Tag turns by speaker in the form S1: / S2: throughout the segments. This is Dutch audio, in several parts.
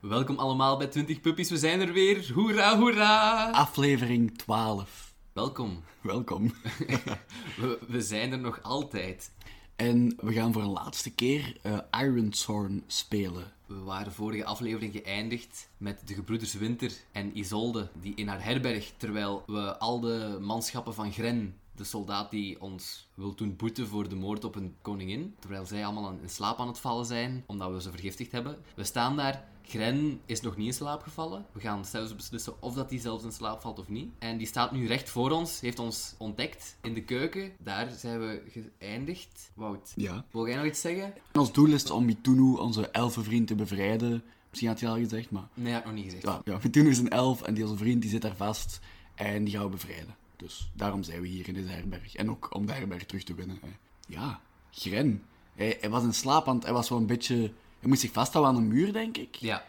S1: Welkom allemaal bij 20 Puppies, we zijn er weer. Hoera, hoera!
S2: Aflevering 12.
S1: Welkom.
S2: Welkom.
S1: We, we zijn er nog altijd.
S2: En we gaan voor een laatste keer eh Iron Thorn spelen.
S1: We waren vorige aflevering geëindigd met de gebroeders Winter en Isolde, die in haar herberg, terwijl we al de manschappen van Gren, de soldaat die ons wil doen boeten voor de moord op een koningin, terwijl zij allemaal aan- in slaap aan het vallen zijn, omdat we ze vergiftigd hebben. We staan daar, Gren is nog niet in slaap gevallen. We gaan zelfs beslissen of dat hij zelfs in slaap valt of niet. En die staat nu recht voor ons, heeft ons ontdekt in de keuken. Daar zijn we geëindigd. Wout,
S2: Ja.
S1: wil jij nog iets zeggen?
S2: En ons doel is om Mitunu, onze elfenvriend, te bevrijden. Misschien had hij al gezegd, maar...
S1: Nee, dat heb ik nog niet gezegd.
S2: Ja, ja Mitunu is een elf en die onze vriend die zit daar vast. En die gaan we bevrijden. Dus daarom zijn we hier in deze herberg. En ook om de herberg terug te winnen. Hè. Ja, Gren. Hij, hij was in slaap, want hij was wel een beetje... Hij moest zich vasthouden aan de muur, denk ik.
S1: Ja,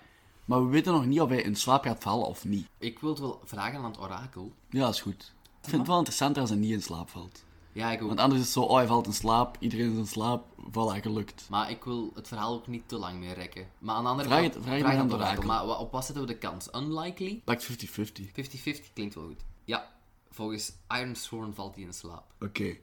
S2: Maar we weten nog niet of hij in slaap gaat vallen of niet.
S1: Ik wil het wel vragen aan het orakel.
S2: Ja, is goed. Ik vind het wel interessanter als hij niet in slaap valt.
S1: Ja, ik ook.
S2: Want anders is het zo, oh, hij valt in slaap, iedereen is in slaap, voilà, gelukt.
S1: Maar ik wil het verhaal ook niet te lang meer rekken. Maar aan de andere
S2: Vraag
S1: kant...
S2: het- vraag het maar aan het orakel.
S1: Maar wa- op wat zetten we de kans? Unlikely?
S2: Pakt 50-50.
S1: 50-50 klinkt wel goed. Ja, volgens Iron Sworn valt hij in slaap.
S2: Oké.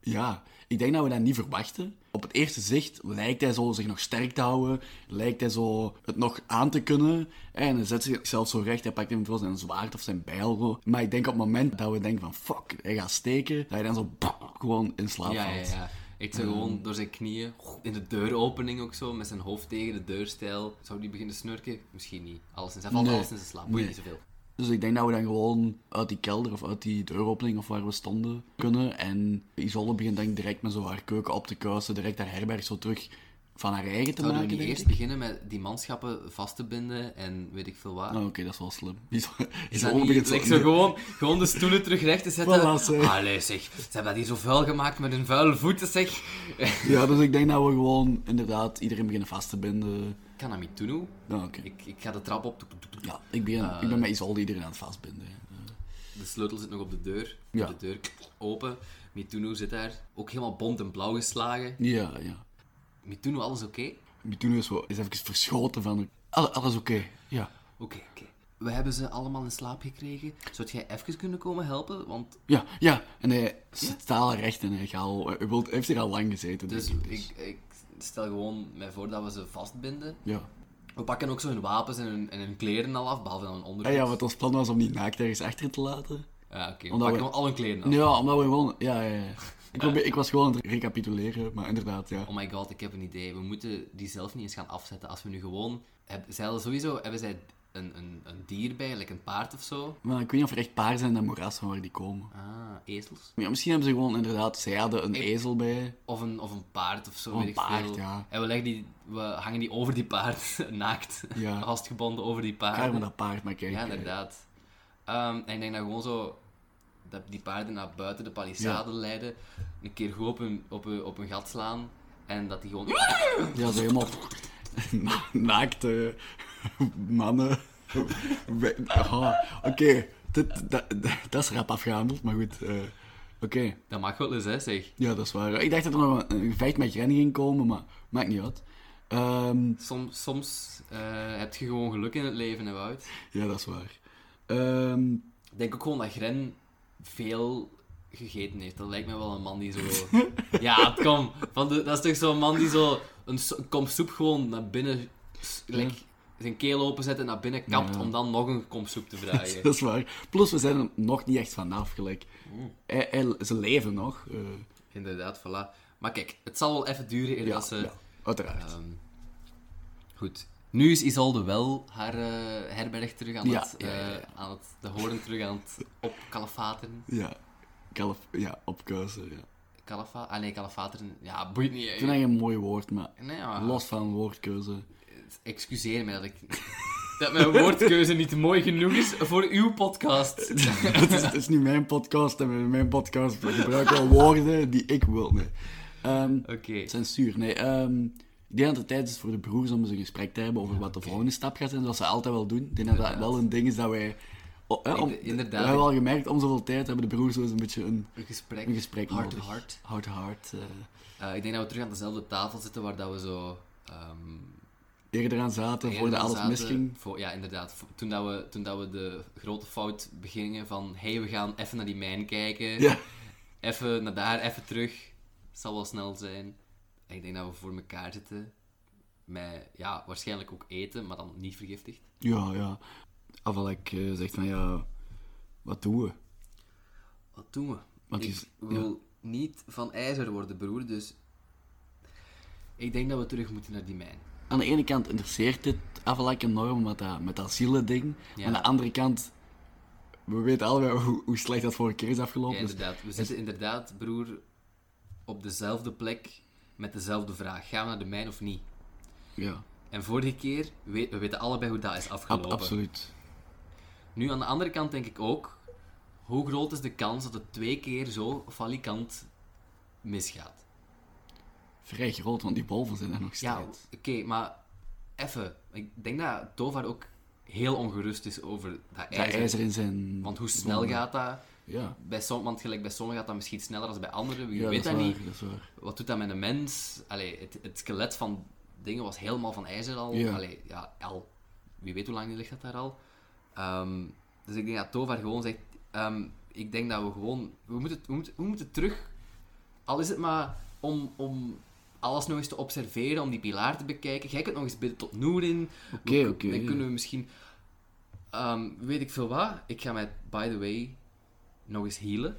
S2: Ja, ik denk dat we dat niet verwachten. Op het eerste zicht lijkt hij zo zich nog sterk te houden, lijkt hij zo het nog aan te kunnen. En hij zet zichzelf zo recht, hij pakt eventueel zijn zwaard of zijn bijl. zo. Maar ik denk op het moment dat we denken van fuck, hij gaat steken, dat hij dan zo gewoon in slaap
S1: Ja, ja,
S2: valt.
S1: ja. Ik
S2: Mm.
S1: zou gewoon door zijn knieën, in de deuropening ook zo, met zijn hoofd tegen de deurstijl. Zou die beginnen snurken? Misschien niet. Alleszins, hij valt
S2: Nee.
S1: alles in zijn slaap. Boeit
S2: Nee.
S1: niet zoveel.
S2: Dus ik denk dat we dan gewoon uit die kelder of uit die deuropening of waar we stonden kunnen. En Isolde begint denk ik direct met zo haar keuken op te kuisen, direct haar herberg zo terug van haar eigen te
S1: Zouden we
S2: maken.
S1: niet
S2: denk
S1: eerst
S2: ik.
S1: beginnen met die manschappen vast te binden en weet ik veel waar?
S2: Oh, Oké, dat is wel slim. Isolde
S1: Is dat
S2: Isolde
S1: niet-
S2: begint
S1: like,
S2: zo...
S1: zo gewoon, gewoon de stoelen terug recht te zetten.
S2: Voilà, zeg.
S1: Allee, zeg. Ze hebben dat hier zo vuil gemaakt met hun vuile voeten, zeg.
S2: Ja, dus ik denk dat we gewoon inderdaad iedereen beginnen vast te binden.
S1: Ik kan dat niet doen, hoe.
S2: Nou, oké.
S1: Ik, ik ga de trap op. Toek, toek, toek, toek.
S2: Ja, ik ben, ik ben met Isolde iedereen aan het vastbinden.
S1: De sleutel zit nog op de deur.
S2: Ja.
S1: De deur open. Mitunu zit daar. Ook helemaal bont en blauw geslagen.
S2: Ja, ja.
S1: Mitunu, alles oké?
S2: Mitunu is, wel- is even verschoten van... Alle- Alles oké, ja.
S1: Oké, oké. We hebben ze allemaal in slaap gekregen. Zou jij even kunnen komen helpen? Want
S2: Ja, ja. En hij zit staal recht en hij, gaat al, hij wilt- hij heeft hier al lang gezeten.
S1: dus,
S2: denk ik,
S1: ik, ik stel gewoon mij voor dat we ze vastbinden.
S2: Ja.
S1: We pakken ook zo hun wapens en hun, en hun kleren al af, behalve dan hun
S2: Ja,
S1: ondergoed.
S2: Ah ja, wat ons plan was om die naakt ergens achter te laten.
S1: Ja, oké. We
S2: Omdat
S1: pakken
S2: we-
S1: al hun kleren af.
S2: Ja, omdat we gewoon... Ja, ja, ja.
S1: Eh.
S2: Ik, probeer- ik was gewoon aan het recapituleren, maar inderdaad, ja.
S1: Oh my god, ik heb een idee. We moeten die zelf niet eens gaan afzetten. Als we nu gewoon... Heb, zij hadden sowieso hebben zij een, een, een dier bij, like een paard of zo.
S2: Maar ik weet niet of er echt paarden zijn in dat moeras van waar die komen.
S1: Ah, ezels.
S2: Ja, misschien hebben ze gewoon inderdaad... Zij hadden een ezel bij.
S1: Of een, of een paard of zo,
S2: een
S1: weet ik
S2: Oh, paard,
S1: veel.
S2: ja.
S1: En we, leggen die, we hangen die over die paard, naakt.
S2: Ja.
S1: Vastgebonden over die paard.
S2: Klaar met dat paard, maar kijk.
S1: Ah, Ja,
S2: eh,
S1: inderdaad. Ehm, en ik denk dat gewoon zo... Dat die paarden naar buiten de palissade leiden. Een keer goed op een, op, een, op een gat slaan. En dat die gewoon...
S2: Ja, zo helemaal na- naakte mannen. We- Ah, Oké, dit dat, dat is rap afgehandeld, maar goed. eh, Oké,
S1: Dat mag wel eens, hè, zeg.
S2: ja, dat is waar. Ik dacht dat er nog een, een gevecht met Gren ging komen, maar maakt niet uit. Ehm,
S1: Soms, soms eh, heb je gewoon geluk in het leven, hè, Wout.
S2: ja, dat is waar. Ehm,
S1: Ik denk ook gewoon dat Gren veel gegeten heeft. Dat lijkt me wel een man die zo... ja, kom. Van de, dat is toch zo'n man die zo een, so- een kom soep gewoon naar binnen... s- like, zijn keel openzet en naar binnen kapt
S2: Ja.
S1: om dan nog een kom soep te vragen.
S2: dat is waar. Plus, we zijn er nog niet echt vanaf, gelijk. Hij- hij- ze leven nog. eh,
S1: Inderdaad, voilà. Maar kijk, het zal wel even duren eer
S2: ja,
S1: dat ze...
S2: ja, uiteraard.
S1: ehm, goed. Nu is Isolde wel haar eh, herberg terug aan
S2: Ja,
S1: het...
S2: ja, ja,
S1: eh, aan het de horen terug aan het opkalafateren.
S2: Ja, kalf, ja opkuisen, ja.
S1: Kalafa? Ah nee, kalafateren. Ja, Ah. boeit niet.
S2: Ik vind
S1: eh.
S2: dat geen mooi woord, maar
S1: Nee, maar...
S2: los van woordkeuze.
S1: Excuseer me dat ik... dat mijn woordkeuze niet mooi genoeg is voor uw podcast.
S2: het, is, het is niet mijn podcast en in mijn podcast gebruik ik wel woorden die ik wil. Nee. Ehm,
S1: Oké.
S2: censuur, nee. ehm, ik denk dat het tijd is voor de broers om eens een gesprek te hebben over wat de volgende stap gaat zijn, zoals ze altijd wel doen. Ik denk dat dat wel een ding is dat wij... oh, hè, om-
S1: Ik- inderdaad.
S2: We hebben al gemerkt, om zoveel tijd hebben de broers wel eens een beetje een,
S1: Een gesprek.
S2: een gesprek
S1: Hard to
S2: nodig.
S1: hard.
S2: Hard to hard. eh.
S1: Eh, ik denk dat we terug aan dezelfde tafel zitten waar dat we zo... ehm,
S2: eerder aan zaten, voordat
S1: Eerder
S2: alles
S1: zaten
S2: misging.
S1: Voor, ja, inderdaad. Vo- Toen, dat we, toen dat we de grote fout begingen van... hey, we gaan even naar die mijn kijken.
S2: Ja.
S1: Even naar daar, even terug. Zal wel snel zijn. En ik denk dat we voor elkaar zitten. Met, ja, waarschijnlijk ook eten, maar dan niet vergiftigd.
S2: Ja, ja. Afvalk eh zegt van ja, wat doen we?
S1: Wat doen we?
S2: Want
S1: ik
S2: die is- ja.
S1: wil niet van ijzer worden, broer, dus... Ik denk dat we terug moeten naar die mijn.
S2: Aan de ene kant interesseert dit Avalak enorm met dat, met dat zielending.
S1: Ja.
S2: Aan de andere kant, we weten allebei hoe, hoe slecht dat vorige keer is
S1: Ja,
S2: afgelopen. dus
S1: inderdaad. We zitten inderdaad, broer, op dezelfde plek met dezelfde vraag. Gaan we naar de mijn of niet?
S2: ja
S1: En vorige keer, we, we weten allebei hoe dat is
S2: ab-
S1: afgelopen.
S2: absoluut.
S1: Nu, aan de andere kant denk ik ook, hoe groot is de kans dat het twee keer zo falikant misgaat?
S2: Vrij groot, want die wolven zijn er nog
S1: Ja,
S2: steeds.
S1: oké, maar even. Ik denk dat Tovar ook heel ongerust is over dat
S2: dat
S1: ijzer.
S2: ijzer in zijn...
S1: Want hoe snel
S2: wonden.
S1: gaat dat?
S2: Ja,
S1: Bij som, want gelijk bij sommigen gaat dat misschien sneller dan bij anderen. Wie
S2: ja
S1: weet
S2: dat,
S1: dat
S2: is
S1: niet.
S2: waar, dat is waar.
S1: Wat doet dat met een mens? Allee, het, het skelet van dingen was helemaal van ijzer al.
S2: Ja.
S1: Allee, ja, al. Wie weet hoe lang ligt dat daar al. Ehm, dus ik denk dat Tovar gewoon zegt... ehm, ik denk dat we gewoon... We moeten, we, moeten, we moeten terug. Al is het maar om, om alles nog eens te observeren, om die pilaar te bekijken. Jij kunt nog eens bidden tot Noerin.
S2: Oké,
S1: We-
S2: oké,
S1: Dan
S2: ja.
S1: kunnen we misschien... ehm, weet ik veel wat. Ik ga mij, by the way, nog eens healen.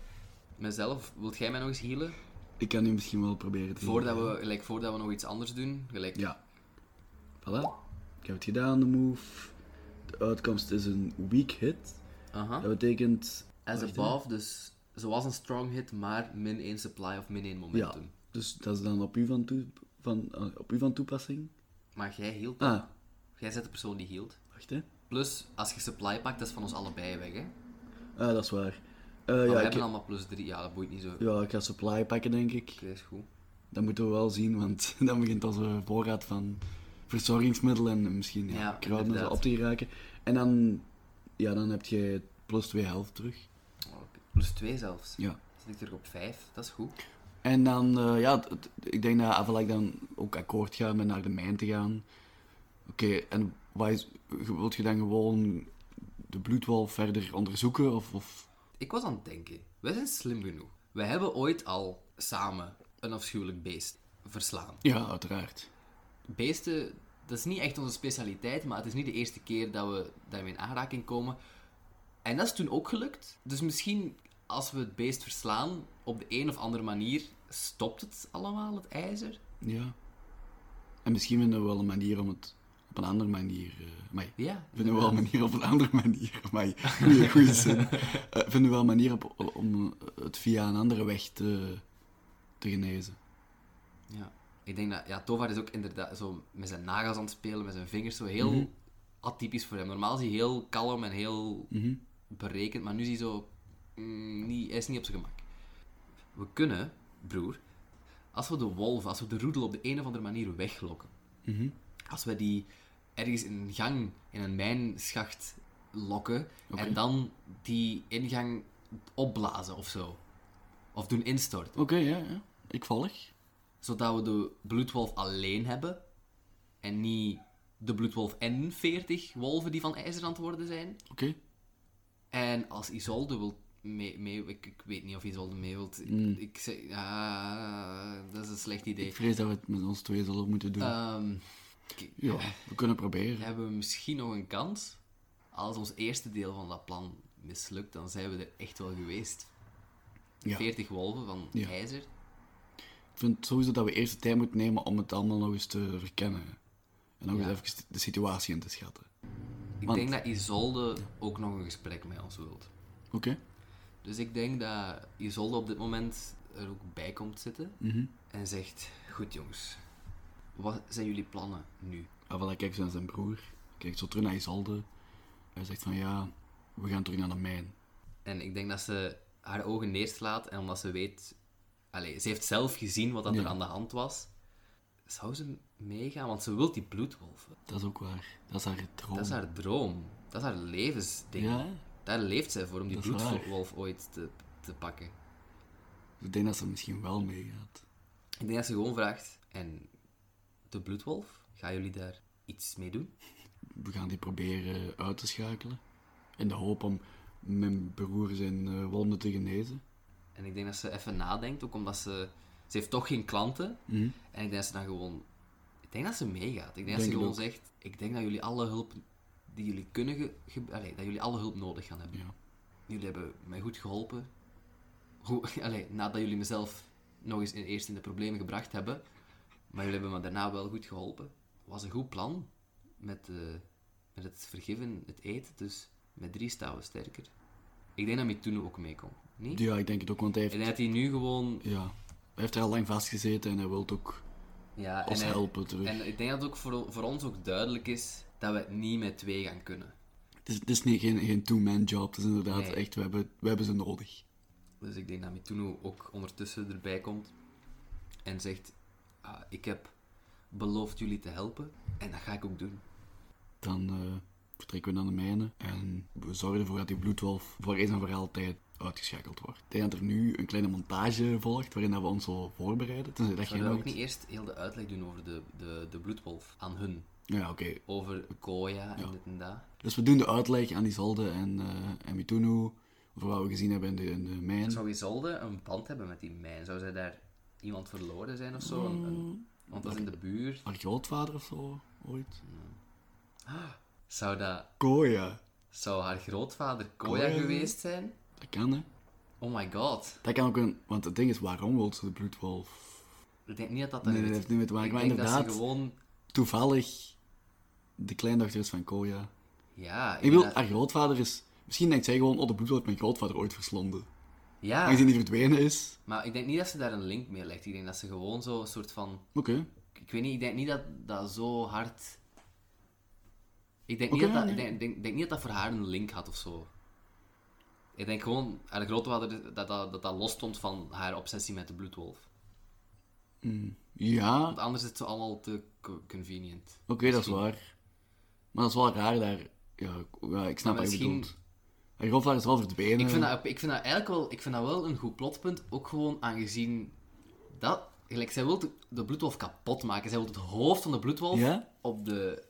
S1: Mezelf. Wilt jij mij nog eens healen?
S2: Ik kan nu misschien wel proberen te...
S1: Voordat we, gelijk, voordat we nog iets anders doen, gelijk,
S2: Hmm. Ja. Voilà. Ik heb het gedaan, de move. De uitkomst is een weak hit.
S1: aha.
S2: Dat betekent...
S1: as
S2: Wacht, hè.
S1: above, dus zoals een strong hit, maar min 1 supply of min 1
S2: Ja,
S1: momentum.
S2: dus dat is dan op u van, toe, van, eh, op u van toepassing.
S1: Maar jij hield,
S2: Ah,
S1: jij bent de persoon die hield.
S2: wacht hè.
S1: Plus, als je supply pakt, dat is van ons allebei weg, hè. Maar
S2: Ah, dat is waar. Eh,
S1: Oh, we
S2: ja, ik,
S1: hebben allemaal plus 3, ja, dat boeit niet zo. Oké,
S2: ja, ik ga supply pakken, denk ik.
S1: is goed.
S2: Dat moeten we wel zien, want dan begint onze voorraad van verzorgingsmiddelen en misschien ja,
S1: Ja,
S2: kruiden en zo
S1: inderdaad.
S2: op te raken. En dan, ja, dan heb je plus 2 helft terug.
S1: Oh, oké. Plus 2 zelfs.
S2: Ja.
S1: Zit ik terug op 5, dat is goed.
S2: En dan, eh, ja, het- het- ik denk dat Avalak dan ook akkoord gaat met naar de mijn te gaan. Oké, en wat is, wilt je dan gewoon de bloedwolf verder onderzoeken? Of, of
S1: Ik was aan het denken, wij zijn slim genoeg. Wij hebben ooit al samen een afschuwelijk beest verslaan.
S2: Ja, uiteraard.
S1: Beesten, dat is niet echt onze specialiteit, maar het is niet de eerste keer dat we daarmee in aanraking komen. En dat is toen ook gelukt. Dus misschien als we het beest verslaan, op de een of andere manier stopt het allemaal, het ijzer.
S2: Ja. En misschien vinden we wel een manier om het op een andere manier. eh maar
S1: Ja.
S2: vinden we wel een manier op een andere manier. Maar goede, goede zin. Eh, vinden we wel een manier op, om eh, het via een andere weg te, te genezen.
S1: ja. Ik denk dat, ja, Tovar is ook inderdaad zo met zijn nagels aan het spelen, met zijn vingers, zo heel atypisch voor hem. Normaal is hij heel kalm en heel berekend, maar nu is hij zo, mm, niet, hij is niet op zijn gemak. We kunnen, broer, als we de wolven, als we de roedel op de een of andere manier weglokken, als we die ergens in een gang, in een mijnschacht lokken, en dan die ingang opblazen of zo. Of doen instorten.
S2: Oké, ja, ja. Ik volg.
S1: Zodat we de bloedwolf alleen hebben, en niet de bloedwolf en 40 wolven die van ijzer aan het worden zijn.
S2: Oké.
S1: En als Isolde wil mee, mee ik, ik weet niet of Isolde mee wilt.
S2: Mm.
S1: Ik zeg, ah, dat is een slecht idee.
S2: Ik vrees dat we het met ons twee zullen moeten doen.
S1: Ehm,
S2: ja, we kunnen proberen.
S1: hebben we misschien nog een kans? Als ons eerste deel van dat plan mislukt, dan zijn we er echt wel geweest.
S2: Ja.
S1: 40 wolven van
S2: Ja.
S1: ijzer.
S2: Ik vind sowieso dat we eerst de tijd moeten nemen om het allemaal nog eens te verkennen. En nog
S1: Ja.
S2: eens even de situatie in te schatten.
S1: Ik
S2: Want-
S1: denk dat Isolde ook nog een gesprek met ons wilt.
S2: Oké.
S1: Dus ik denk dat Isolde op dit moment er ook bij komt zitten
S2: Mhm.
S1: en zegt: Goed jongens, wat zijn jullie plannen nu?
S2: Avala kijkt zo naar zijn broer, kijkt zo terug naar Isolde. Hij zegt van ja, we gaan terug naar de mijn.
S1: En ik denk dat ze haar ogen neerslaat en omdat ze weet... Allee, ze heeft zelf gezien wat dat er aan de hand was. Zou ze meegaan? Want ze wil die bloedwolven.
S2: Dat is ook waar. Dat is haar droom.
S1: Dat is haar droom. Dat is haar levensding.
S2: Oh. Ja, hè?
S1: Daar leeft zij voor, om die
S2: Dat is waar.
S1: bloedwolf ooit te, te pakken.
S2: ik denk dat ze misschien wel meegaat.
S1: Ik denk dat ze gewoon vraagt... En de bloedwolf? Gaan jullie daar iets mee doen?
S2: We gaan die proberen uit te schakelen. In de hoop om mijn broer zijn eh, wonden te genezen.
S1: En ik denk dat ze even nadenkt, ook omdat ze... Ze heeft toch geen klanten. En ik denk dat ze dan gewoon... Ik denk dat ze meegaat. Ik denk, dat
S2: Denk
S1: ze
S2: het
S1: gewoon
S2: ook.
S1: zegt... Ik denk dat jullie alle hulp die jullie kunnen... ge- ge- allee, dat jullie alle hulp nodig gaan hebben.
S2: Ja.
S1: Jullie hebben mij goed geholpen. Hoe, allee, nadat jullie mezelf nog eens in, eerst in de problemen gebracht hebben. Maar jullie hebben me daarna wel goed geholpen. was een goed plan. Met, eh, met het vergiven, het eten. Dus met drie staan we sterker. Ik denk dat Mituno ook meekomt. Niet?
S2: ja, ik denk het ook, want hij
S1: En
S2: heeft,
S1: dat hij nu gewoon...
S2: ja, hij heeft er al lang vastgezeten en hij wil ook
S1: Ja, en,
S2: ons
S1: hij-
S2: helpen terug.
S1: en ik denk dat het ook voor, voor ons ook duidelijk is dat we het niet met twee gaan kunnen.
S2: Het is, het is niet, geen, geen two-man job, het is inderdaad
S1: Nee.
S2: echt, we hebben, we hebben ze nodig.
S1: Dus ik denk dat Mituno ook ondertussen erbij komt en zegt: "Ah, Ik heb beloofd jullie te helpen en dat ga ik ook doen.
S2: Dan eh, vertrekken we naar de mijnen en we zorgen ervoor dat die bloedwolf voor eens en voor altijd uitgeschakeld wordt. Ik denk dat er nu een kleine montage volgt waarin dat we ons zo voorbereiden. Tenzij dat jij
S1: Zouden we
S2: nog
S1: ook
S2: iets-
S1: niet eerst heel de uitleg doen over de, de, de bloedwolf aan hun?
S2: Ja, oké.
S1: Over Koya en dit en dat.
S2: Dus we doen de uitleg aan Isolde en, eh en Mitunu over wat we gezien hebben in de, in de mijn.
S1: Zou Isolde een band hebben met die mijn? Zou zij daar iemand verloren zijn of zo? Een- een- want dat is in de buurt.
S2: Haar grootvader of zo, ooit.
S1: Zou, dat,
S2: Koya.
S1: zou haar grootvader Koya
S2: Koya?
S1: geweest zijn?
S2: Dat kan, hè.
S1: Oh my god.
S2: Dat kan ook een... Want het ding is, waarom wil ze de bloedwolf?
S1: Ik denk niet dat dat...
S2: Nee,
S1: een-
S2: dat heeft niet mee te maken.
S1: Ik
S2: Maar
S1: denk dat
S2: inderdaad,
S1: ze gewoon...
S2: toevallig de kleindochter is van Koya.
S1: Ja,
S2: Ik bedoel,
S1: inderdaad.
S2: haar grootvader is... Misschien denkt zij gewoon, oh, de bloedwolf heeft mijn grootvader ooit verslonden.
S1: Ja,
S2: Aangezien die verdwenen is.
S1: maar ik denk niet dat ze daar een link mee legt. Ik denk dat ze gewoon zo een soort van...
S2: Oké.
S1: Ik weet niet, ik denk niet dat dat zo hard... Ik denk,
S2: Oké,
S1: niet, dat dat,
S2: nee.
S1: ik denk, denk, denk niet dat dat voor haar een link had of zo. Ik denk gewoon, haar grootvader, dat dat, dat, dat los stond van haar obsessie met de bloedwolf.
S2: Ja,
S1: Want anders is het zo allemaal te co- convenient.
S2: Oké, dat is waar. Maar dat is wel raar daar. Ja, ik- ja ik snap
S1: Maar
S2: wat je
S1: misschien-
S2: bedoelt. Haar grootvader is wel verdwenen.
S1: Ik vind, dat, ik vind dat eigenlijk wel, ik vind dat wel een goed plotpunt, ook gewoon aangezien dat... Gelijk, zij wil de, de bloedwolf kapot maken. Zij wil het hoofd van de bloedwolf
S2: Ja?
S1: op de...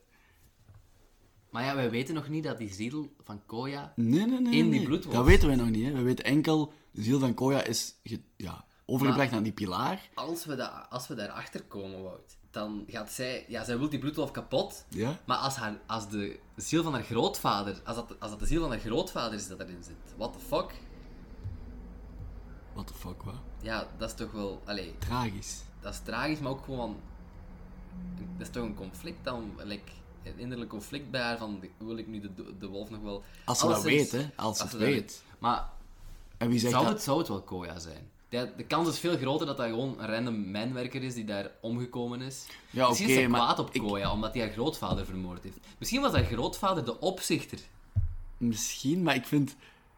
S1: Maar ja, wij weten nog niet dat die ziel van Koya...
S2: Nee, nee, nee.
S1: in die
S2: nee.
S1: bloedwolf.
S2: Dat weten wij nog niet. Hè. We weten enkel, de ziel van Koya is ge- ja, overgebracht aan die pilaar.
S1: Als we, da, als we daarachter komen, Wout, dan gaat zij... Ja, zij wil die bloedwolf kapot.
S2: Ja?
S1: Maar als, haar, als de ziel van haar grootvader... Als dat, als dat de ziel van haar grootvader is dat erin zit. What the fuck?
S2: What the fuck, wat?
S1: Ja, dat is toch wel... Allee,
S2: Tragisch.
S1: dat is tragisch, maar ook gewoon. Dat is toch een conflict dan? Like, een innerlijk conflict bij haar van wil ik nu de, de wolf nog wel.
S2: Als ze dat
S1: Alleszins-
S2: weet, hè. Als ze het
S1: dat
S2: weet.
S1: Maar
S2: En wie zegt
S1: zou
S2: dat?
S1: het, zou het wel Koya zijn? De, de kans is veel groter dat dat gewoon een random mijnwerker is die daar omgekomen is.
S2: Ja,
S1: Misschien
S2: oké,
S1: is ze
S2: maar
S1: kwaad op
S2: ik-
S1: Koya omdat hij haar grootvader vermoord heeft. Misschien was haar grootvader de opzichter.
S2: Misschien, maar ik vind,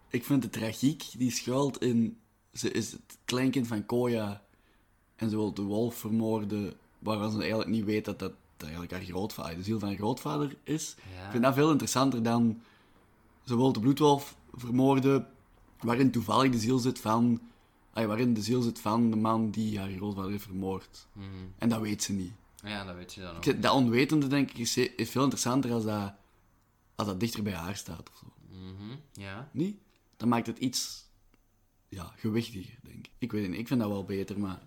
S2: ik vind de tragiek die schuilt in... Ze is het kleinkind van Koya en ze wil de wolf vermoorden, waarvan ze eigenlijk niet weet dat dat eigenlijk haar grootvader, de ziel van haar grootvader is.
S1: Ja.
S2: Ik vind dat veel interessanter dan... Ze wil de bloedwolf vermoorden, waarin toevallig de ziel zit van... ay, waarin de ziel zit van de man die haar grootvader heeft vermoord. En dat weet ze niet.
S1: Ja, dat weet je dan ook.
S2: Ik- Dat onwetende, denk ik, is, is veel interessanter als dat, als dat dichter bij haar staat. Of zo.
S1: Mhm, Ja.
S2: Niet? Dan maakt het iets ja, gewichtiger, denk ik. Ik weet het niet, ik vind dat wel beter, maar...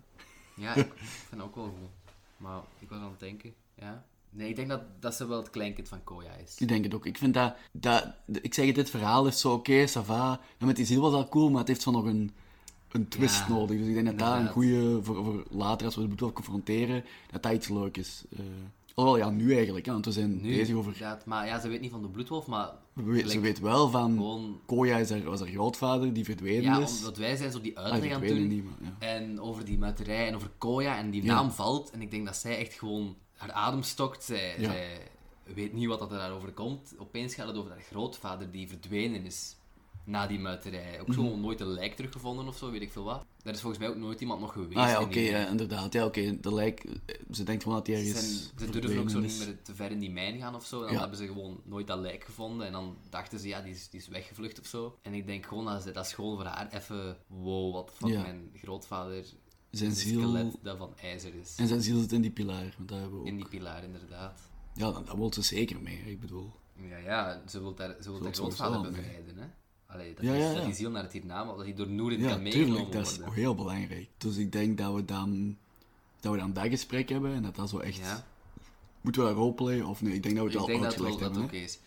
S1: Ja, ik vind dat ook wel goed. Maar ik was aan het denken, ja. Nee, ik denk dat, dat ze wel het kleinkind van Koya is.
S2: Ik denk het ook. Ik vind dat... dat ik zeg het, dit verhaal is zo oké, ça va. En met die ziel was al cool, maar het heeft zo nog een, een twist
S1: Ja,
S2: nodig. Dus ik denk dat dat een
S1: inderdaad.
S2: goede voor, voor later, als we het bloed confronteren, dat dat iets leuk is. Eh alhoewel, ja, nu eigenlijk, hè, want we zijn
S1: Nu,
S2: bezig over...
S1: inderdaad. maar ja, ze weet niet van de bloedwolf, maar
S2: we weten- ze weet wel van...
S1: gewoon...
S2: Koya is haar, was haar grootvader, die verdwenen
S1: Oh. Ja,
S2: is.
S1: omdat wij zijn zo die
S2: Hm. Ah,
S1: uitleg aan het
S2: verdwenen
S1: doen.
S2: niet, maar... Ja.
S1: En over die muiterij en over Koya en die naam valt. En ik denk dat zij echt gewoon haar adem stokt. Zij,
S2: Ja.
S1: zij weet niet wat dat er daarover komt. Opeens gaat het over haar grootvader die verdwenen is na die muiterij.
S2: Mhm.
S1: Ook gewoon nooit een lijk teruggevonden of zo, weet ik veel wat. Daar is volgens mij ook nooit iemand nog geweest.
S2: Ah ja,
S1: in
S2: oké,
S1: die-
S2: ja, inderdaad. Ja, oké, de lijk... eh, Ze denkt gewoon dat hij
S1: Ze,
S2: ergens...
S1: zijn- ze durven
S2: verdwenen
S1: ook zo
S2: is.
S1: niet meer te ver in die mijn gaan of zo. Dan
S2: Ja.
S1: hebben ze gewoon nooit dat lijk gevonden. En dan dachten ze, ja, die is, die is weggevlucht of zo. En ik denk gewoon, dat, ze- dat is gewoon voor haar even... Wow, wat van
S2: Ja.
S1: mijn grootvader...
S2: Zijn
S1: een
S2: ziel...
S1: skelet dat van ijzer is.
S2: En zijn ziel zit in die pilaar, want daar hebben we ook...
S1: In die pilaar, inderdaad.
S2: Ja, dan, dan wil ze zeker mee, ik bedoel.
S1: Ja, ja, ze wil daar, ze wil haar
S2: het
S1: grootvader
S2: sowieso, nee.
S1: bevrijden, hè. Allee, dat,
S2: Ja,
S1: is,
S2: ja,
S1: dat
S2: ja.
S1: is heel naar het hiernaam, dat hij door Noerin
S2: Ja,
S1: kan meegenomen
S2: tuurlijk, dat is
S1: worden.
S2: heel belangrijk. Dus ik denk dat we dan dat, we dan dat gesprek hebben en dat dat zo echt...
S1: Ja,
S2: Moeten we dat roleplayen of nee? Ik denk dat we
S1: ik
S2: het al
S1: denk dat wel
S2: uitgelegd
S1: dat oké
S2: hebben. hè.
S1: is.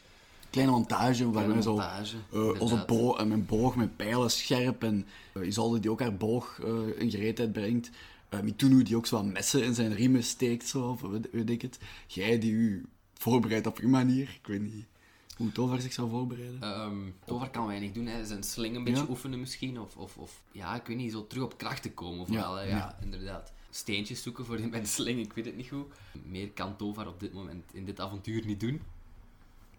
S2: Kleine montage waar
S1: Kleine
S2: we zo...
S1: montage,
S2: eh, onze
S1: inderdaad.
S2: bo en mijn boog met pijlen scherp en eh, Isolde die ook haar boog eh, in gereedheid brengt. Eh Mitunu die ook zo wat messen in zijn riemen steekt, zo, of weet, weet ik het. Jij die u voorbereidt op uw manier. Ik weet niet hoe Tovar zich zou voorbereiden.
S1: Ehm Tovar kan weinig doen, hè. zijn sling een beetje
S2: Ja.
S1: oefenen misschien. Of, of, of ja, ik weet niet, zo terug op krachten komen.
S2: Ja,
S1: Vooral, hè. ja,
S2: ja.
S1: inderdaad. Steentjes zoeken voor mijn sling, ik weet het niet goed. Meer kan Tovar op dit moment in dit avontuur niet doen.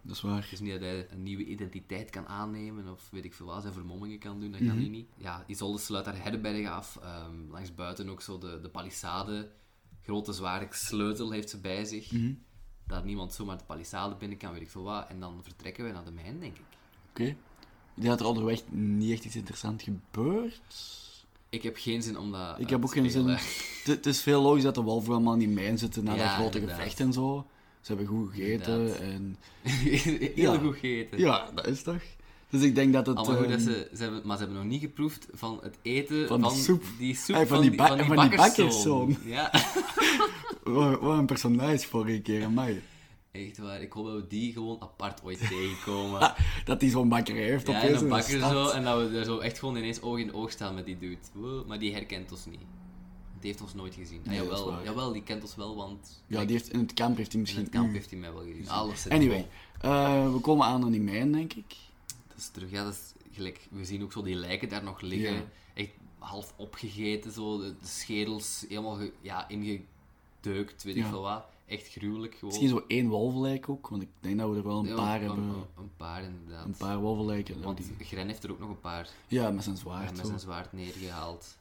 S2: Dat is waar.
S1: Het is niet dat hij een nieuwe identiteit kan aannemen of weet ik veel wat, zijn vermommingen kan doen, dat
S2: Mhm.
S1: kan hij niet. Ja, Isolde sluit haar herberg af. ehm, langs buiten ook zo de, de palissade. Grote zware sleutel heeft ze bij zich.
S2: Mhm.
S1: Dat niemand zomaar de palissade binnen kan, weet ik veel wat. En dan vertrekken we naar de mijn, denk ik.
S2: Oké. Ik denk dat er onderweg niet echt iets interessants gebeurt.
S1: Ik heb geen zin om dat.
S2: Ik
S1: eh,
S2: heb ook
S1: te
S2: geen zin.
S1: spelen.
S2: Het- Het is veel logisch dat de wolven allemaal in die mijn zitten na dat
S1: Ja,
S2: grote
S1: inderdaad.
S2: gevecht en zo. Ze hebben goed gegeten
S1: Inderdaad.
S2: en...
S1: Heel
S2: Ja.
S1: goed gegeten.
S2: Ja, dat is toch? Dus ik denk dat het...
S1: Allemaal goed dat
S2: ehm,
S1: ze, ze hebben, maar ze hebben nog niet geproefd van het eten
S2: Van
S1: van,
S2: de soep.
S1: die soep
S2: Ah, van
S1: van,
S2: die
S1: die,
S2: ba-
S1: van die
S2: van die
S1: bakkerszoon.
S2: bakkerszoon.
S1: Ja,
S2: Wat wat een personage vorige keer, amai.
S1: echt waar. Ik hoop dat we die gewoon apart ooit tegenkomen.
S2: Dat hij zo'n bakkerij heeft
S1: ja, en
S2: opeens
S1: een
S2: in de
S1: bakker
S2: stad.
S1: zo. En dat we daar zo echt gewoon ineens oog in oog staan met die dude. Wow, maar die herkent ons niet. Die heeft ons nooit gezien. Ah,
S2: Nee, dat is
S1: jawel,
S2: waar.
S1: jawel, die kent ons wel, want
S2: Ja, die heeft, in het kamp heeft
S1: in
S2: hij misschien...
S1: het kamp
S2: u.
S1: heeft hij mij wel gezien. Alles zit
S2: Anyway, eh, we komen aan aan die mijn, denk ik.
S1: Dat is terug, ja, dat is gelijk. We zien ook zo die lijken daar nog liggen.
S2: Ja.
S1: Echt half opgegeten, zo. De, de schedels helemaal ge- ja, ingedeukt, weet ik
S2: Ja.
S1: veel wat. Echt gruwelijk gewoon.
S2: Misschien zo één wolvenlijk ook, want ik denk dat we er wel een
S1: Oh. Ja,
S2: paar
S1: een,
S2: hebben.
S1: Een, een paar, inderdaad.
S2: Een paar wolvenlijken.
S1: Want
S2: die-
S1: Gren heeft er ook nog een paar
S2: Ja, met zijn zwaard.
S1: met
S2: zo.
S1: zijn zwaard neergehaald.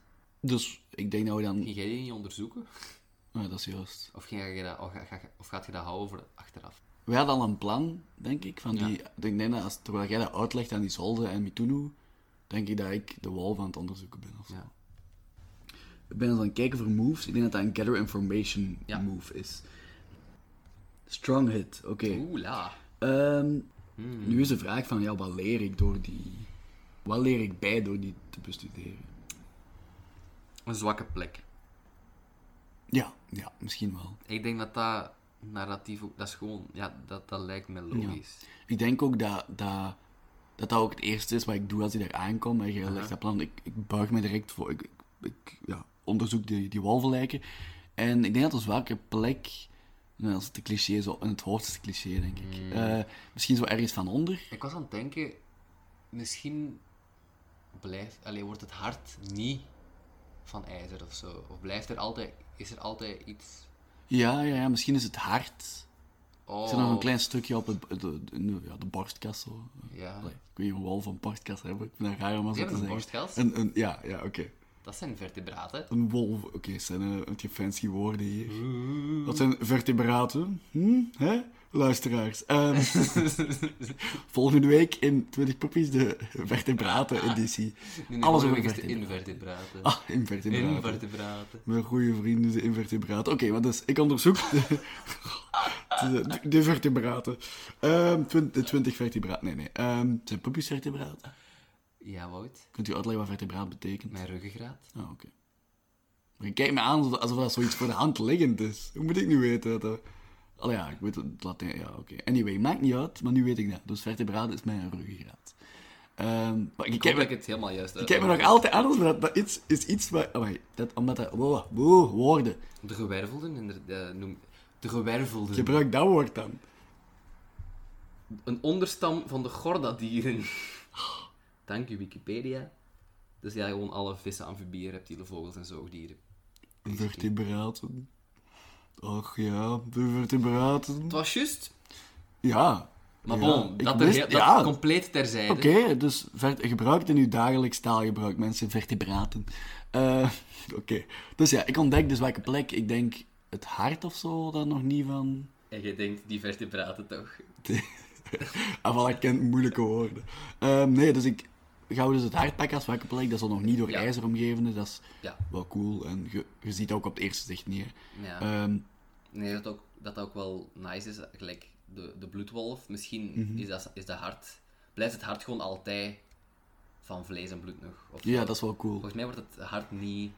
S2: Dus ik denk dat we dan...
S1: Ging jij die niet onderzoeken?
S2: Ja, dat is juist.
S1: Of, ging jij dat, of, ga- ga- of gaat je dat houden voor achteraf?
S2: We hadden al een plan, denk ik. Van
S1: Ja.
S2: die, ik denk dat als, terwijl jij dat uitlegt aan die Zolde en Mitunu, denk ik dat ik de wolf aan het onderzoeken ben. Of zo.
S1: Ja.
S2: Ik ben eens aan het kijken voor moves. Ik denk dat dat een gather information
S1: Ja.
S2: move is. Strong hit, oké.
S1: Oeh, la.
S2: Ehm, Nu is de vraag van, ja, wat leer ik door die... Wat leer ik bij door die te bestuderen?
S1: Een zwakke plek.
S2: Ja, ja, misschien wel.
S1: Ik denk dat dat narratief ook... Dat is gewoon... Ja, dat, dat lijkt me logisch.
S2: Ik denk ook dat dat, dat dat ook het eerste is wat ik doe als ik daar aankom. En je legt dat plan. Ik, ik buig me direct voor. Ik, ik, ik, ja, onderzoek die, die walvenlijken. En ik denk dat op welke plek. Nou, dat is te cliché, zo, in het hoofd is het cliché, denk ik.
S1: Hmm.
S2: Eh, misschien zo ergens van onder.
S1: Ik was aan het denken, misschien blijft, allee, wordt het hart niet van ijzer of zo. Of blijft er altijd, is er altijd iets.
S2: Ja, ja, ja misschien is het hart.
S1: Oh, Ah.
S2: Is er nog een klein stukje op het, de, de, de- ja, de borstkast? Zo.
S1: Ja,
S2: Allee, ik weet niet of wolven een borstkast hebben. Ik vind dat raar om dat zo
S1: Die
S2: te
S1: hebben
S2: zeggen.
S1: een borstkast?
S2: Een, een, ja, ja oké.
S1: dat zijn vertebraten.
S2: Een wolf. Oké, het zijn eh, een beetje fancy woorden hier. Dat zijn vertebraten. Hm? Hè? Luisteraars. Ehm, volgende week in 20 Poppies de vertebraten-editie.
S1: Nu, nu
S2: Alles
S1: horen
S2: over
S1: we eens de
S2: vertebraten.
S1: invertebraten.
S2: Ah, invertebraten.
S1: Invertebraten.
S2: Mijn goede vrienden, de invertebraten. Oké, maar dus ik onderzoek de, de, de vertebraten. Ehm, twin- de 20 vertebraten. Nee, nee. Ehm, het zijn poppies vertebraten.
S1: Ja, Wout,
S2: Kunt u uitleggen wat vertebraat betekent?
S1: mijn ruggengraat.
S2: Ah, oké. Maar je kijkt me aan alsof, alsof dat zoiets voor de hand liggend is. Hoe moet ik nu weten dat dat... Allee, ja, ik weet het het Latijn... Ja, oké. Anyway, maakt niet uit, maar nu weet ik dat. Dus vertebraten is mijn ruggengraat. Ehm maar je
S1: Ik hoop
S2: kijkt
S1: dat
S2: me,
S1: ik het helemaal juist
S2: je kijkt me nog altijd aan alsof dat, dat iets is iets waar... Amai, dat, omdat dat... Wow, wow, woorden.
S1: De gewervelden, inderdaad, noem... De gewervelden.
S2: Gebruik dat woord dan.
S1: Een onderstam van de gordadieren. Dank u, Wikipedia. Dus ja, gewoon alle vissen, amfibieën, reptielen, vogels en zoogdieren.
S2: Vertebraten. Och ja, de vertebraten.
S1: Het was juist,
S2: Ja.
S1: maar
S2: Ja,
S1: bon,
S2: ik
S1: dat, er
S2: wist-
S1: heel- dat
S2: ja.
S1: compleet terzijde.
S2: Oké, dus ver, gebruikt in uw dagelijks taalgebruik, mensen, vertebraten. Eh Oké, dus ja, ik ontdek dus welke plek. Ik denk het hart of zo, dat nog niet van.
S1: En je denkt, die vertebraten toch?
S2: Ah, voilà, ik ken moeilijke woorden. Ehm, nee, dus ik ga dus het hart pakken als welke plek. Dat is al nog niet door
S1: Ja.
S2: ijzer omgeven, dus dat is
S1: Ja.
S2: wel cool. En je, je ziet dat ook op het eerste zicht neer.
S1: ja.
S2: Ehm,
S1: Nee, dat ook dat dat ook wel nice is. Gelijk de, de bloedwolf, misschien
S2: Mhm.
S1: is, dat, is dat hart. Blijft het hart gewoon altijd van vlees en bloed nog? Of,
S2: Ja, dat is wel cool.
S1: Volgens mij wordt het hart niet.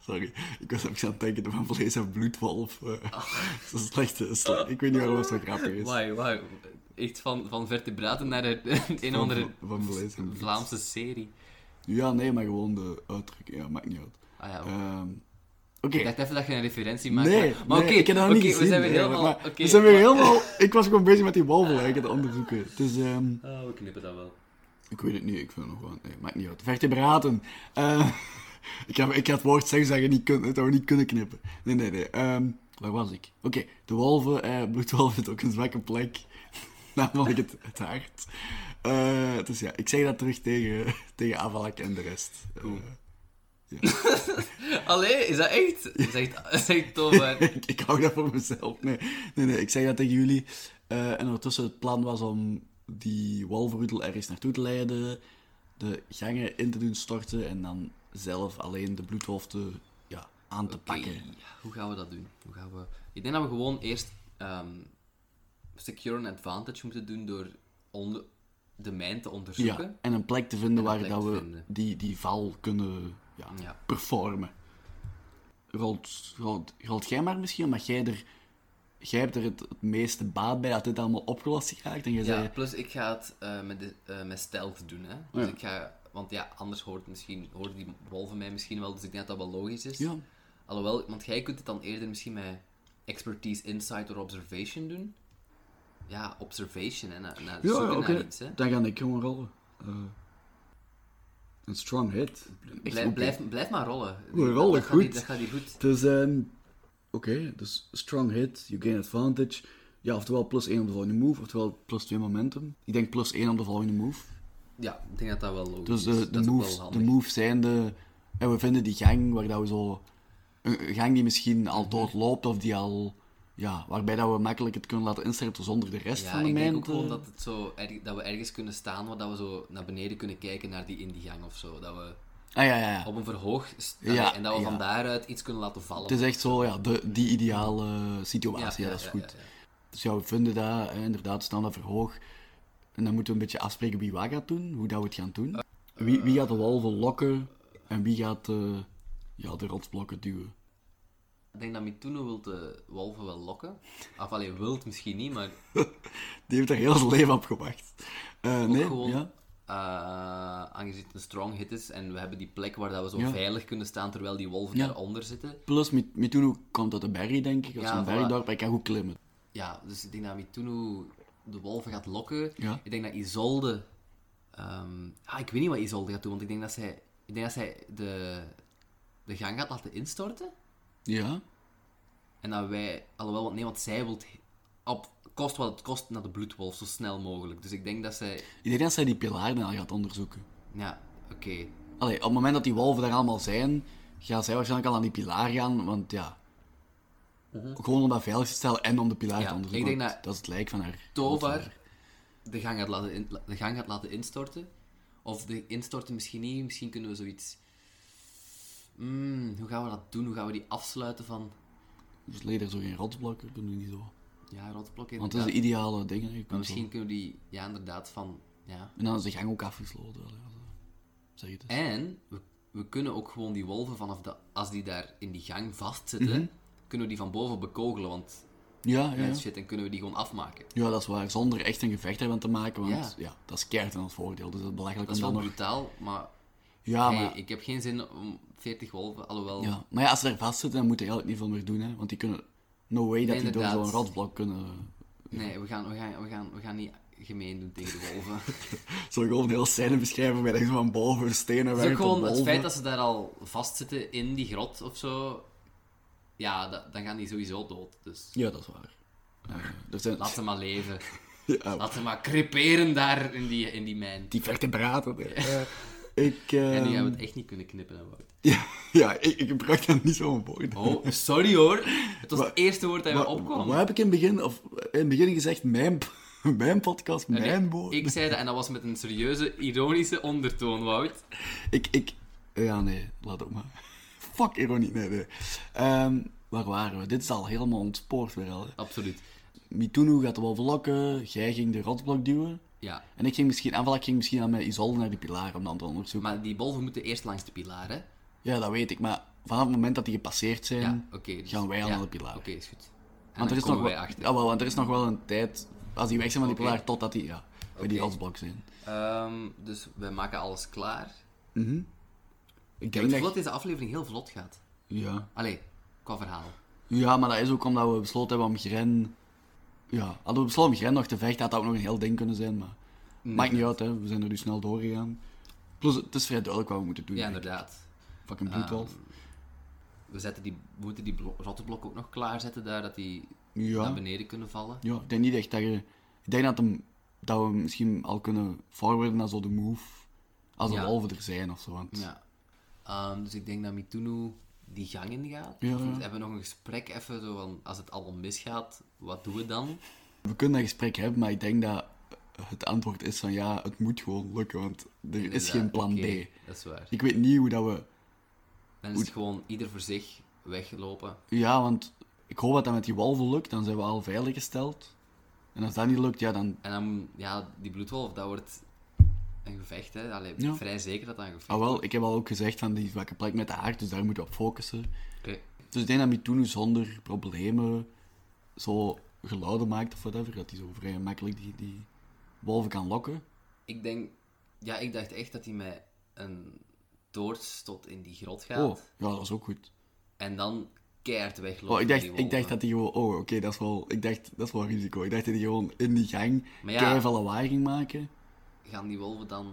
S2: Sorry, ik was even aan het denken van vlees en bloedwolf.
S1: Oh.
S2: eh. Dat is een slechte slag. Ik weet niet waarom het zo grappig is.
S1: Wauw, wauw. Echt van, van vertebraten naar het een of andere
S2: Van- van vlees en bloed.
S1: Vlaamse serie.
S2: Ja, nee, maar gewoon de uitdrukking. Ja, maakt niet uit.
S1: Ah ja,
S2: Ehm,
S1: Ik
S2: Oké.
S1: dacht even dat je een referentie maakte.
S2: Nee,
S1: maar
S2: nee,
S1: oké,
S2: ik heb dat nog
S1: oké,
S2: niet
S1: we
S2: gezien.
S1: zijn weer
S2: nee,
S1: helemaal...
S2: maar-
S1: oké,
S2: we zijn weer
S1: maar-
S2: helemaal... Ik was gewoon bezig met die wolven eigenlijk, te onderzoeken. Dus ehm,
S1: Ah, we knippen dat wel.
S2: ik weet het niet, ik vind het nog wel... Nee, maakt niet uit. Vertebraten. Eh, ik, ga, ik ga het woord zeggen dat, je niet kunt, dat we niet kunnen knippen. Nee, nee, nee. ehm, waar was ik? Oké, de wolven, eh bloedwolven is ook een zwakke plek. Namelijk het, het hart. Eh, dus ja, ik zeg dat terug tegen, tegen Avalak en de rest. Eh,
S1: Cool.
S2: ja.
S1: Allee, is dat echt? Zegt, zegt Tom uit.
S2: ik, ik hou dat voor mezelf. Nee, nee, nee ik zei dat tegen jullie. Eh, en ondertussen het plan was om die walverroedel ergens naartoe te leiden, de gangen in te doen storten en dan zelf alleen de bloedwolf te, ja, aan te
S1: Oké,
S2: pakken.
S1: Hoe gaan we dat doen? Hoe gaan we... Ik denk dat we gewoon eerst ehm, secure an advantage moeten doen door on- de mijn te
S2: Ja,
S1: onderzoeken.
S2: en een plek te vinden
S1: En een
S2: waar
S1: plek
S2: dat
S1: te
S2: we
S1: vinden.
S2: die, die val kunnen ja,
S1: Ja.
S2: performen. Rolt, rolt, rolt jij maar misschien, omdat jij er... Jij hebt er het, het meeste baat bij dat dit allemaal opgelost geraakt. En jij
S1: Ja,
S2: zei,
S1: plus ik ga het eh, met, de, eh, met stealth doen. Hè? Dus
S2: Ja.
S1: ik ga, want ja, anders hoort misschien, horen die wolven mij misschien wel, dus ik denk dat dat wel logisch is.
S2: ja,
S1: Alhoewel, want jij kunt het dan eerder misschien met expertise, insight of observation doen. Ja, observation, hè. Na, na,
S2: Ja,
S1: zoeken
S2: ja,
S1: naar
S2: oké.
S1: iets, hè.
S2: Dan ga ik gewoon rollen. Eh, een strong hit. Echt
S1: Blijf,
S2: goed.
S1: blijf, blijf maar rollen.
S2: We rollen
S1: dat Gaat hier,
S2: goed.
S1: dat gaat hier goed.
S2: Dus, ehm, oké, dus strong hit, you gain advantage. Ja, oftewel plus 1 op de volgende move, oftewel plus 2 momentum. Ik denk plus 1 op de volgende move.
S1: Ja, ik denk dat dat wel logisch is.
S2: Dus eh, de,
S1: dat is ook wel
S2: moves, de
S1: handig.
S2: moves zijn de... En we vinden die gang waar dat we zo... Een een gang die misschien
S1: Mhm.
S2: al dood loopt of die al... Ja, waarbij dat we makkelijk het kunnen laten instarten zonder de rest
S1: Ja,
S2: van de
S1: ik denk
S2: mijn
S1: ook
S2: te-
S1: gewoon dat, het zo erg- dat we ergens kunnen staan waar dat we zo naar beneden kunnen kijken naar die in die gang of zo. Dat we
S2: Ah, ja, ja, ja.
S1: op een verhoog staan
S2: Ja,
S1: en dat we
S2: ja. Dus-
S1: van daaruit iets kunnen laten vallen.
S2: Het is echt zo, ja, de, die ideale situatie, ja, dat is goed.
S1: ja, ja.
S2: Dus ja, we vinden dat, hè, inderdaad, we staan dat verhoog. En dan moeten we een beetje afspreken wie wat gaat doen, hoe dat we het gaan doen. Wie, wie gaat de walven lokken en wie gaat eh, ja, de rotsblokken duwen.
S1: Ik denk dat Mituno wilt de wolven wel lokken. Of allee, wilt misschien niet, maar
S2: Die heeft er heel zijn leven op gewacht. Eh, nee,
S1: gewoon
S2: ja.
S1: eh, aangezien het een strong hit is en we hebben die plek waar dat we zo
S2: Ja.
S1: veilig kunnen staan terwijl die wolven
S2: Ja.
S1: daaronder zitten.
S2: Plus, Mit- Mituno komt uit de berry, denk ik. Als
S1: Ja,
S2: een
S1: voilà.
S2: bergdorp, hij kan goed klimmen.
S1: Ja, dus ik denk dat Mituno de wolven gaat lokken.
S2: Ja.
S1: Ik denk dat Isolde... ehm, ah, ik weet niet wat Isolde gaat doen, want ik denk dat zij, ik denk dat zij de, de gang gaat laten instorten.
S2: Ja,
S1: En dat wij... Alhoewel, want nee, want zij wil op kost wat het kost naar de bloedwolf, zo snel mogelijk. Dus ik denk dat zij...
S2: ik denk dat zij die pilaren al gaat onderzoeken.
S1: Ja, oké.
S2: Allee, op het moment dat die wolven daar allemaal zijn, gaan zij waarschijnlijk al aan die pilaar gaan, want ja... Gewoon om dat veilig te stellen en om de pilaar
S1: Mhm. Ja,
S2: te
S1: ik
S2: onderzoeken.
S1: denk
S2: want
S1: dat
S2: dat is het lijk van haar.
S1: Tovar de gang gaat laten, in- de gang gaat laten instorten. Of de instorten misschien niet. Misschien kunnen we zoiets... Hmm, hoe gaan we dat doen? Hoe gaan we die afsluiten van...
S2: Dus leder zo geen rotsblokken, kunnen we niet zo.
S1: Ja, rotblok
S2: Want dat is de ideale ding. hè. Je
S1: Maar
S2: kunt zo-
S1: misschien kunnen we die... Ja, inderdaad, van... Ja.
S2: En dan is de gang ook afgesloten. wel, ja, zo. Zeg het eens.
S1: En we, we kunnen ook gewoon die wolven vanaf de... Als die daar in die gang vastzitten, kunnen we die van boven bekogelen, want...
S2: Ja, ja, ja.
S1: mensen shit, en kunnen we die gewoon afmaken.
S2: ja, dat is waar. Zonder echt een gevecht ervan te maken, want
S1: Ja.
S2: ja, dat is keihard in ons voordeel. Dus dat is belachelijk
S1: Dat is
S2: om
S1: wel
S2: dan nog...
S1: brutaal, maar...
S2: Ja,
S1: hey,
S2: maar...
S1: ik heb geen zin om 40 wolven, alhoewel...
S2: Ja. maar ja, als ze daar vastzitten, dan moeten die eigenlijk niet veel meer doen, hè. Want die kunnen... No way dat die door
S1: Inderdaad.
S2: zo'n rotsblok kunnen...
S1: Nee, we gaan, we, gaan, we, gaan, we gaan niet gemeen doen tegen de wolven.
S2: Zo gewoon een heel scène beschrijven met echt zo van boven de stenen
S1: Het is
S2: werken
S1: ook
S2: tot
S1: gewoon het
S2: wolven.
S1: feit dat ze daar al vastzitten in die grot of zo. Ja, da- dan gaan die sowieso dood. Dus
S2: Ja, dat is waar. Ja, er zijn...
S1: laat ze maar leven.
S2: Ja,
S1: Laat ze maar creperen daar in die, in die mijn.
S2: Die vertebraten. hè. Eh, ik, eh,
S1: En nu gaan we het echt niet kunnen knippen, hè, Wout.
S2: ja, ja, ik, ik gebruik dat niet zo'n woord.
S1: Oh, sorry hoor. Het was
S2: Maar-
S1: het eerste woord dat
S2: Maar
S1: me opkwam.
S2: Wat heb ik in het begin, of, in het begin gezegd? Mijn, mijn podcast,
S1: Nee,
S2: mijn woord.
S1: ik zei dat en dat was met een serieuze, ironische ondertoon, Wout.
S2: Ik, ik... Ja, nee, laat ook maar. Fuck ironie, nee, nee. Ehm, Oké, waar waren we? Dit is al helemaal ontspoord weer al. hè.
S1: Absoluut.
S2: Mitunu gaat de wolf lokken, jij ging de rotsblok duwen.
S1: Ja.
S2: En ik ging misschien, aanval, ik ging misschien aan met Isolde naar die pilaar om dan te onderzoeken.
S1: Maar die bolven moeten eerst langs de pilaar, hè?
S2: Ja, dat weet ik, maar vanaf het moment dat die gepasseerd zijn,
S1: Ja, oké. dus-
S2: Hmm. gaan wij al
S1: ja,
S2: naar de pilaar.
S1: Oké, is goed. En dan
S2: want, er is nog
S1: komen
S2: wel,
S1: wij achter.
S2: ja, wel, want er is nog wel een tijd, als die weg zijn van die
S1: Oké.
S2: pilaar, totdat die, ja, bij die
S1: Oké.
S2: rotsblok zijn.
S1: Ehm, dus we maken alles klaar.
S2: Ik
S1: Ik
S2: denk
S1: heb het
S2: dat...
S1: gevoel dat deze aflevering heel vlot gaat.
S2: Ja.
S1: Allee, qua verhaal.
S2: Ja, maar dat is ook omdat we besloten hebben om Gren... Ja, hadden we besloten om Gren nog te vechten, had dat ook nog een heel ding kunnen zijn, maar... Maakt niet uit, hè. We zijn er nu snel doorgegaan. Plus, het is vrij duidelijk wat we moeten doen.
S1: Ja, Ah,
S2: denk ik.
S1: inderdaad.
S2: Fucking bloedwolf.
S1: We, zetten die, we moeten die blo- rottenblok ook nog klaarzetten daar, dat die naar
S2: ja.
S1: beneden kunnen vallen.
S2: ja, ik denk niet echt dat je... Ik denk dat, hem, dat we misschien al kunnen forwarden naar zo de move. Als de
S1: Ja.
S2: wolven er zijn of zo. Want...
S1: Ja. Ehm, dus ik denk dat Mitunu die gang in gaat.
S2: Ja,
S1: Of
S2: ja.
S1: we hebben nog een gesprek even zo van, als het allemaal misgaat, wat doen we dan?
S2: We kunnen dat gesprek hebben, maar ik denk dat het antwoord is van ja, het moet gewoon lukken, want er is
S1: Inderdaad,
S2: geen plan
S1: Dus, eh, oké,
S2: B.
S1: Dat is waar.
S2: Ik weet niet hoe dat we...
S1: Dan is het gewoon ieder voor zich weglopen.
S2: Ja, want ik hoop dat dat met die wolven lukt, dan zijn we al veilig gesteld. En als dat niet lukt, ja, dan...
S1: En dan, ja, die bloedwolf, dat wordt een gevecht, hè. Allee,
S2: Ja.
S1: vrij zeker dat dat een gevecht
S2: Ah wel, ik heb al ook gezegd van die zwakke plek met de haard, dus daar moeten we op focussen.
S1: Oké.
S2: Dus ik denk dat Mitunu zonder problemen zo geluiden maakt of whatever, dat hij zo vrij makkelijk die, die wolven kan lokken.
S1: Ik denk... Ja, ik dacht echt dat hij met een toorts tot in die grot gaat.
S2: Oh, ja, dat is ook goed.
S1: En dan keihard wegloopt.
S2: Oh, ik,
S1: met
S2: dacht,
S1: die
S2: ik
S1: wolven.
S2: dacht dat hij gewoon... Oh, oké, dat is wel... Ik dacht, dat is wel een risico. Ik dacht dat hij gewoon in die gang
S1: Maar ja.
S2: keiveel lawaai ging maken.
S1: Gaan die wolven dan...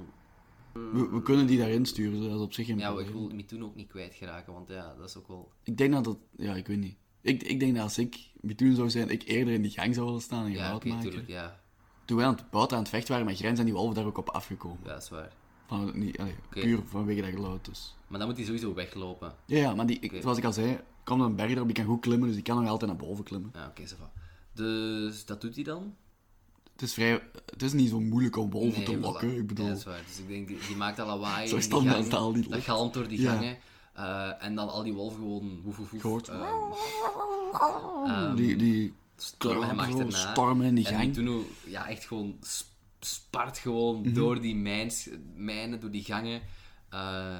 S2: We, we kunnen die daarin sturen, dus dat is op zich geen
S1: Mm. Ja, ik
S2: probleem.
S1: wil me toen ook niet kwijtgeraken, want ja, dat is ook wel...
S2: Ik denk dat dat... Ja, ik weet niet. Ik, ik denk dat als ik Bitoen zou zijn, ik eerder in die gang zou willen staan en
S1: Ja,
S2: geluid
S1: oké,
S2: maken.
S1: tuurlijk, ja.
S2: Toen wij aan het buiten aan het vechten waren met Grens, zijn die wolven daar ook op afgekomen.
S1: Ja, dat is waar.
S2: Van, het niet, allee,
S1: Oké.
S2: Puur vanwege dat geluid, dus.
S1: Maar dan moet hij sowieso weglopen.
S2: Ja, ja maar die, ik,
S1: Oké.
S2: zoals ik al zei, er komt een berg erop, ik kan goed klimmen, dus ik kan nog altijd naar boven klimmen.
S1: Ja, oké, ça va. Dus dat doet hij dan?
S2: Het is, vrij, het is niet zo moeilijk om wolven te
S1: voilà.
S2: lokken, ik bedoel...
S1: Ja, dat is waar. Dus ik denk, die, die maakt al lawaai.
S2: Zo
S1: in die
S2: standaard
S1: gangen.
S2: taal die
S1: Dat
S2: lukt.
S1: galmt door die
S2: Ja.
S1: gangen. Eh, en dan al die wolven gewoon woef, woef, woef.
S2: Gehoord.
S1: eh, ehm,
S2: die, die
S1: stormen hem
S2: kruipen zo,
S1: achterna.
S2: stormen in die
S1: en
S2: gang.
S1: Mituno, ja, echt gewoon sp- spart gewoon
S2: Mhm.
S1: door die mijns, mijnen, door die gangen. eh,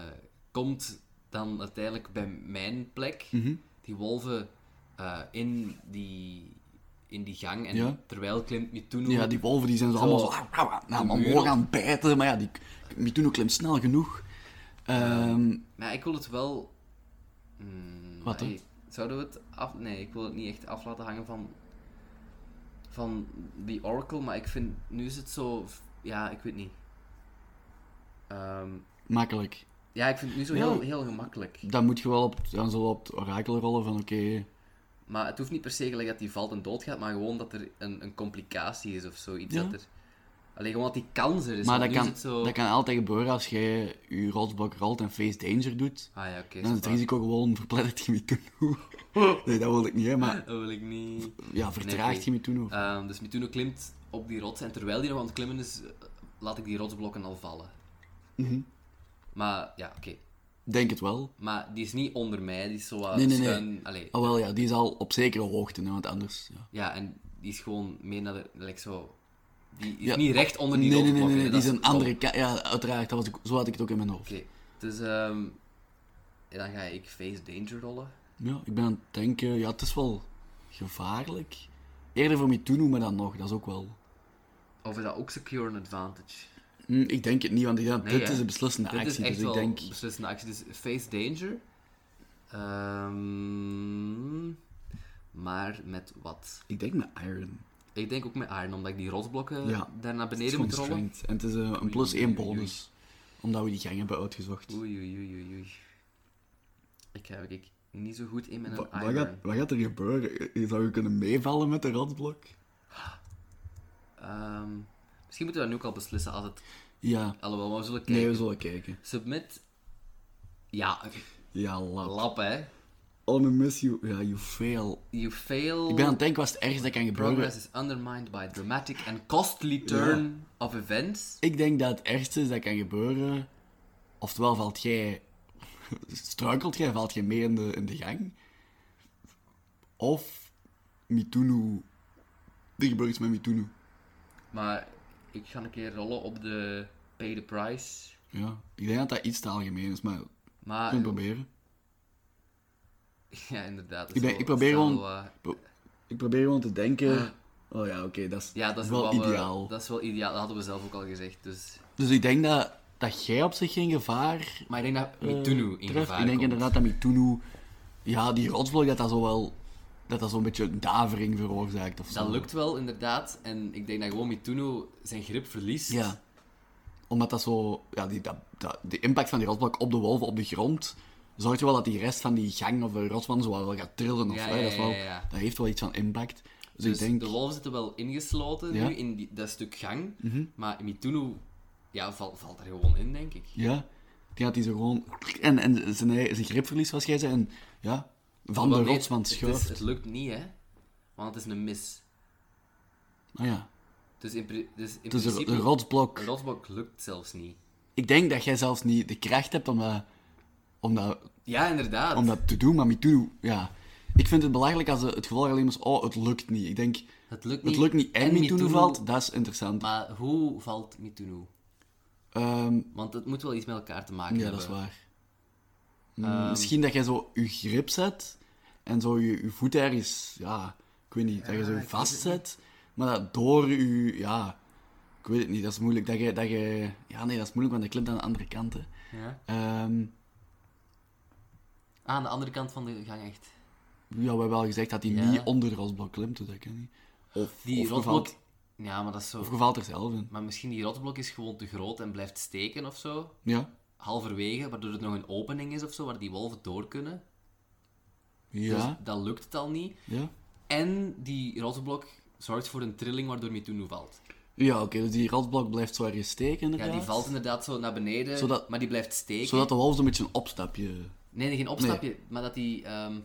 S1: komt dan uiteindelijk bij mijn plek.
S2: Mhm.
S1: Die wolven eh, in, die, in die gang. En
S2: Ja.
S1: terwijl klimt Mituno...
S2: Ja, die wolven die zijn zo, allemaal zo au, au, au, naar
S1: muren.
S2: omhoog aan het bijten. Maar ja, die Mituno klimt snel genoeg. Ehm,
S1: Maar ik wil het wel... Hmm,
S2: Wat dan?
S1: hey, Zouden we het af... Nee, ik wil het niet echt af laten hangen van... Van The Oracle, maar ik vind... Nu is het zo... Ja, ik weet niet. Ehm,
S2: makkelijk.
S1: ja, ik vind het nu zo
S2: Ja.
S1: heel, heel gemakkelijk.
S2: Dan moet je wel op, dan zo op het orakel rollen van oké,
S1: Maar het hoeft niet per se gelijk dat hij valt en doodgaat, maar gewoon dat er een, een complicatie is of zoiets.
S2: Ja.
S1: Dat er... Alleen gewoon dat die kans er is.
S2: Maar
S1: want
S2: dat
S1: nu
S2: kan,
S1: is het zo...
S2: dat kan altijd gebeuren als jij je rotsblok rolt en face danger doet.
S1: Ah ja, oké.
S2: Dan is het
S1: zo-
S2: risico gewoon verplettert je Mituno. Nee, dat wil ik niet, hè, maar
S1: Dat wil ik niet...
S2: ja, vertraagt
S1: oké.
S2: je Mituno.
S1: Ehm, dus Mituno klimt op die rots en terwijl die nog aan het klimmen is, eh, laat ik die rotsblokken al vallen.
S2: Mhm.
S1: Maar ja, oké.
S2: Denk het wel.
S1: Maar die is niet onder mij, die is zo wat
S2: Nee, nee, nee.
S1: schuin. Allee,
S2: Oh wel, ja, die is al op zekere hoogte, hè, want anders... Ja.
S1: ja, en die is gewoon meer naar de. like zo. Die is
S2: Ja.
S1: niet recht onder die
S2: Nee, nee, nee, nee,
S1: rotsblokken, hè, dat
S2: nee, die is
S1: dom.
S2: een andere kant. Ja, uiteraard, dat was, ik- zo had ik het ook in mijn hoofd.
S1: Oké, dus ehm, ja, dan ga ik face danger rollen.
S2: Ja, ik ben aan het denken, ja, het is wel gevaarlijk. Eerder voor Mituno, maar dan nog, dat is ook wel...
S1: Of is dat ook secure an advantage?
S2: Hm, ik denk het niet, want ik denk,
S1: Nee,
S2: dit
S1: hè?
S2: is de beslissende
S1: Dit is
S2: actie,
S1: echt
S2: dus ik
S1: wel
S2: denk...
S1: beslissende actie. Dus face danger. Ehm, maar met wat?
S2: Ik denk met Iron.
S1: Ik denk ook met iron, omdat ik die rotsblokken
S2: Ja.
S1: daar naar
S2: Het is
S1: beneden
S2: gewoon
S1: moet rollen.
S2: gestrengd. En het is eh, een plus
S1: oei,
S2: 1
S1: oei, oei.
S2: bonus, omdat we die gang hebben uitgezocht.
S1: Oei, oei, oei, oei, oei. Ik heb ik niet zo goed in mijn
S2: Wa-
S1: iron.
S2: wat gaat er gebeuren? Je zou je kunnen meevallen met de radblok?
S1: Ehm, misschien moeten we dat nu ook al beslissen als het...
S2: Ja,
S1: Alhoewel, maar we zullen kijken.
S2: nee, we zullen kijken.
S1: Submit. Ja,
S2: Ja, lap.
S1: lap hè.
S2: On a miss, you, ja, you fail.
S1: You fail.
S2: Ik ben aan het denken, was het ergste dat kan gebeuren?
S1: Progress is undermined by dramatic and costly turn of events.
S2: Ik denk dat het ergste is dat kan gebeuren. Oftewel valt jij. struikelt jij, valt jij mee in de, in de gang. Of Mitunu. Er gebeurt iets met Mitunu.
S1: Maar ik ga een keer rollen op de pay the price.
S2: Ja. Ik denk dat dat iets te algemeen is, maar we
S1: Maar
S2: kunnen het proberen.
S1: ja, inderdaad. dat
S2: Ik
S1: is
S2: ben- ik
S1: wel-
S2: probeer
S1: dat is
S2: gewoon-
S1: wel, eh,
S2: Pro- Ik probeer gewoon te denken. Oh ja, oké, dat is,
S1: Ah. ja, dat is
S2: wel
S1: wat we-
S2: ideaal.
S1: dat is wel ideaal. Dat hadden we zelf ook al gezegd. Dus.
S2: Dus ik denk dat, dat jij op zich geen gevaar
S1: Maar ik denk dat
S2: eh,
S1: Mitunu in
S2: treft.
S1: gevaar
S2: Ik denk
S1: komt.
S2: inderdaad dat Mitunu... Ja, die rotsblok, dat dat zo wel... Dat dat zo'n beetje davering veroorzaakt of zo.
S1: Dat lukt wel, inderdaad. En ik denk dat gewoon Mitunu zijn grip verliest.
S2: Ja. dus Omdat dat zo... Ja, die, dat, dat- de impact van die rotsblok op de wolven, op de grond... Zorgt wel dat die rest van die gang of de rotswand zo wel gaat trillen of
S1: Ja,
S2: zo.
S1: ja,
S2: dat, is wel,
S1: ja, ja.
S2: dat heeft wel iets van impact. Dus,
S1: Dus
S2: ik denk...
S1: de wolven zitten wel ingesloten
S2: Ja. Mhm.
S1: nu in die, dat stuk gang. Maar Mitunu ja, val- valt er gewoon in, denk ik.
S2: Ja. Ik denk dat hij zo gewoon... En, en zijn, ei- zijn gripverlies, zoals jij zei. En ja, van
S1: Maar
S2: de
S1: nee,
S2: rotswand
S1: het, is-
S2: schuift.
S1: het lukt niet, hè. Want het is een mis.
S2: Ah ja.
S1: Dus in, pri- dus in
S2: Het is een,
S1: principe...
S2: een
S1: een
S2: rotsblok.
S1: rotsblok lukt zelfs niet.
S2: Ik denk dat jij zelfs niet de kracht hebt om dat, om dat,
S1: Ja, inderdaad.
S2: om dat te doen, maar Mitunu, ja. Ik vind het belachelijk als het geval alleen maar is, oh, het lukt niet. Ik denk,
S1: Het lukt niet.
S2: het lukt niet en,
S1: En
S2: Mitunu
S1: Mitunu-
S2: valt, dat is interessant.
S1: Maar hoe valt Mitunu?
S2: Ehm,
S1: Want het moet wel iets met elkaar te maken
S2: ja, dat
S1: hebben.
S2: is waar. Mm,
S1: Ehm.
S2: Misschien dat jij zo je grip zet en zo je, je voet ergens, ja, ik weet niet, dat je
S1: ik
S2: zo
S1: weet het
S2: vastzet, maar dat door je, ja, ik weet het niet, dat is moeilijk. Dat je, dat je, ja, nee, dat is moeilijk, want dat klimt aan de andere kant. Hè.
S1: Ja. Ah,
S2: Ehm,
S1: Aan de andere kant van de gang echt.
S2: Ja, we hebben wel gezegd dat hij
S1: Ja.
S2: niet onder de rotsblok klimt, dus dat kan niet. Of,
S1: Die
S2: of, je
S1: rotsblok...
S2: valt-
S1: Ja, maar dat is zo...
S2: of je valt er zelf in.
S1: Maar misschien die rotsblok is gewoon te groot en blijft steken of zo.
S2: Ja.
S1: Halverwege, waardoor het nog een opening is of zo, waar die wolven door kunnen.
S2: Ja.
S1: Dus dan lukt het al niet.
S2: Ja,
S1: En die rotsblok zorgt voor een trilling waardoor Mitunu valt.
S2: ja oké, dus die rotsblok blijft zo ergens steken
S1: Ja,
S2: inderdaad.
S1: die valt inderdaad zo naar beneden,
S2: Zodat-
S1: maar die blijft steken.
S2: Zodat de wolf zo'n beetje een opstapje...
S1: Nee, nee, geen opstapje, maar dat die... ehm,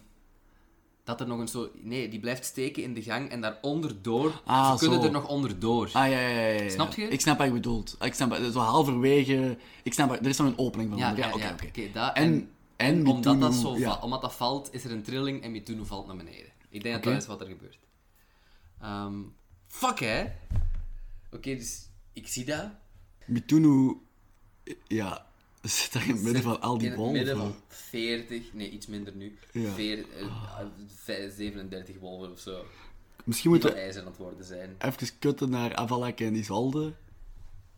S1: dat er nog een soort... Nee, die blijft steken in de gang en daaronder door...
S2: Ah,
S1: ze kunnen
S2: zo.
S1: er nog onderdoor.
S2: Ah, ja, ja, ja. ja, ja.
S1: Snap je?
S2: Ik snap wat je bedoelt. Ik snap, zo halverwege... Ik snap, wat- er is nog een opening van.
S1: ja,
S2: onder.
S1: ja,
S2: ja, oké,
S1: ja,
S2: oké.
S1: oké, dat-
S2: En, en
S1: omdat,
S2: Mitunu-
S1: dat zo
S2: ja.
S1: va- omdat dat valt, is er een trilling en Mitunu valt naar beneden. Ik denk
S2: Oké.
S1: dat dat is wat er gebeurt. Ehm, fuck, hè? Oké, dus ik zie dat.
S2: Mitunu... Ja, zit daar in het midden
S1: Zit
S2: van al die
S1: in het midden
S2: wolven.
S1: van 40, nee, iets minder nu.
S2: Ja.
S1: Veer- eh, vijf- 37 wolven of zo.
S2: Misschien
S1: Die
S2: moeten
S1: van
S2: we
S1: ijzer aan het worden zijn.
S2: even kutten naar Avalak en Isolde.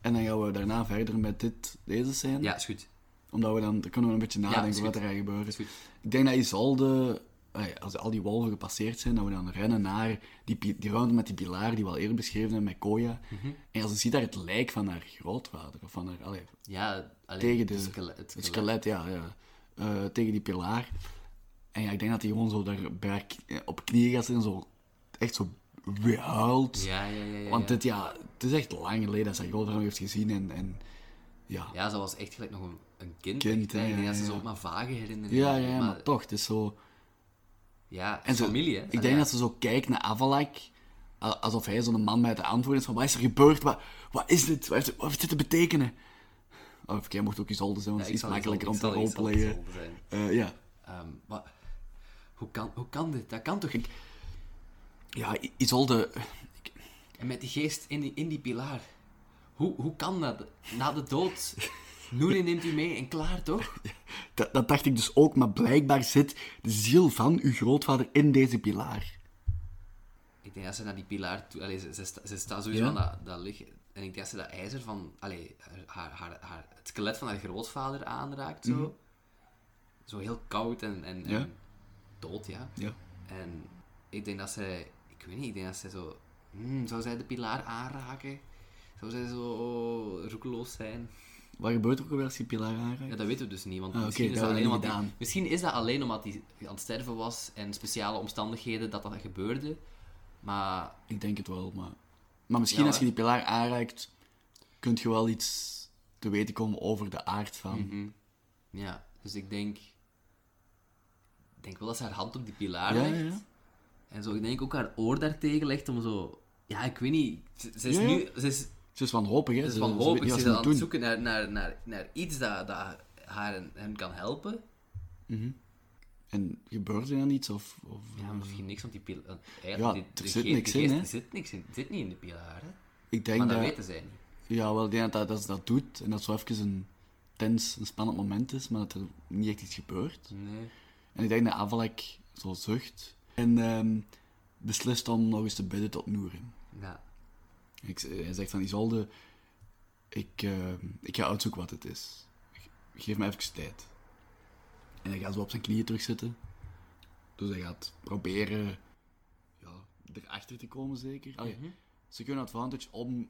S2: En dan gaan we daarna verder met dit, deze scène.
S1: Ja, is goed.
S2: Omdat we dan, dan kunnen we een beetje
S1: is
S2: nadenken
S1: goed.
S2: wat er gaat gebeuren.
S1: Is goed.
S2: Ik denk dat Isolde, eh, als al die wolven gepasseerd zijn, dat we dan rennen naar die, pi- die ruimte met die pilaar die we al eerder beschreven hebben met Koya.
S1: Mhm.
S2: En als ze ziet daar het lijk van haar grootvader, of van haar, allee,
S1: Ja, alleen
S2: tegen de,
S1: het skelet. het
S2: het
S1: skelet.
S2: skelet, ja, ja. Eh, tegen die pilaar. En ja, ik denk dat hij gewoon zo daar bij haar k- eh, op knieën gaat zitten en zo, echt zo huilt.
S1: Ja, ja, ja. ja,
S2: Want
S1: ja.
S2: dit, ja, het is echt lang geleden dat ze haar grootvader nog heeft gezien. En, en ja.
S1: Ja, ze was echt gelijk nog een, een kind.
S2: Kind,
S1: echt, hè.
S2: hè,
S1: Ik denk
S2: ja,
S1: dat ze
S2: ja.
S1: zo ook maar vage herinneringen
S2: Ja,
S1: hebben,
S2: ja, maar, toch, het is Ah, zo...
S1: Ja,
S2: En ze-
S1: familie, hè.
S2: Ik denk dat ze zo kijkt naar Avalak, a- alsof hij zo'n man met de antwoorden is van, wat is er gebeurd? Wat, wat is dit? Wat heeft, wat heeft dit te betekenen? Of oké, hij mocht ook Isolde zijn, want het is iets makkelijker om te roleplayen. Eh, ja.
S1: Ehm maar hoe kan, hoe kan dit? Dat kan toch niet?
S2: ja, I- Isolde...
S1: En met die geest in die, in die pilaar. Hoe, hoe kan dat? Na de dood. Noerin neemt u mee en klaar, toch?
S2: Dat, dat dacht ik dus ook, maar blijkbaar zit de ziel van uw grootvader in deze pilaar.
S1: Ik denk dat ze naar die pilaar toe... Allee, ze, ze, sta- ze staat sowieso
S2: Ja.
S1: aan dat, dat liggen. En ik denk dat ze dat ijzer van... Allee, haar, haar, haar, het skelet van haar grootvader aanraakt, zo. Zo heel koud en, en,
S2: Mhm. Ja.
S1: en dood, ja.
S2: Ja.
S1: En ik denk dat zij... Ik weet niet, ik denk dat zij zo... hmm, zou zij de pilaar aanraken? Zou zij zo roekeloos zijn?
S2: Wat gebeurt er ook alweer als je pilaar aanraakt?
S1: Ja, dat weten we dus niet. Want
S2: Ah,
S1: misschien,
S2: oké,
S1: is
S2: dat
S1: dat alleen
S2: hebben
S1: omdat
S2: we niet
S1: die- misschien is dat alleen omdat hij aan het sterven was en speciale omstandigheden dat dat gebeurde. Maar
S2: Ik denk het wel, maar... Maar misschien
S1: Ja,
S2: als je
S1: hè?
S2: die pilaar aanraakt, kun je wel iets te weten komen over de aard van...
S1: Mhm. ja, dus ik denk. Ik denk wel dat ze haar hand op die pilaar
S2: Ja, ja,
S1: legt.
S2: ja.
S1: En zo, ik denk ook haar oor daartegen legt om zo. Ja, ik weet niet. Ze, ze is
S2: Ja, ja.
S1: nu. Ze is,
S2: Ze is wanhopig, hè?
S1: ze is
S2: weet
S1: wanhopig.
S2: niet
S1: Ze
S2: wat
S1: is
S2: moet
S1: aan het
S2: doen.
S1: zoeken naar, naar, naar, naar iets dat, dat haar en hem kan helpen.
S2: En gebeurde er dan iets? Of, of...
S1: Ja, misschien niks, want die pil... eh, eigenlijk,
S2: Ja,
S1: die-
S2: er
S1: de
S2: zit
S1: geest-
S2: niks
S1: de
S2: in,
S1: geest
S2: hè?
S1: zit niks in. zit niet in de pilaar, hè.
S2: Ik denk
S1: Maar dat
S2: dat...
S1: weten zij niet.
S2: Ja, wel, ik denk dat, dat, dat ze dat doet en dat zo even een tens, een spannend moment is, maar dat er niet echt iets gebeurt.
S1: Nee.
S2: En ik denk dat Avalek zo zucht en ehm, beslist om nog eens te bidden tot Noeren.
S1: Ja.
S2: Ik, eh, hij zegt van Isolde, ik, ehm, ik ga uitzoeken wat het is. Geef me even tijd. En hij gaat zo op zijn knieën terugzitten. Dus hij gaat proberen ja, erachter te komen, zeker. Allee,
S1: Mhm.
S2: Secure advantage om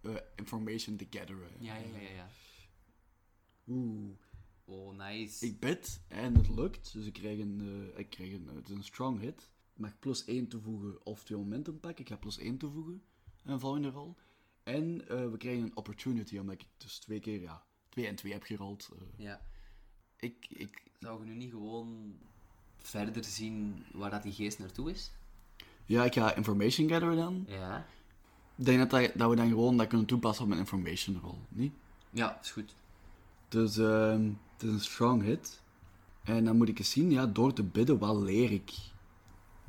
S2: eh, information te gatheren.
S1: ja, ja, ja, ja, ja.
S2: Oeh.
S1: Oh, nice.
S2: Ik bid en het lukt, dus ik krijg een, eh, ik krijg een, het is een strong hit. Ik mag plus 1 toevoegen of twee momenten pakken. Ik ga plus 1 toevoegen aan een volgende rol. En eh, we krijgen een opportunity, omdat ik dus twee keer, ja, 2 en 2 heb gerold. Eh,
S1: Ja.
S2: ik, ik,
S1: Zou je nu niet gewoon verder zien waar dat die geest naartoe is?
S2: ja, ik ga information gatheren dan.
S1: Ja.
S2: Ik denk dat, dat, dat we dan gewoon dat kunnen toepassen op een information rol, niet?
S1: Ja, is goed.
S2: Dus ehm, het is een strong hit. En dan moet ik eens zien, ja, door te bidden, wat leer ik?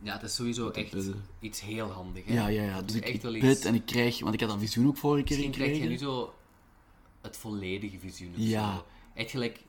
S1: Ja, het is sowieso echt
S2: bidden.
S1: iets heel handig, hè.
S2: Ja, ja, ja. Dus
S1: is
S2: ik,
S1: echt
S2: ik
S1: wel
S2: bid
S1: iets-
S2: en ik krijg, want ik had dat visioen ook vorige keer
S1: Misschien krijg je
S2: gekregen.
S1: nu zo het volledige visioen of
S2: Ja.
S1: zo. Echt gelijk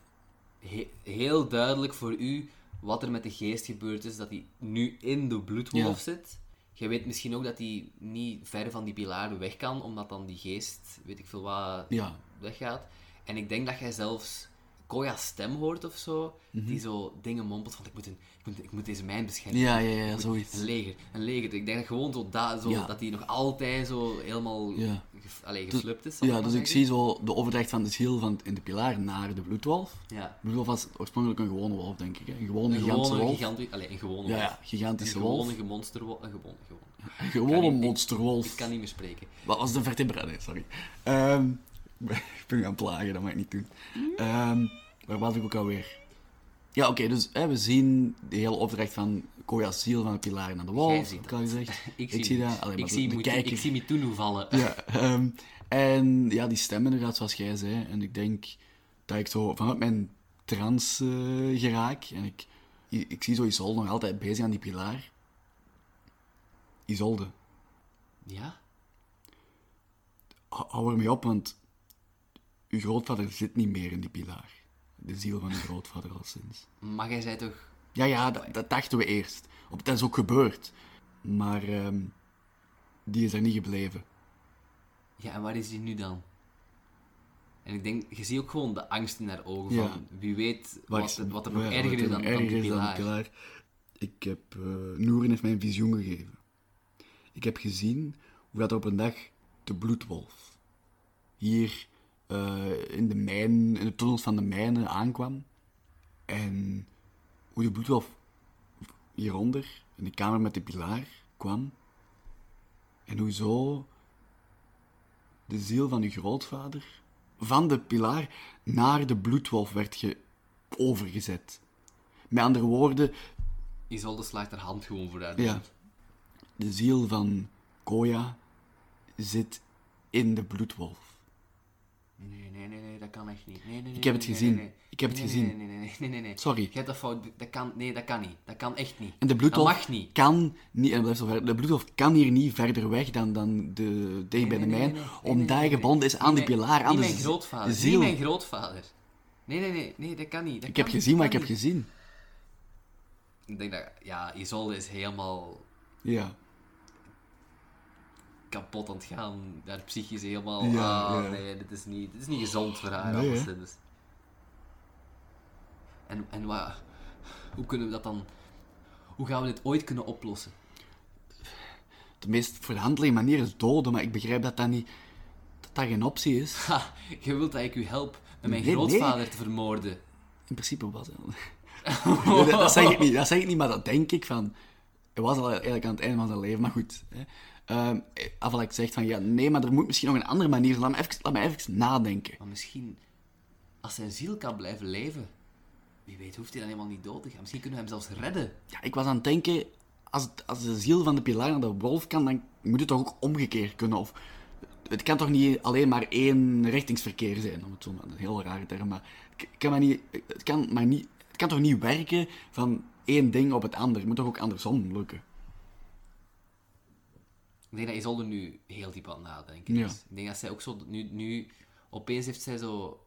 S1: he- heel duidelijk voor u wat er met de geest gebeurd is, dat hij nu in de bloedwolf zit. Jij weet misschien ook dat hij niet ver van die pilaren weg kan, omdat dan die geest, weet ik veel wat,
S2: Ja,
S1: weggaat. En ik denk dat jij zelfs Koya's stem hoort of zo,
S2: Mhm.
S1: die zo dingen mompelt van ik moet, een, ik moet, ik moet deze mijn beschermen.
S2: ja, ja, ja,
S1: Een
S2: zoiets.
S1: leger, een leger. Ik denk dat gewoon zo da- zo,
S2: Ja.
S1: dat hij nog altijd zo helemaal
S2: Ja.
S1: ge- allee, geflipt is. zal
S2: Ja,
S1: maar
S2: dus ik
S1: zeggen.
S2: zie zo de overdracht van de ziel van in de pilaar naar de bloedwolf.
S1: Ja.
S2: De bloedwolf was oorspronkelijk een gewone wolf, denk ik. Hè? Een gewone
S1: Een
S2: gigantische
S1: gewone,
S2: wolf.
S1: giganti- allee, een gewone
S2: Ja,
S1: wolf.
S2: ja,
S1: Een
S2: gigantische wolf.
S1: gewone monsterwolf. Een gewone, gewone. kan
S2: Een gewone
S1: niet- ik-
S2: monsterwolf.
S1: Ik kan niet meer spreken.
S2: Wat was de vertebra? Nee, sorry. Ehm, ik ben gaan plagen, dat mag ik niet doen. Ehm, waar was ik ook alweer? Ja, oké, dus hè, we zien de hele opdracht van Koya's ziel van de pilaar naar de wolf.
S1: ziet
S2: heb ik al gezegd.
S1: Ik zie,
S2: ik zie
S1: niks.
S2: dat. Alleen,
S1: ik,
S2: maar de-
S1: zie
S2: de
S1: Mutu-
S2: kijker.
S1: ik zie Mitunu vallen.
S2: Ja, ehm, en ja, die stem inderdaad, zoals jij zei. En ik denk dat ik zo vanuit mijn trance eh, geraak. En ik, ik, ik zie zo Isolde nog altijd bezig aan die pilaar. Isolde,
S1: Ja?
S2: hou hou ermee op, want uw grootvader zit niet meer in die pilaar. De ziel van uw grootvader al sinds.
S1: Maar jij zei toch...
S2: Ja, ja, dat, dat dachten we eerst. Op, dat is ook gebeurd. Maar ehm, die is er niet gebleven.
S1: Ja, en waar is die nu dan? En ik denk, je ziet ook gewoon de angst in haar ogen.
S2: Ja.
S1: Van, wie weet
S2: Waar
S1: wat,
S2: is-
S1: er- wat er
S2: ja,
S1: nog
S2: wat
S1: erger is
S2: er
S1: dan,
S2: nog
S1: dan die
S2: erger is
S1: pilaar.
S2: pilaar. Ik heb... eh Noeren heeft mij een visioen gegeven. Ik heb gezien hoe dat op een dag de bloedwolf hier eh, in de mijn, in de tunnels van de mijnen aankwam. En hoe de bloedwolf hieronder, in de kamer met de pilaar, kwam. En hoe zo de ziel van uw grootvader van de pilaar naar de bloedwolf werd ge overgezet. Met andere woorden, nou
S1: Isolde slaagt haar hand gewoon vooruit.
S2: ja, de ziel van Koya zit in de bloedwolf.
S1: Nee, nee, nee, nee, dat kan echt niet. Nee, nee, nee,
S2: Ik heb het
S1: nee,
S2: gezien.
S1: nee, nee.
S2: Ik heb het
S1: Nee, nee,
S2: gezien.
S1: Nee, nee, nee, nee, nee, nee.
S2: Sorry.
S1: Je hebt dat fout. Dat kan, nee, dat kan niet. Dat kan echt niet.
S2: En de bloedwolf
S1: Dat mag niet.
S2: kan niet, en het blijft zo ver, de bloedwolf kan hier niet verder weg dan, dan de, tegen bij de
S1: nee,
S2: mijn,
S1: nee, nee, nee,
S2: omdat
S1: nee,
S2: hij
S1: nee,
S2: gebonden is
S1: nee.
S2: aan
S1: Niet
S2: die
S1: mijn-
S2: pilaar, aan
S1: niet
S2: de
S1: mijn
S2: z-
S1: grootvader.
S2: ziel.
S1: Niet mijn grootvader. Nee, nee, nee, nee, dat kan niet. dat
S2: ik heb
S1: kan niet,
S2: gezien wat
S1: dat
S2: ik heb
S1: kan niet.
S2: gezien.
S1: Ik denk dat, ja, Isolde is helemaal
S2: Ja.
S1: kapot aan het gaan. Haar psychisch helemaal.
S2: Ja,
S1: ah,
S2: ja.
S1: nee, dit is niet, dit is niet gezond voor haar.
S2: Nee, hè?
S1: alleszins. En, en wat, hoe kunnen we dat dan. Hoe gaan we dit ooit kunnen oplossen?
S2: De meest voor de hand liggende manier is doden, maar ik begrijp dat dat niet... Dat dat geen optie is.
S1: Ha, je wilt dat ik u help met mijn
S2: Nee, nee.
S1: grootvader te vermoorden.
S2: In principe was hij al. Nee, dat, dat zeg ik niet, dat zeg ik niet, maar dat denk ik van... Hij was al eigenlijk aan het einde van zijn leven, maar goed. Hè. Ehm, Avalak zegt van, ja, nee, maar er moet misschien nog een andere manier zijn. Laat me even, laat me even nadenken.
S1: Maar misschien, als zijn ziel kan blijven leven, wie weet hoeft hij dan helemaal niet dood te gaan. Misschien kunnen we hem zelfs redden.
S2: Ja, ik was aan het denken, als, het- als de ziel van de pilaar naar de wolf kan, dan moet het toch ook omgekeerd kunnen? Of, het kan toch niet alleen maar één richtingsverkeer zijn? Om het zo maar, een heel rare term, maar... Het kan, maar niet, het kan, maar niet, het kan toch niet werken van één ding op het ander. Het moet toch ook andersom lukken?
S1: Ik denk dat Isolde nu heel diep aan het nadenken
S2: Ja.
S1: is. Ik denk dat zij ook zo... Nu, nu, opeens heeft zij zo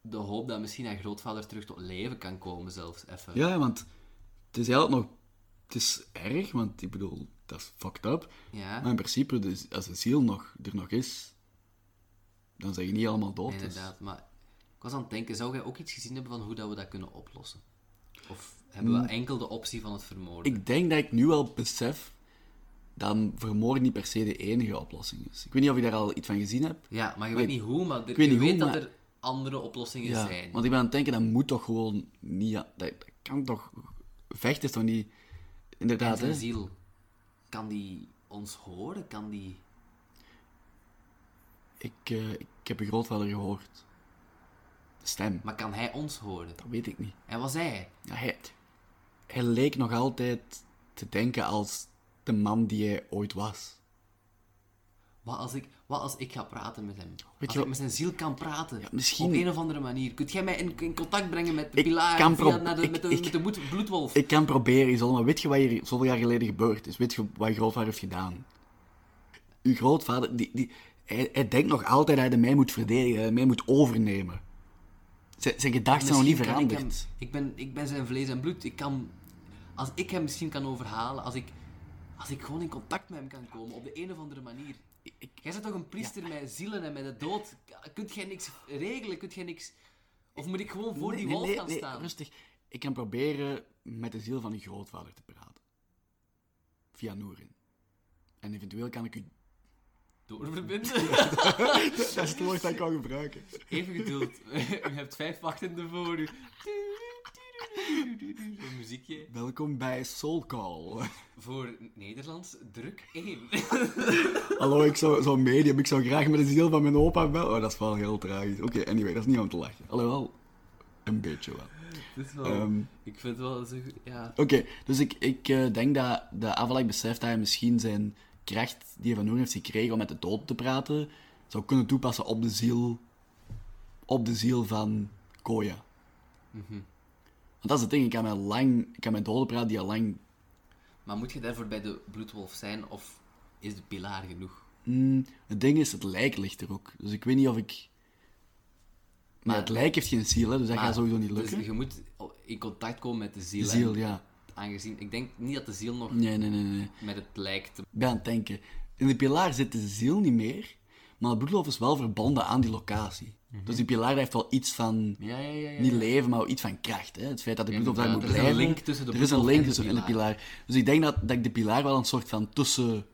S1: de hoop dat misschien haar grootvader terug tot leven kan komen zelfs. Even.
S2: Ja, want het is eigenlijk nog... Het is erg, want ik bedoel, dat is fucked up.
S1: Ja,
S2: Maar in principe, dus, als de ziel nog, er nog is, dan zijn je niet allemaal dood. dus.
S1: inderdaad. Maar ik was aan het denken, zou jij ook iets gezien hebben van hoe dat we dat kunnen oplossen? Of
S2: Mm.
S1: hebben we enkel de optie van het vermoorden?
S2: Ik denk dat ik nu wel besef dat vermoorden niet per se de enige oplossing is. Ik weet niet of je daar al iets van gezien hebt.
S1: Ja, maar je weet niet hoe, maar er-
S2: weet
S1: je
S2: niet hoe,
S1: weet dat
S2: maar-
S1: er andere oplossingen zijn.
S2: Want ik ben aan het denken, dat moet toch gewoon niet... Dat, dat kan toch... Vechten is toch niet...
S1: En
S2: Inderdaad,
S1: zijn
S2: hè?
S1: ziel, kan die ons horen? Kan die...
S2: Ik, eh, ik heb je grootvader gehoord. De stem.
S1: Maar kan hij ons horen?
S2: Dat weet ik niet.
S1: En was hij?
S2: Ja, hij, hij leek nog altijd te denken als de man die hij ooit was.
S1: Wat als ik, wat als ik ga praten met hem?
S2: je
S1: als
S2: wat-
S1: ik met zijn ziel kan praten.
S2: misschien-
S1: Op een of andere manier. Kunt jij mij in, in contact brengen met de
S2: Ik
S1: pilaar?
S2: kan
S1: via-
S2: prob-
S1: naar de-
S2: ik-
S1: met de,
S2: ik-
S1: met de bloed- bloedwolf?
S2: Ik kan proberen, Isolde, maar weet je wat hier zoveel jaar geleden gebeurd is? Weet je wat je grootvader heeft gedaan? Uw grootvader, die, die, hij, hij denkt nog altijd dat hij mij moet verdedigen, dat hij mij moet overnemen. Zijn, zijn gedachten zijn nog niet
S1: Misschien kan
S2: veranderd.
S1: Ik, hem- ik, ben, ik ben zijn vlees en bloed. Ik kan, als ik hem misschien kan overhalen, als ik, als ik gewoon in contact met hem kan komen op de een of andere manier. Jij bent toch een priester met zielen en met de dood? Kunt jij niks regelen? Kunt jij niks... Of moet ik gewoon voor
S2: Nee,
S1: die
S2: nee,
S1: wolf
S2: nee,
S1: gaan
S2: nee,
S1: staan?
S2: rustig. Ik kan proberen met de ziel van uw grootvader te praten. Via Noerin. En eventueel kan ik u...
S1: Doorverbinden?
S2: Dat is het woord dat ik kan gebruiken.
S1: Even geduld. U hebt vijf wachtenden voor u. Een muziekje.
S2: Welkom bij Soul Call.
S1: Voor Nederlands, druk 1.
S2: Hallo, ik zou zo'n medium, ik zou graag met de ziel van mijn opa bellen. Oh, dat is wel heel tragisch. Oké, anyway, dat is niet om te lachen. Alhoewel, een beetje wel. Ehm.
S1: ik vind het wel zo goed. Ja.
S2: Oké, dus ik, ik eh, denk dat, dat Avalak beseft dat hij misschien zijn kracht die hij van Noor heeft gekregen om met de dood te praten, zou kunnen toepassen op de ziel, op de ziel van Koya. Want dat is het ding, ik kan met, lang, ik kan met doden praten die al lang...
S1: Maar moet je daarvoor bij de bloedwolf zijn of is de pilaar genoeg?
S2: Hmm, het ding is, het lijk ligt er ook. Dus ik weet niet of ik... Maar het lijk heeft geen ziel, hè, dus dat gaat sowieso niet lukken.
S1: Dus je moet in contact komen met de ziel.
S2: De ziel,
S1: hè?
S2: ja.
S1: Aangezien, ik denk niet dat de ziel nog
S2: Nee, nee, nee, nee.
S1: met het lijkt te...
S2: Ik ben aan het denken. In de pilaar zit de ziel niet meer, maar het bloedloof is wel verbonden aan die locatie. Dus die pilaar heeft wel iets van,
S1: Ja, ja, Mhm. ja. ja.
S2: niet leven, maar iets van kracht. Hè? Het feit dat de bloedloof daar moet
S1: Inderdaad, er
S2: blijven.
S1: is een link tussen de
S2: Er is een
S1: bloedloof
S2: link
S1: en de
S2: tussen en de pilaar. Dus ik denk dat, dat ik de pilaar wel een soort van tussen...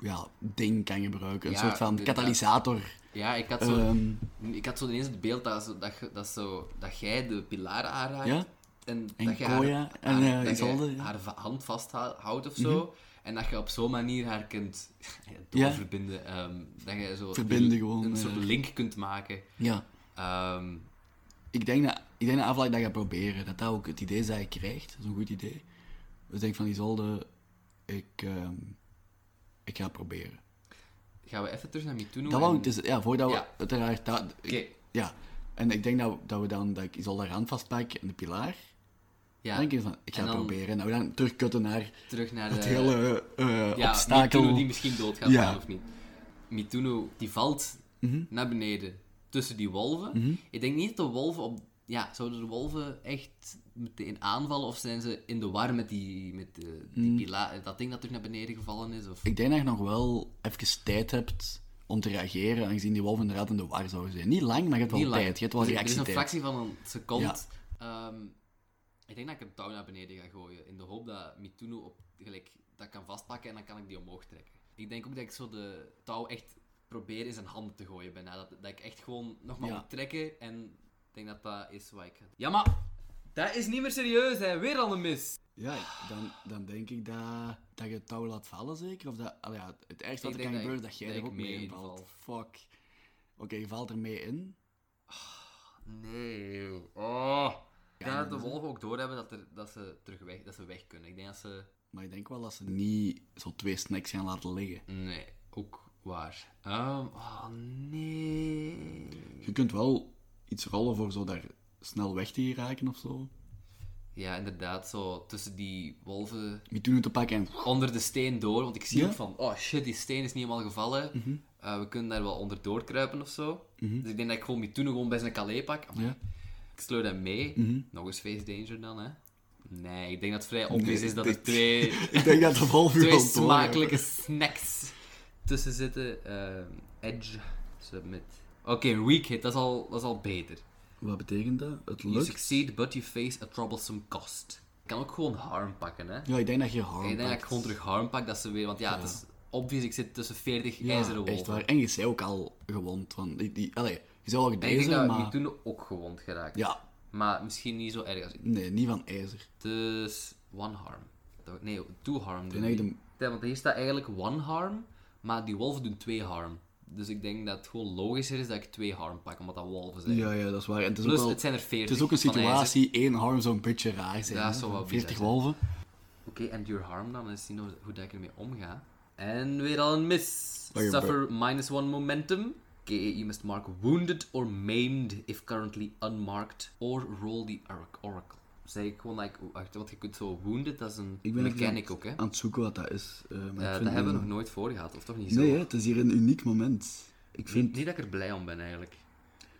S2: Ja, ding kan gebruiken. Een
S1: Ja,
S2: soort van
S1: inderdaad.
S2: katalysator.
S1: Ja, ik had zo,
S2: Ehm.
S1: ik had zo ineens het beeld dat, zo, dat, ge- dat, zo, dat jij de pilaar aanraakt.
S2: Ja.
S1: En,
S2: En
S1: dat je
S2: Koya
S1: haar,
S2: en,
S1: haar-
S2: eh,
S1: dat jij
S2: Isolde, ja. Mhm.
S1: haar va- hand vasthoudt of zo. En dat je op zo'n manier haar kunt
S2: Ja.
S1: doorverbinden. ehm, dat je zo
S2: Verbinden
S1: een-
S2: gewoon,
S1: een
S2: eh.
S1: soort link kunt maken.
S2: Ja.
S1: Ehm,
S2: Ik denk dat, ik denk dat Avalak dat gaat proberen. Dat dat ook het idee is dat hij krijgt. Dat is een goed idee. Dus ik denk van, Isolde, ik, ehm, ik ga het proberen.
S1: gaan we even terug naar Mituno.
S2: Dat wou
S1: en-
S2: ik dus, ja, voordat we
S1: Ja.
S2: uiteraard dat... ik-
S1: Oké.
S2: Ja. En ik denk dat, dat we dan, dat ik Isolde haar hand vastpak en de pilaar.
S1: Ja,
S2: Dan denk ik van, ik ga
S1: En
S2: het
S1: dan-
S2: proberen. En dat we dan terugkutten naar
S1: terug naar
S2: het
S1: de...
S2: hele eh
S1: ja,
S2: obstakel.
S1: Mituno die misschien dood gaat
S2: Ja. Mhm.
S1: gaan of niet. Mituno die valt naar beneden tussen die wolven. Ik denk niet dat de wolven op. Ja, zouden de wolven echt meteen aanvallen of zijn ze in de war met die, met de, die
S2: Mhm.
S1: pila- dat ding dat er naar beneden gevallen is? Of...
S2: Ik denk dat je nog wel even tijd hebt om te reageren, aangezien die wolven inderdaad in de war zouden zijn. Niet lang, maar je hebt wel
S1: Niet lang.
S2: tijd. Je hebt wel
S1: Dus er is een
S2: reactietijd.
S1: fractie van een seconde.
S2: Ja.
S1: Ehm, ik denk dat ik een touw naar beneden ga gooien. In de hoop dat Mituno op, gelijk, dat kan vastpakken en dan kan ik die omhoog trekken. Ik denk ook dat ik zo de touw echt probeer in zijn handen te gooien bijna. Dat, dat ik echt gewoon nog maar
S2: Ja.
S1: moet trekken. En ik denk dat dat is wat ik ga doen. Ja, maar dat is niet meer serieus, hè. Weer al een mis.
S2: Ja, dan, dan denk ik dat, dat je het touw laat vallen, zeker? Of dat, al ja, het ergste
S1: Ik
S2: wat er
S1: denk
S2: kan
S1: dat
S2: gebeuren
S1: ik-
S2: is dat jij
S1: dat
S2: er
S1: ik
S2: ook
S1: mee
S2: mee
S1: inval.
S2: invalt. Fuck. Oké, je valt er mee in.
S1: Nee. Oh. Ik denk dat de wolven ook doorhebben dat, er, dat ze terug weg, dat ze weg kunnen. Ik denk dat ze...
S2: Maar ik denk wel dat ze niet zo twee snacks gaan laten liggen.
S1: Nee, ook waar. Ehm, oh nee.
S2: Je kunt wel iets rollen voor zo daar snel weg te geraken of zo.
S1: Ja, inderdaad, zo tussen die wolven
S2: Met toen te pakken en...
S1: onder de steen door. Want ik zie
S2: Ja. Mhm.
S1: ook van, oh shit, die steen is niet helemaal gevallen. Eh, we kunnen daar wel onder doorkruipen of zo. Dus ik denk dat ik gewoon Mituno gewoon bij zijn calais pak. Amai,
S2: Ja. Mhm.
S1: Ik sleur hem mee. Nog eens face danger dan, hè. Nee, ik denk dat het vrij obvious is dat
S2: dit-
S1: er twee,
S2: Ik denk dat de wolven
S1: twee
S2: wel door hebben.
S1: smakelijke snacks tussen zitten. Eh, edge, submit. Oké, een weak hit, dat is al, dat is al beter.
S2: Wat betekent dat? Het
S1: You
S2: lukt?
S1: succeed, but you face a troublesome cost. Ik kan ook gewoon harm pakken, hè.
S2: Ja, ik denk dat je harm
S1: Ik denk dat ik
S2: pakt.
S1: gewoon terug harm pak, dat ze weer... Want ja, het is obvious, ik zit tussen 40
S2: Ja,
S1: ijzeren wolven.
S2: Ah, echt waar. En je zei ook al gewond. Van, die, die, allee, je zei al
S1: En ik denk
S2: gedezen,
S1: dat
S2: maar...
S1: ik toen ook gewond geraakt.
S2: Ja,
S1: Maar misschien niet zo erg als ik.
S2: nee, niet van ijzer.
S1: Dus one harm. Dat- Nee, two harm. doen
S2: denk
S1: die.
S2: dat ik
S1: Ja, Want hier staat eigenlijk one harm, maar die wolven doen twee harm. Dus ik denk dat het gewoon logischer is dat ik twee harm pak, omdat dat wolven zijn.
S2: Ja, ja, dat is waar. En het is
S1: Plus,
S2: ook wel...
S1: Dus het zijn er 40.
S2: Het is ook een
S1: van ijzer.
S2: situatie, één harm zou een beetje raar zijn.
S1: Ja,
S2: hè,
S1: zo
S2: van
S1: wat
S2: 40
S1: bizar,
S2: wolven.
S1: Oké, en your harm dan, is zien hoe hoe dat ik ermee omga. En weer al een miss.
S2: Oké,
S1: Suffer minus one momentum. Oké, you must mark wounded or maimed if currently unmarked or roll the orac- oracle. Zeg ik gewoon, like, wacht, want je kunt zo wounded, dat is een
S2: Ik ben even
S1: mechanic
S2: aan-
S1: ook, hè?
S2: Aan het zoeken wat dat is. eh, maar ik
S1: Eh,
S2: vind
S1: dat
S2: het
S1: hebben we
S2: wel-
S1: nog nooit voor gehad, of toch niet zo?
S2: Nee, hè, het is hier een uniek moment. Ik vind...
S1: Niet dat ik er blij om ben, eigenlijk.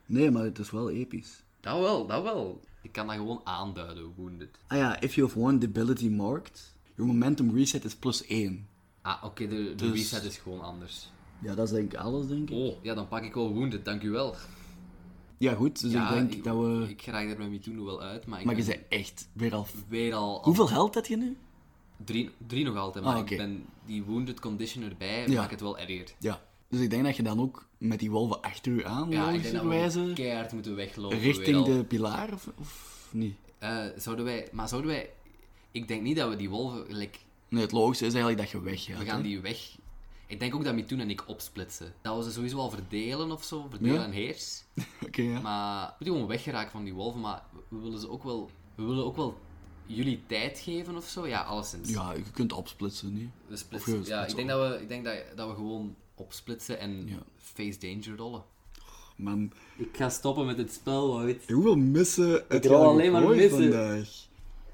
S2: Nee, maar het is wel episch.
S1: Dat wel, dat wel. Ik kan dat gewoon aanduiden, wounded.
S2: Ah ja, if you have one debility marked, your momentum reset is plus 1.
S1: Ah, oké, de, de
S2: Dus-
S1: reset is gewoon anders.
S2: Ja, dat is denk ik alles, denk ik.
S1: Oh, ja, dan pak ik wel wounded, dank u wel.
S2: Ja, goed, dus ik denk dat we...
S1: Ik raak er met Mituno wel uit, maar ik
S2: Maar je
S1: ben
S2: zei echt weer al...
S1: weer al... al
S2: Hoeveel geld heb je nu?
S1: Drie, drie nog altijd, maar
S2: Ah, oké.
S1: ik ben die wounded condition erbij,
S2: Ja.
S1: maakt het wel erger.
S2: Ja. Dus ik denk dat je dan ook met die wolven achter je aan,
S1: Ja, ik denk dat we
S2: logischerwijze,
S1: gewoon keihard moeten weglopen weer al.
S2: richting de pilaar, of, of niet?
S1: Eh, zouden wij... Maar zouden wij... Ik denk niet dat we die wolven... like,
S2: Nee, het logische is eigenlijk dat je weggaat.
S1: we
S2: hè.
S1: gaan die weg... Ik denk ook dat Mitoen en ik opsplitsen. Dat we ze sowieso al verdelen of zo, verdelen
S2: Ja.
S1: en heers.
S2: Oké, ja.
S1: Maar we moeten gewoon weggeraken van die wolven, maar we willen ze ook wel... We willen ook wel jullie tijd geven of zo. Ja, alleszins.
S2: Ja, je kunt opsplitsen, niet?
S1: We
S2: Of je
S1: splitsen. Ja,
S2: splitsen
S1: ik denk, dat we, ik denk dat, dat we gewoon opsplitsen en
S2: Ja.
S1: face danger rollen.
S2: Man,
S1: Ik ga stoppen met het spel ooit.
S2: hoeveel missen het
S1: rol
S2: gaat
S1: alleen maar
S2: gegooid
S1: missen.
S2: vandaag.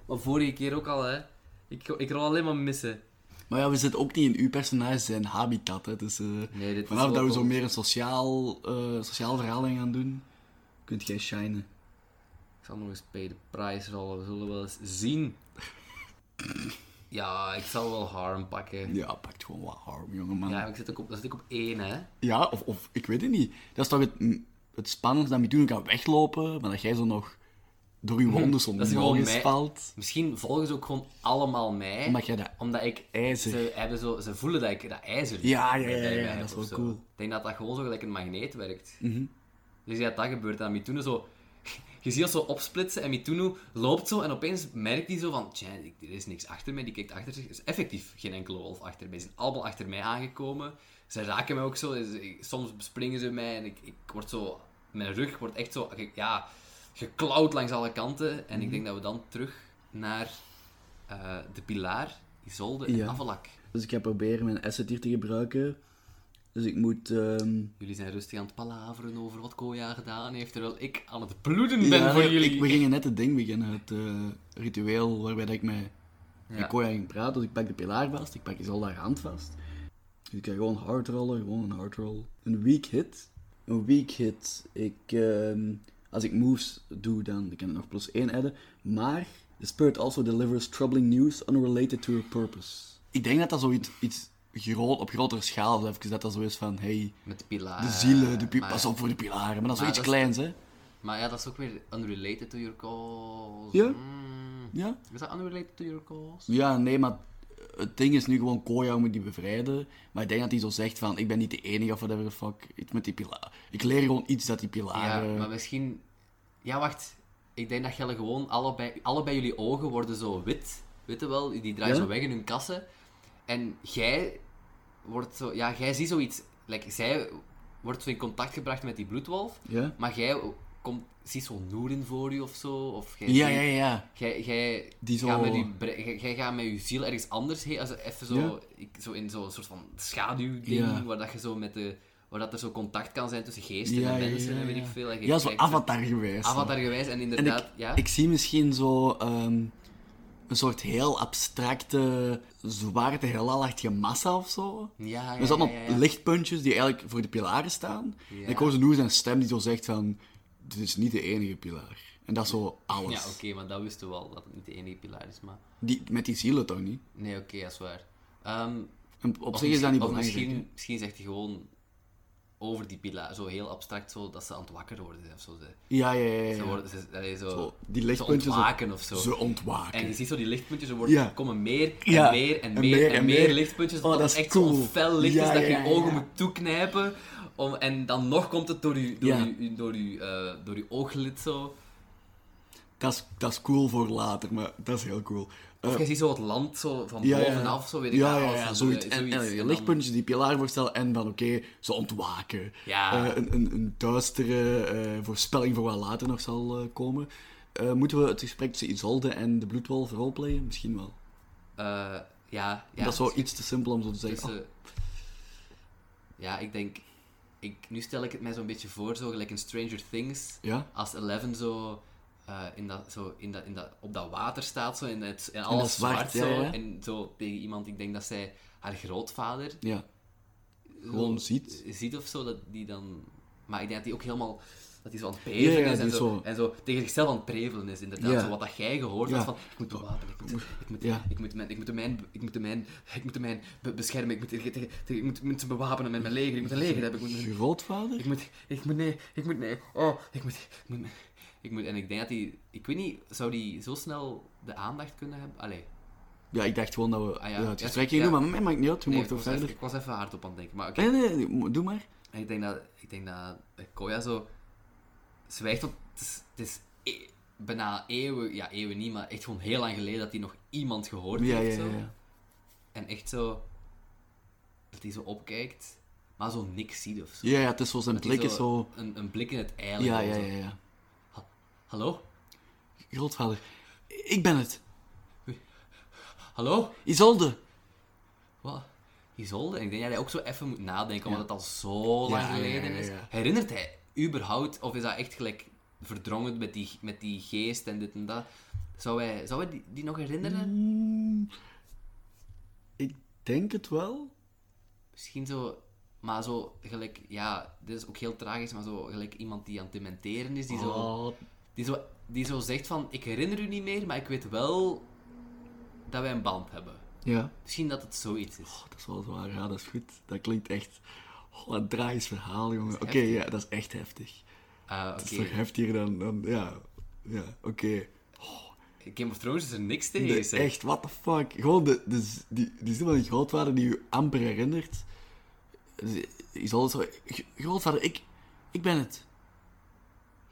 S1: Maar vorige keer ook al, hè. Ik, ik rol alleen maar missen.
S2: Maar ja, we zitten ook niet in uw personage zijn habitat, hè. Dus eh,
S1: Nee, dit is
S2: vanaf
S1: wel
S2: dat we zo
S1: cool.
S2: meer een sociaal, eh, sociaal verhaal in gaan doen, kunt jij shinen.
S1: Ik zal nog eens pay the price rollen. We zullen wel eens zien. Ja, ik zal wel harm pakken.
S2: Ja, pakt gewoon wat harm, jongeman.
S1: Ja,
S2: Ja,
S1: maar ik zit ook op, dat zit ook op één, hè.
S2: ja of, of ik weet het niet. Dat is toch het, mm, het spannendste dat Mituno kan weglopen, maar dat jij zo nog door je wonden zo
S1: dat is gewoon mij.
S2: gespalt.
S1: Misschien volgen ze ook gewoon allemaal mij.
S2: Omdat jij dat
S1: Omdat ik...
S2: ijzer...
S1: Ze, hebben zo, ze voelen dat ik dat ijzer
S2: Ja, ja, ja,
S1: bij
S2: ja,
S1: mij
S2: dat is
S1: heb
S2: wel
S1: of zo.
S2: cool.
S1: Ik denk dat dat gewoon zo gelijk een magneet werkt. Dus ja, dat gebeurt aan Mituno zo... Je ziet dat zo opsplitsen en Mituno loopt zo en opeens merkt hij zo van... Tja, ik- er is niks achter mij. Die kijkt achter zich. Er is effectief geen enkele wolf achter mij. Ze zijn allemaal achter mij aangekomen. Ze raken mij ook zo. Dus ik- soms bespringen ze mij en ik, ik word zo... Mijn rug wordt echt zo... ge- Ja, geklauwd langs alle kanten. En ik
S2: Mhm.
S1: denk dat we dan terug naar eh, de pilaar, Isolde en
S2: Ja.
S1: Avalak.
S2: Dus ik ga proberen mijn asset hier te gebruiken. Dus ik moet... ehm,
S1: Jullie zijn rustig aan het palaveren over wat Koya gedaan heeft, terwijl ik aan het bloeden ben
S2: Ja,
S1: voor
S2: ik-
S1: jullie.
S2: ik- we gingen net het ding beginnen, het eh, ritueel waarbij dat ik met,
S1: Ja.
S2: met Koya ging praten. Dus ik pak de pilaar vast, ik pak Isolda's hand vast. Dus ik ga gewoon hard rollen, gewoon een hard roll. Een weak hit. Een weak hit. Ik, ehm, als ik moves doe, dan kan ik nog plus 1 adden. Maar the spirit also delivers troubling news unrelated to your purpose. Ik denk dat dat zoiets iets groot, op grotere schaal is. even, Dat dat zo is van, hey,
S1: Met de pilaar.
S2: de zielen, de pi-
S1: maar,
S2: pas op voor de pilaren. Maar dat is
S1: maar
S2: zoiets
S1: dat is-
S2: kleins, hè?
S1: Maar ja, dat is ook weer unrelated to your cause.
S2: Ja.
S1: Mm.
S2: Ja.
S1: Is dat unrelated to your cause?
S2: Ja, nee, maar het ding is nu gewoon Koya moet die bevrijden. Maar ik denk dat hij zo zegt van, ik ben niet de enige of whatever the fuck. Iets met die pilaar. Ik leer gewoon iets dat die
S1: Ja,
S2: pilaren...
S1: maar misschien... Ja, wacht. Ik denk dat jullie gewoon allebei... Allebei jullie ogen worden zo wit. Weet je wel? Die draaien
S2: Ja?
S1: zo weg in hun kassen. En jij wordt zo... Ja, jij ziet zoiets... Like, zij wordt zo in contact gebracht met die bloedwolf.
S2: Ja?
S1: Maar jij komt, ziet zo'n noeren voor je of zo? Of jij
S2: Ja,
S1: ziet-
S2: ja, ja.
S1: Jij, jij,
S2: Die zo-
S1: gaat met je, bre- jij, jij gaat met je ziel ergens anders heen. Als even zo,
S2: Ja.
S1: ik, zo in zo'n soort van schaduwding,
S2: Ja.
S1: waar dat je zo met de waar dat er zo contact kan zijn tussen geesten
S2: Ja,
S1: en
S2: ja,
S1: mensen
S2: ja,
S1: en weet
S2: ja.
S1: ik veel. En je
S2: Ja, zo
S1: kijkt zo-
S2: avatar geweest.
S1: Avatargewijs en
S2: En
S1: inderdaad,
S2: ik,
S1: ja.
S2: ik zie misschien zo ehm, een soort heel abstracte, zwarte, heelal-achtige massa of zo.
S1: ja, ja,
S2: Er zat nog
S1: Ah, ja, ja, ja.
S2: lichtpuntjes die eigenlijk voor de pilaren staan.
S1: Ja.
S2: En ik hoor zo nu zijn stem die zo zegt van, dit is niet de enige pilaar. En dat is zo alles.
S1: Ja, oké, maar dat wisten we al, dat het niet de enige pilaar is, maar...
S2: die, met die zielen toch niet?
S1: Nee, oké, dat is waar. Ehm,
S2: En op
S1: of
S2: zich is dat niet
S1: misschien- of
S2: belangrijk.
S1: Misschien, misschien zegt hij gewoon over die pilaar, zo heel abstract, zo, dat ze aan het wakker worden zijn of zo. Ze,
S2: Ja, ja, ja. ja,
S1: ze
S2: ja.
S1: worden, ze, allee, zo,
S2: Zo, die
S1: ze
S2: lichtpuntjes...
S1: ontwaken of zo.
S2: Ze ontwaken.
S1: En je ziet zo die lichtpuntjes, er worden,
S2: Ja.
S1: komen meer en
S2: Ja.
S1: meer en meer en, meer lichtpuntjes.
S2: Oh, dat
S1: het
S2: is
S1: echt
S2: cool.
S1: zo'n fel licht
S2: Ja,
S1: is dat
S2: ja,
S1: je je ogen
S2: ja.
S1: moet toeknijpen. Om, en dan nog komt het door je, door
S2: Ja.
S1: je, door je, eh, door je ooglid zo.
S2: Dat, is, dat is cool voor later, maar dat is heel cool. Eh,
S1: Of je ziet zo het land zo van
S2: Ja, ja, ja.
S1: bovenaf, zo weet ik
S2: Ja,
S1: wel,
S2: ja,
S1: of
S2: ja,
S1: zo,
S2: zoiets.
S1: eh,
S2: En, en,
S1: zoiets.
S2: je
S1: En
S2: lichtpuntjes die pilaar voorstellen en van oké, ze ontwaken.
S1: Ja.
S2: Eh, een, een, een duistere eh, voorspelling voor wat later nog zal eh, komen. Eh, moeten we het gesprek tussen Isolde en de bloedwolf roleplayen? Misschien wel.
S1: dan, eh, ja, ja,
S2: dat is wel iets te simpel om zo te zeggen. Ah,
S1: Dus, eh, ja, ik denk... Ik, nu stel ik het mij zo'n beetje voor, zo gelijk in Stranger Things.
S2: oh, ja?
S1: Als Eleven zo, eh, in dat, zo in dat, in dat, op dat water staat, zo, en, het, en
S2: dat
S1: alles
S2: zwart,
S1: zwart,
S2: ja,
S1: zo,
S2: ja.
S1: en zo tegen iemand, ik denk dat zij haar grootvader
S2: Ja.
S1: zo
S2: Gewoon ziet.
S1: ziet of zo, dat die dan... Maar ik denk dat die ook helemaal... Dat hij zo aan het
S2: Ja,
S1: prevelen
S2: ja,
S1: is
S2: die
S1: en zo,
S2: zo-
S1: en zo tegen zichzelf aan het prevelen is, inderdaad.
S2: Ja.
S1: Zo wat dat jij gehoord
S2: Ja.
S1: hebt van, ik moet bewapenen, ik moet, ik moet,
S2: Ja.
S1: ik moet, mijn, ik moet de mijn, ik moet de mijn, ik moet de mijn be- beschermen, ik moet, tegen, tegen, tegen- ik moet, ik moet ze bewapenen met mijn leger, ik moet een leger hebben, ik moet,
S2: Je grootvader?
S1: ik moet, ik moet, nee, ik moet, nee, oh, ik moet, ik moet, ik moet, en ik denk dat hij, ik weet niet, zou die zo snel de aandacht kunnen hebben? Allee,
S2: Ja, ik dacht gewoon dat we
S1: Ah, ja.
S2: ja, het
S1: Ja,
S2: gesprek gingen
S1: ja.
S2: doen, maar mij maakt niet uit. Je
S1: nee,
S2: mocht
S1: ik,
S2: toch
S1: was even,
S2: verder.
S1: ik was even hard op aan het denken, maar oké.
S2: Nee, nee, nee, mo- doe maar.
S1: En ik denk dat, ik denk dat Koya zo zwijgt, want het is, het is e- bijna eeuwen, ja eeuwen niet, maar echt gewoon heel lang geleden dat hij nog iemand gehoord
S2: Ja, ja,
S1: heeft.
S2: ja.
S1: zo.
S2: ja.
S1: En echt zo, dat hij zo opkijkt, maar zo niks ziet of zo.
S2: Ja, ja, het is zo zijn
S1: Dat hij
S2: blik is zo...
S1: Een, een blik in het ei.
S2: Ja,
S1: gewoon
S2: ja,
S1: zo.
S2: ja, ja.
S1: Hallo?
S2: Grootvader. Ik ben het.
S1: Hallo?
S2: Isolde.
S1: Wat? Isolde? En ik denk dat hij ook zo even moet nadenken,
S2: Ja.
S1: omdat het al zo lang
S2: Ja, ja,
S1: geleden
S2: ja,
S1: is.
S2: ja.
S1: Herinnert hij überhaupt, of is dat echt gelijk verdrongen met die, met die geest en dit en dat? Zou hij, zou hij die, die nog herinneren?
S2: Mm, ik denk het wel.
S1: Misschien zo, maar zo gelijk, ja, dit is ook heel tragisch, maar zo gelijk iemand die aan het dementeren is, die zo,
S2: Oh,
S1: die zo, die zo zegt van, ik herinner u niet meer, maar ik weet wel dat wij een band hebben.
S2: Ja,
S1: Misschien dat het zoiets is.
S2: Oh, dat is wel zwaar. Ja, dat is goed. Dat klinkt echt... Oh, wat een tragisch verhaal, jongen. Oké,
S1: heftig.
S2: ja, dat is echt heftig.
S1: Ah,
S2: Dat
S1: Oké,
S2: is toch heftiger dan... dan ja, ja oké.
S1: Game of Thrones is er niks tegen.
S2: Nee,
S1: zeg.
S2: echt, what the fuck. Gewoon de, de, z- die, die zin van die grootvader die u amper herinnert. Dus, Is alles zo... "G- Grootvader, ik, ik ben het.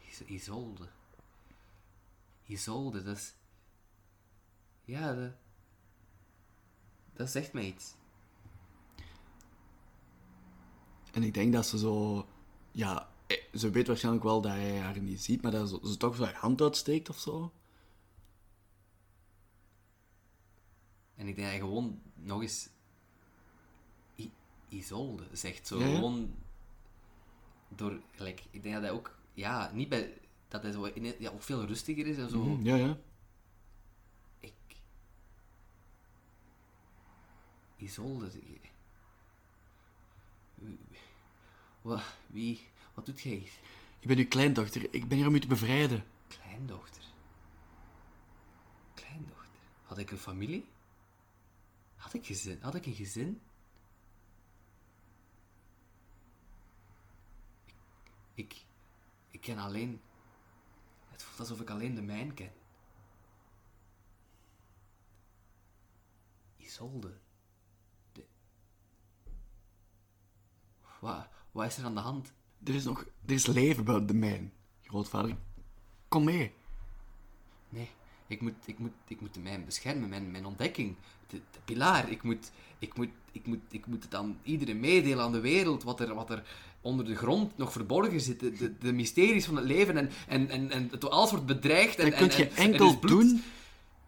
S1: Is- Isolde. Isolde, dat is... Ja, dat... Dat zegt mij iets.
S2: En ik denk dat ze zo... Ja, eh, ze weet waarschijnlijk wel dat hij haar niet ziet, maar dat ze, ze toch zo haar hand uitsteekt of zo.
S1: En ik denk dat hij gewoon nog eens... I- Isolde zegt zo.
S2: Ja, ja.
S1: Gewoon... Door... Gelijk, ik denk dat hij ook... Ja, niet bij... Dat hij zo ine- ja, ook veel rustiger is en zo.
S2: Ja, ja.
S1: Ik... Isolde... Wat... Wie... Wat doet jij hier?
S2: Ik ben uw kleindochter. Ik ben hier om u te bevrijden.
S1: Kleindochter. Kleindochter. Had ik een familie? Had ik gezin? Had ik een gezin? Ik, ik, ik ken alleen. Het voelt alsof ik alleen de mijn ken. Isolde. De... Wat, wat is er aan de hand?
S2: Er is nog... Er is leven buiten de mijn. Grootvader, kom mee.
S1: Nee, ik moet, ik moet, ik moet mijn beschermen, mijn, mijn ontdekking. De, de pilaar. Ik moet, ik, moet, ik, moet, ik moet het aan iedereen meedelen, aan de wereld, wat er, wat er onder de grond nog verborgen zit. De, de, de mysteries van het leven en, en, en, en het, alles wordt bedreigd. En,
S2: Dat
S1: en,
S2: kun je
S1: en- en
S2: enkel
S1: is bloed.
S2: doen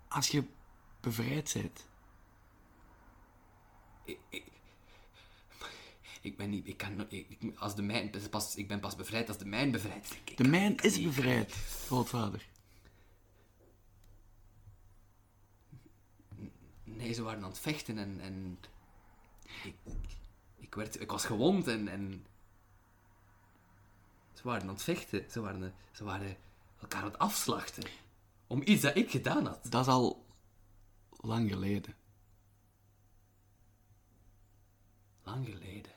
S2: als je bevrijd bent.
S1: Ik- ik- Ik ben niet... Ik kan, nog- ik, ik- als de mijn, pas, ik ben pas bevrijd als de mijn bevrijd is. Ik- ik
S2: De
S1: kan-
S2: mijn
S1: ik kan
S2: is
S1: niet.
S2: bevrijd, grootvader.
S1: Nee, ze waren aan het vechten en... en ik, ik, werd, ik was gewond en, en... Ze waren aan het vechten. Ze waren, ze waren elkaar aan het afslachten. Om iets dat ik gedaan had.
S2: Dat is al lang geleden.
S1: Lang geleden.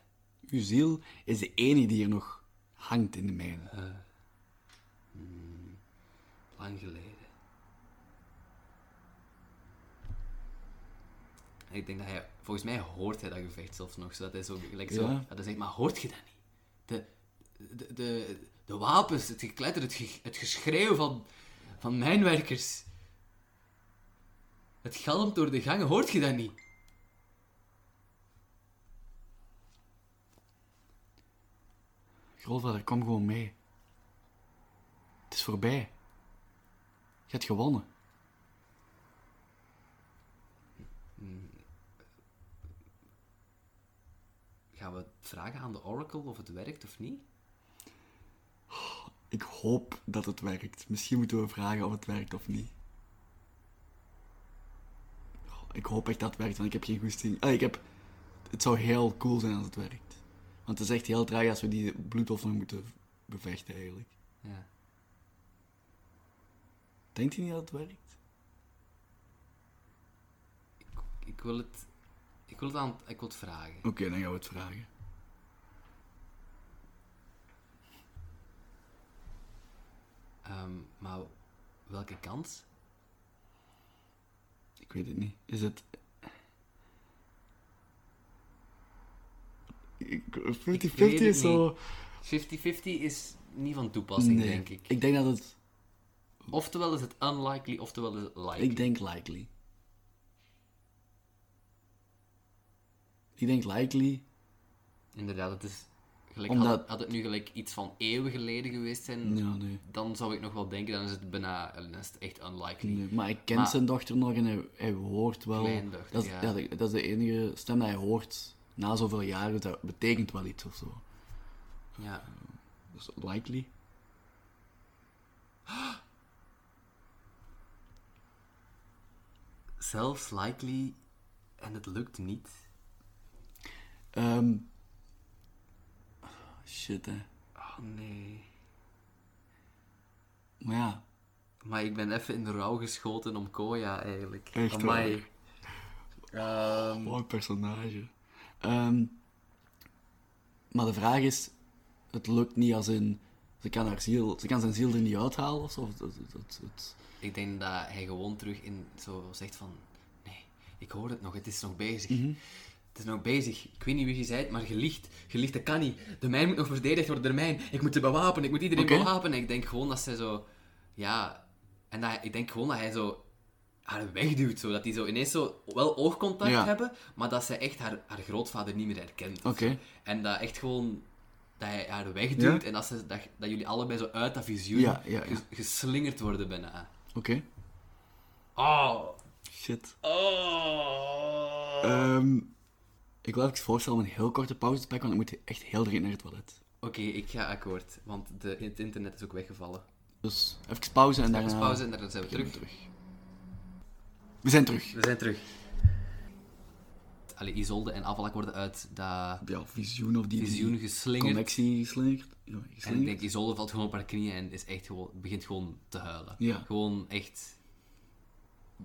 S2: Uw ziel is de enige die hier nog hangt in de mijne.
S1: Lang geleden. En ik denk dat hij... Volgens mij hoort hij dat gevecht zelfs nog. Zodat hij zo... gelijk zo
S2: Ja.
S1: Dat hij zegt, maar hoort je dat niet? De, de, de, de wapens, het gekletter, het, ge- het geschreeuw van, van mijnwerkers. Het galmt door de gangen, hoort je dat niet?
S2: Grootvader, kom gewoon mee. Het is voorbij. Je hebt gewonnen.
S1: Gaan we vragen aan de Oracle of het werkt of niet?
S2: Ik hoop dat het werkt. Misschien moeten we vragen of het werkt of niet. Oh, Ik hoop echt dat het werkt, want ik heb geen goesting. Ah, ik heb... Het zou heel cool zijn als het werkt. Want het is echt heel traag als we die bloedhof nog moeten bevechten, eigenlijk.
S1: Ja.
S2: Denkt u niet dat het werkt?
S1: Ik wil het... Ik wil het, aan, ik wil het vragen.
S2: Oké, dan gaan we het vragen.
S1: Ehm, maar welke kant?
S2: Ik weet het niet. Is het... Ik- 50-50
S1: weet het
S2: is zo...
S1: 50-50 is niet van toepassing,
S2: Nee,
S1: denk ik.
S2: Ik denk dat het...
S1: Oftewel is het unlikely, oftewel is het likely.
S2: Ik denk likely. Ik denk likely.
S1: Inderdaad, het is... Gelijk, had,
S2: Omdat-
S1: het, had het nu gelijk iets van eeuwen geleden geweest zijn,
S2: Ja, nee.
S1: dan zou ik nog wel denken, dan is het bijna... Dan is het echt unlikely.
S2: nee. Maar ik ken
S1: Maar-
S2: zijn dochter nog en hij, hij hoort wel...
S1: Kleindochter,
S2: dat, is,
S1: ja.
S2: dat, is- dat is de enige stem die hij hoort na zoveel jaren. dus Dat betekent wel iets of zo.
S1: Ja.
S2: Dus likely.
S1: Zelfs likely, en het lukt niet.
S2: Ehm, Shit, hè.
S1: Oh, nee.
S2: Maar ja,
S1: Maar ik ben even in de rouw geschoten om Koya, eigenlijk.
S2: Echt waar?
S1: Amai. Ehm,
S2: Mooi personage. Ehm, maar de vraag is, het lukt niet als in... Ze kan, haar ziel, ze kan zijn ziel er niet uithalen of zo. Of het- het- het- het-
S1: Ik denk dat hij gewoon terug in zo zegt van... Nee, ik hoor het nog, het is nog bezig.
S2: Mhm.
S1: Het is nog bezig. Ik weet niet wie je zijt, maar gelicht. Gelicht, dat kan niet. De mijn moet nog verdedigd worden, de mijn. Ik moet ze bewapenen, ik moet iedereen
S2: Oké.
S1: bewapenen. Ik denk gewoon dat zij zo... Ja... En dat, ik denk gewoon dat hij zo haar wegduwt. Zo, dat die zo ineens zo wel oogcontact
S2: Ja.
S1: hebben, maar dat zij echt haar, haar grootvader niet meer herkent. of
S2: Oké.
S1: zo. En dat echt gewoon... Dat hij haar wegduwt
S2: Ja.
S1: en dat, ze, dat, dat jullie allebei zo uit dat visioen
S2: Ja, ja, ja.
S1: ges- geslingerd worden bijna.
S2: Oké.
S1: Oh.
S2: Shit.
S1: Oh. Oké,
S2: Ehm, ik wil even voorstellen om een heel korte pauze te pakken, want ik moet echt heel dringend naar het toilet.
S1: ik ga akkoord, want de, het internet is ook weggevallen.
S2: Dus even pauze en daarna...
S1: Even pauze en dan zijn we terug.
S2: terug. We zijn terug.
S1: We zijn terug. Allee, Isolde en Avalak worden uit dat
S2: Ja, visioen of die... die
S1: visioen geslingerd.
S2: Connectie geslingerd. Ja,
S1: En ik
S2: geslingerd.
S1: denk, Isolde valt gewoon op haar knieën en is echt gewoon, begint gewoon te huilen.
S2: Ja.
S1: Gewoon echt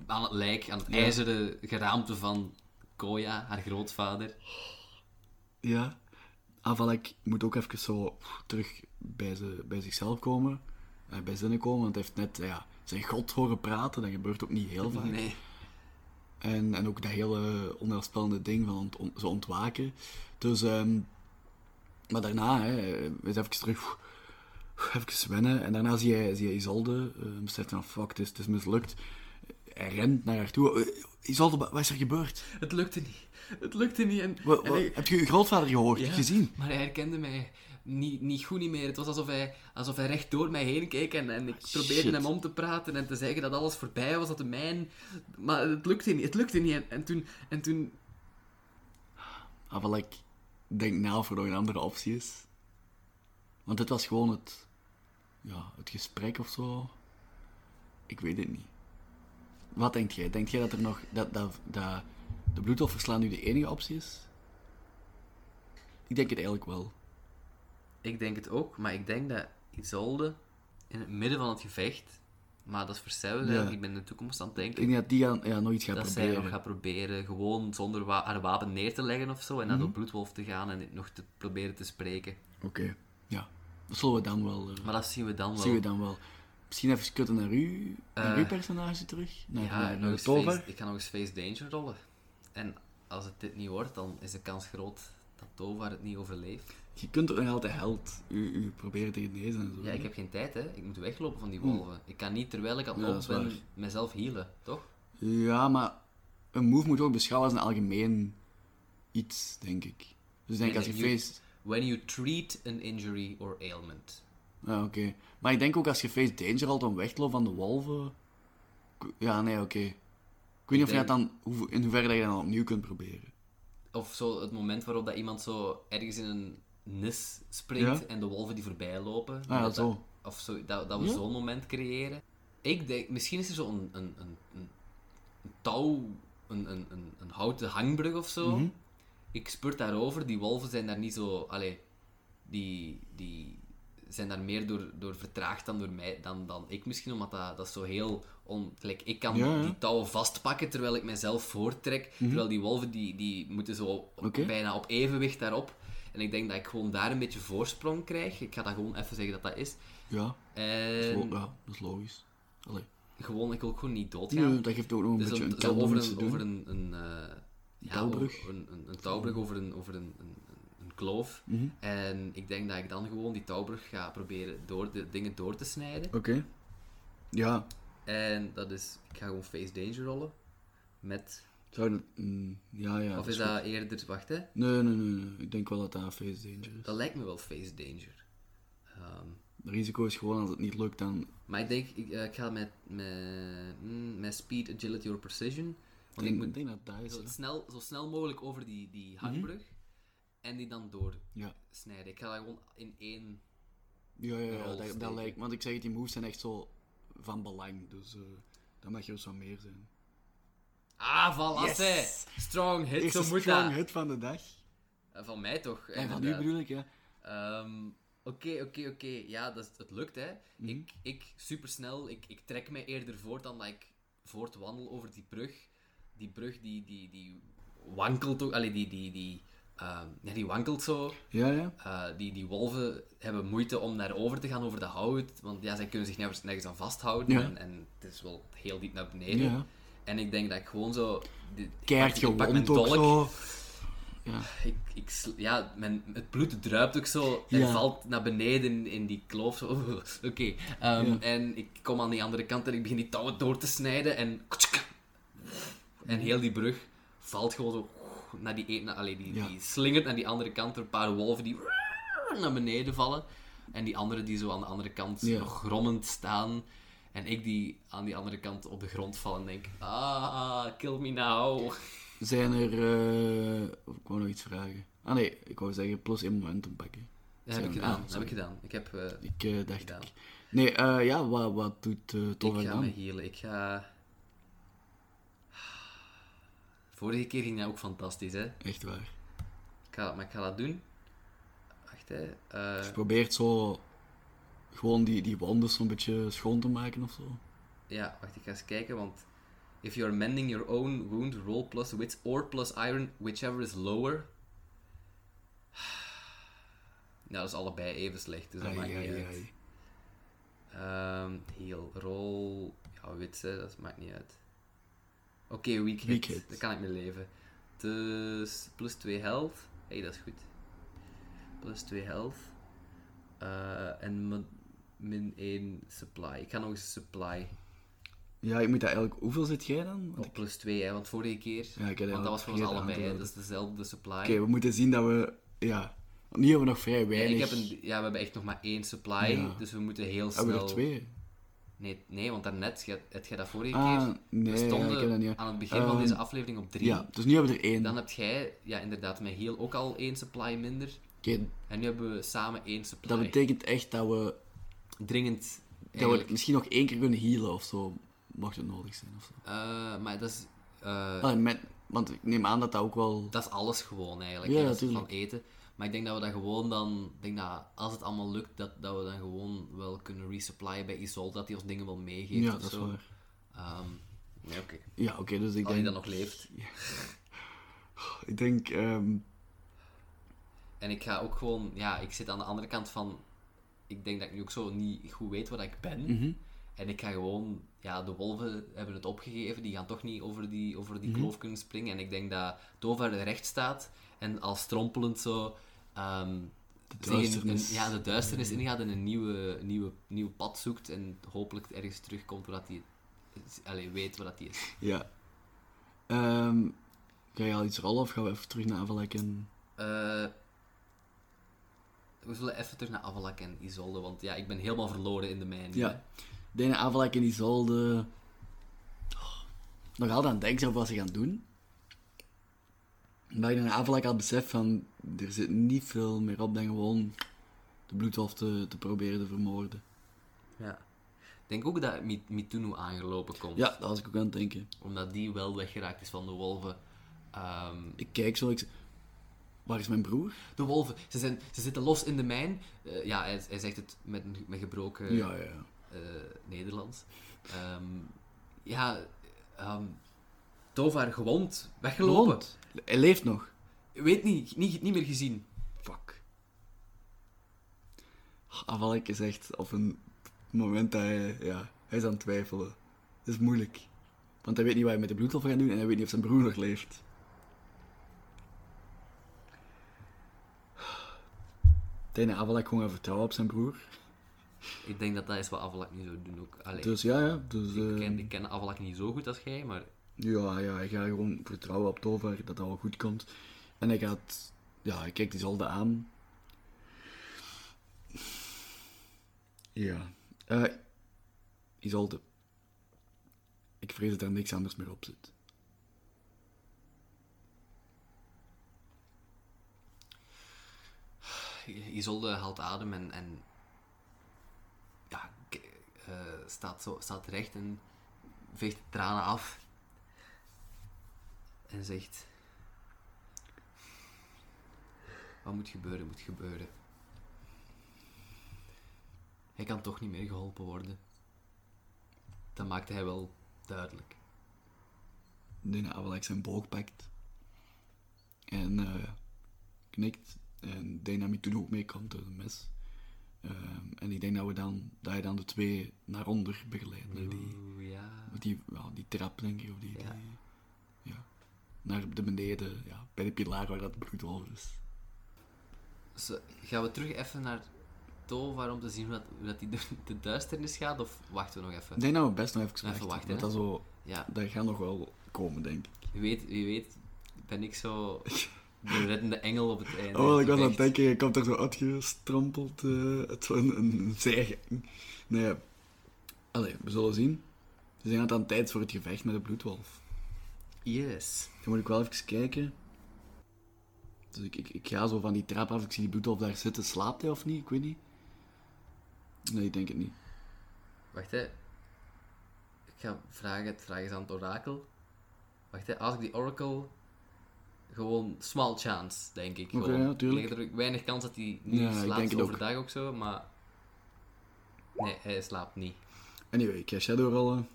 S1: aan het lijk, aan het ijzeren geraamte van Koya, haar grootvader.
S2: Ja. Avalek moet ook even zo pff, terug bij, ze, bij zichzelf komen. eh, bij zinnen komen, want hij heeft net ja, zijn god horen praten. Dat gebeurt ook niet heel vaak.
S1: Oh, Nee.
S2: En, en ook dat hele onheilspellende ding van ont, on- zo ontwaken. Dus, ehm, maar daarna, hè, hij is even terug... pff, pff, Even wennen. En daarna zie je, zie je Isolde. eh, beseft van, fuck, het is, het is mislukt. Hij rent naar haar toe. Eh, Isolde, wa- wat is er gebeurd?
S1: Het lukte niet. Het lukte niet. En,
S2: Wa-
S1: en
S2: wa-
S1: ik-
S2: heb je je grootvader gehoord?
S1: Ja,
S2: Gezien?
S1: Maar hij herkende mij niet, niet goed niet meer. Het was alsof hij, alsof hij recht door mij heen keek en, en ik probeerde
S2: Ah, shit.
S1: hem om te praten en te zeggen dat alles voorbij was, dat de mijn... Maar het lukte niet, het lukte niet. En, en toen... En toen
S2: Avalek Ah, denk na of er nog een andere optie is. Want dit was gewoon het, ja, het gesprek of zo. Ik weet het niet. Wat denk jij? Denk jij dat er nog dat, dat, dat de bloedofferslaan nu de enige optie is? Ik denk het eigenlijk wel.
S1: Ik denk het ook, maar ik denk dat Isolde in het midden van het gevecht, maar dat is verstemmen,
S2: Ja.
S1: ik ben in de toekomst aan het
S2: Ik
S1: denken,
S2: denk dat die gaan, ja, nog iets gaan
S1: dat zij
S2: proberen.
S1: nog gaat proberen gewoon zonder wa- haar wapen neer te leggen of zo en naar
S2: Mhm.
S1: de bloedwolf te gaan en dit nog te proberen te spreken.
S2: Oké, ja. Dat zullen we dan wel. eh,
S1: Maar dat zien we dan wel.
S2: zien we dan wel. Misschien even kutten naar uw, naar
S1: Eh,
S2: uw personage terug. Naar,
S1: Ja,
S2: naar,
S1: nog
S2: naar de
S1: eens
S2: tover.
S1: face- ik ga nog eens Face Danger rollen. En als het dit niet wordt, dan is de kans groot dat Tovar het niet overleeft.
S2: Je kunt er nog altijd held u, u proberen te genezen en zo.
S1: Ja, ik heb geen tijd, hè. Ik moet weglopen van die wolven. Ik kan niet, terwijl ik aan het
S2: Ja,
S1: lopen
S2: dat is
S1: ben,
S2: waar.
S1: mezelf healen, toch?
S2: Ja, maar een move moet je ook beschouwen als een algemeen iets, denk ik. Dus ik denk
S1: En
S2: als je
S1: nu-
S2: face...
S1: When you treat an injury or ailment.
S2: Ja, oké. Maar ik denk ook als je face danger al dan wegloopt van de wolven... Ik- Ja, nee, oké. Ik weet niet of je
S1: denk-
S2: dat dan... hoe- In hoeverre dat je dat dan opnieuw kunt proberen.
S1: Of zo het moment waarop dat iemand zo ergens in een nis springt en de wolven die voorbij lopen.
S2: ja,
S1: Dat-
S2: Ah, zo.
S1: Of zo, dat, dat we
S2: Ja.
S1: zo'n moment creëren. Ik denk, misschien is er zo'n een, een, een, een touw, een, een, een, een houten hangbrug of zo.
S2: Mhm.
S1: Ik spurt daarover, die wolven zijn daar niet zo. Allee, die, die zijn daar meer door, door vertraagd dan door mij, dan, dan ik misschien, omdat dat, dat is zo heel. On, gelijk, ik kan
S2: Ja, ja.
S1: die touwen vastpakken terwijl ik mezelf voorttrek, terwijl die wolven die, die moeten zo
S2: Mhm. Oké.
S1: bijna op evenwicht daarop. En ik denk dat ik gewoon daar een beetje voorsprong krijg. Ik ga dat gewoon even zeggen dat dat is.
S2: Ja, dat is,
S1: En
S2: lo- ja, dat is logisch. Allee.
S1: gewoon, ik wil ook gewoon niet doodgaan.
S2: Nee, dat geeft ook nog een
S1: dus
S2: beetje
S1: een-
S2: een kant om
S1: over
S2: iets te
S1: een,
S2: doen.
S1: over een, een, eh, ja,
S2: touwbrug.
S1: over een, een, een touwbrug, over een, over een, een, een- een kloof.
S2: Mhm.
S1: En ik denk dat ik dan gewoon die touwbrug ga proberen door de dingen door te snijden.
S2: Oké. Ja,
S1: En dat is, ik ga gewoon face danger rollen. Met,
S2: zou dat... mm, ja, ja.
S1: of is
S2: goed.
S1: dat eerder, wacht hè,
S2: Nee, nee, nee, nee. Ik denk wel dat dat face danger is.
S1: dat lijkt me wel face danger. Ehm,
S2: Het risico is gewoon als het niet lukt, dan...
S1: maar ik denk, ik, eh, ik ga met, met, mm, met speed, agility or precision. Want ik
S2: Ik
S1: moet
S2: denk dat dat is.
S1: zo
S2: hè.
S1: snel, zo snel mogelijk over die, die
S2: Mhm.
S1: hangbrug en die dan
S2: Ja,
S1: doorsnijden. Ik ga dat gewoon in één.
S2: ja, ja,
S1: Rol
S2: ja dat, dat
S1: steken.
S2: lijkt. Want ik zeg het, die moves zijn echt zo van belang. Dus eh dan mag je dus wat meer zijn.
S1: Ah, voilà!
S2: Yes!
S1: hè. Strong hit,
S2: Eerste
S1: zo moet
S2: strong
S1: dat.
S2: hit van de dag.
S1: Eh, Van mij toch?
S2: En van u
S1: inderdaad.
S2: bedoel ik, ja.
S1: Ehm, Oké, oké, oké. Ja, dat, is- het lukt hè.
S2: Mhm.
S1: Ik, ik supersnel, ik, ik trek mij eerder voort dan dat ik voortwandel over die brug. Die brug die, die, die wankelt ook. Allee, die, die, die, ehm, ja, die wankelt zo.
S2: Ja, ja.
S1: Eh, die, die wolven hebben moeite om naar over te gaan over de hout, want ja, zij kunnen zich nergens, nergens aan vasthouden
S2: Ja.
S1: en, en het is wel heel diep naar beneden.
S2: ja.
S1: En ik denk dat ik gewoon zo... die- ik
S2: Keihard
S1: pak- ik pak mijn
S2: gewond ook
S1: dolk,
S2: zo. Ja.
S1: Ik, ik, sl- ja, mijn, het bloed druipt ook zo en
S2: Ja.
S1: valt naar beneden in die kloof. zo. Oké. Ehm,
S2: Ja.
S1: En ik kom aan die andere kant en ik begin die touwen door te snijden en... En heel die brug valt gewoon zo naar die, e- naar, allee, die,
S2: Ja.
S1: die slingert naar die andere kant door een paar wolven die naar beneden vallen. En die anderen die zo aan de andere kant
S2: Ja.
S1: nog grommend staan. En ik die aan die andere kant op de grond val en denk, ah, kill me now.
S2: Zijn er... eh, of Ik wou nog iets vragen. Ah nee, ik wou zeggen plus één momentum pakken.
S1: Dat heb ik
S2: Zijn-
S1: gedaan,
S2: ah,
S1: dat heb
S2: sorry.
S1: ik gedaan. Ik heb... eh,
S2: Ik eh, dacht
S1: Gedaan.
S2: ik. Nee, eh, ja, wat, wat doet eh Tova
S1: ik ga me
S2: dan?
S1: healen. Ik ga... Vorige keer ging dat ook fantastisch, hè.
S2: Echt waar.
S1: Ik ga, maar ik ga dat doen. Wacht, hè. Eh,
S2: Je probeert zo gewoon die, die wonden zo'n beetje schoon te maken of zo.
S1: Ja, wacht, ik ga eens kijken, want... If you are mending your own wound, roll plus wits or plus iron, whichever is lower. Nou, dat is allebei even slecht, dus dat
S2: Ai,
S1: maakt
S2: ai,
S1: niet uit.
S2: ai.
S1: Ehm heel, roll... Ja, wits, hè, dat maakt niet uit. Oké, weak hit.
S2: Weak hit.
S1: Dat kan ik mee leven. Dus, plus 2 health. Hé, hey, dat is goed. Plus 2 health. Eh, en min- min 1 supply. Ik ga nog eens supply
S2: Ja, ik moet dat eigenlijk... Hoeveel zit jij dan? Want
S1: Op plus 2, hè, want vorige keer.
S2: Ja,
S1: want
S2: ik had
S1: dat
S2: eigenlijk
S1: was voor ons
S2: vergeten aan te
S1: allebei, hè,
S2: laten.
S1: dat is dezelfde supply.
S2: Oké, we moeten zien dat we... Ja. Want nu hebben we nog vrij
S1: Ja,
S2: weinig.
S1: ik heb een, ja, we hebben echt nog maar één supply,
S2: Ja. Ah,
S1: dus we moeten heel snel.
S2: Hebben we er twee?
S1: Nee, nee want daarnet, je- heb jij dat vorige
S2: Ah,
S1: keer?
S2: nee,
S1: we
S2: ik heb dat
S1: stonden
S2: niet.
S1: aan het begin van
S2: Ehm,
S1: deze aflevering op drie.
S2: Ja, dus nu hebben we er één.
S1: Dan heb jij, ja inderdaad, met heel ook al één supply minder.
S2: Oké,
S1: En nu hebben we samen één supply.
S2: dat betekent echt dat we,
S1: Dringend,
S2: dat we
S1: eigenlijk.
S2: het misschien nog één keer kunnen healen of zo. Mocht het nodig zijn of zo.
S1: Eh, maar dat is, eh,
S2: Ah, met, want ik neem aan dat dat ook wel.
S1: dat is alles gewoon eigenlijk.
S2: Ja,
S1: hè, dat is
S2: tuurlijk.
S1: van eten. Maar ik denk dat we dat gewoon dan, ik denk dat als het allemaal lukt, dat, dat we dan gewoon wel kunnen resupplyen bij Isolde, dat hij ons dingen wel meegeeft
S2: ja,
S1: of
S2: dat is
S1: zo.
S2: waar.
S1: Ehm, nee, oké.
S2: Ja, oké, dus ik
S1: Als hij
S2: denk.
S1: dan nog leeft.
S2: Ik denk. ehm,
S1: En ik ga ook gewoon, ja, ik zit aan de andere kant van. Ik denk dat ik nu ook zo niet goed weet wat ik ben.
S2: Mhm.
S1: En ik ga gewoon, ja, de wolven hebben het opgegeven. Die gaan toch niet over die, over die
S2: Mhm.
S1: kloof kunnen springen. En ik denk dat Dover recht staat en al strompelend zo. ehm, zich in-
S2: duisternis. Mhm.
S1: in- ja, de duisternis ingaat en een nieuwe, nieuwe, nieuw pad zoekt. En hopelijk ergens terugkomt waar dat hij. Allee, weet wat dat hij is.
S2: ja. Ehm, ga je al iets rollen of gaan we even terug naar Avalek en.
S1: Eh, we zullen even terug naar Avalak en Isolde, want ja, ik ben helemaal verloren in de mijn.
S2: Ja. Dene Avalek en Isolde. Oh, Nog altijd aan het denken zijn over wat ze gaan doen. Maar ik denk dat Avalek al beseft van. Er zit niet veel meer op dan gewoon. de bloedhof te, te proberen te vermoorden.
S1: Ja. Ik denk ook dat Mi- Mitunu aangelopen komt,
S2: Ja, dat was ik ook aan het denken.
S1: omdat die wel weggeraakt is van de wolven. Ehm,
S2: Ik kijk zo, ik. zeg, Waar is mijn broer?
S1: de wolven, ze, zijn, ze zitten los in de mijn. Eh, ja, hij, hij zegt het met, een- met gebroken
S2: Ja, ja, ja.
S1: eh, Nederlands. Ehm, ja, ehm Tovar gewond, weggelopen.
S2: Gewond. Hij leeft nog.
S1: Weet niet, niet, niet meer gezien.
S2: Fuck. Avalek is echt op een moment dat hij, ja, hij is aan het twijfelen. Dat is moeilijk. Want hij weet niet wat hij met de bloedhof gaat doen en hij weet niet of zijn broer nog leeft. ah, Ik denk dat Avalek gewoon gaat vertrouwen op zijn broer.
S1: Ik denk dat dat is wat Avalak nu zou doen ook. Allee.
S2: Dus ja, ja. Dus,
S1: Ik
S2: eh,
S1: ken, ik ken Avalak niet zo goed als jij, maar
S2: Ja, ja, hij gaat gewoon vertrouwen op Tovar dat dat wel goed komt. En hij gaat, ja, hij kijkt die zolder aan. Ja, eh, Isolde. Ik vrees dat er niks anders meer op zit.
S1: Isolde eh, haalt adem en, en ja, k- eh, staat, zo, staat recht en veegt de tranen af. En zegt: Wat moet gebeuren, moet gebeuren. Hij kan toch niet meer geholpen worden. Dat maakte hij wel duidelijk.
S2: Nu Avalek zijn boog pakt. En eh, knikt. En Dynamiet toen ook meekomt door een mes. Ehm, en ik denk dat, we dan, dat hij dan de twee naar onder begeleidt. naar die-
S1: Oeh, ja.
S2: Of die, wel, die trap, denk ik. Of die,
S1: Ja.
S2: die- ja. Naar de beneden, ja, bij de pilaar waar dat bloed over is.
S1: Zo, gaan we terug even naar Tovar om te zien hoe dat, hoe dat die de, de duisternis gaat? Of wachten we nog even?
S2: Ik denk dat we best nog even wachten.
S1: wachten,
S2: want
S1: hè?
S2: dat, zo,
S1: Ja,
S2: dat gaat nog wel komen, denk ik.
S1: wie weet, wie weet ben ik zo de reddende engel op het einde.
S2: Oh, ik was aan het
S1: Echt.
S2: denken, je komt er zo uitgestrampeld eh, uit zo'n een, een zijgang. Nee, allee, we zullen zien. We zijn aan het tijd voor het gevecht met de bloedwolf.
S1: Yes.
S2: Dan moet ik wel even kijken. Dus ik, ik, ik ga zo van die trap af, ik zie die bloedwolf daar zitten. Slaapt hij of niet? Ik weet niet. Nee, ik denk het niet.
S1: Wacht hè. Ik ga vragen, het vraag is aan het orakel. Wacht hè, als ik die oracle... Gewoon small chance, denk ik.
S2: Oké,
S1: gewoon.
S2: ja, tuurlijk.
S1: Ik denk dat er weinig kans dat hij niet
S2: Ja, ik
S1: slaapt,
S2: denk het ook.
S1: overdag ook zo, maar... Nee, hij slaapt niet.
S2: Anyway, ik ga shadow rollen.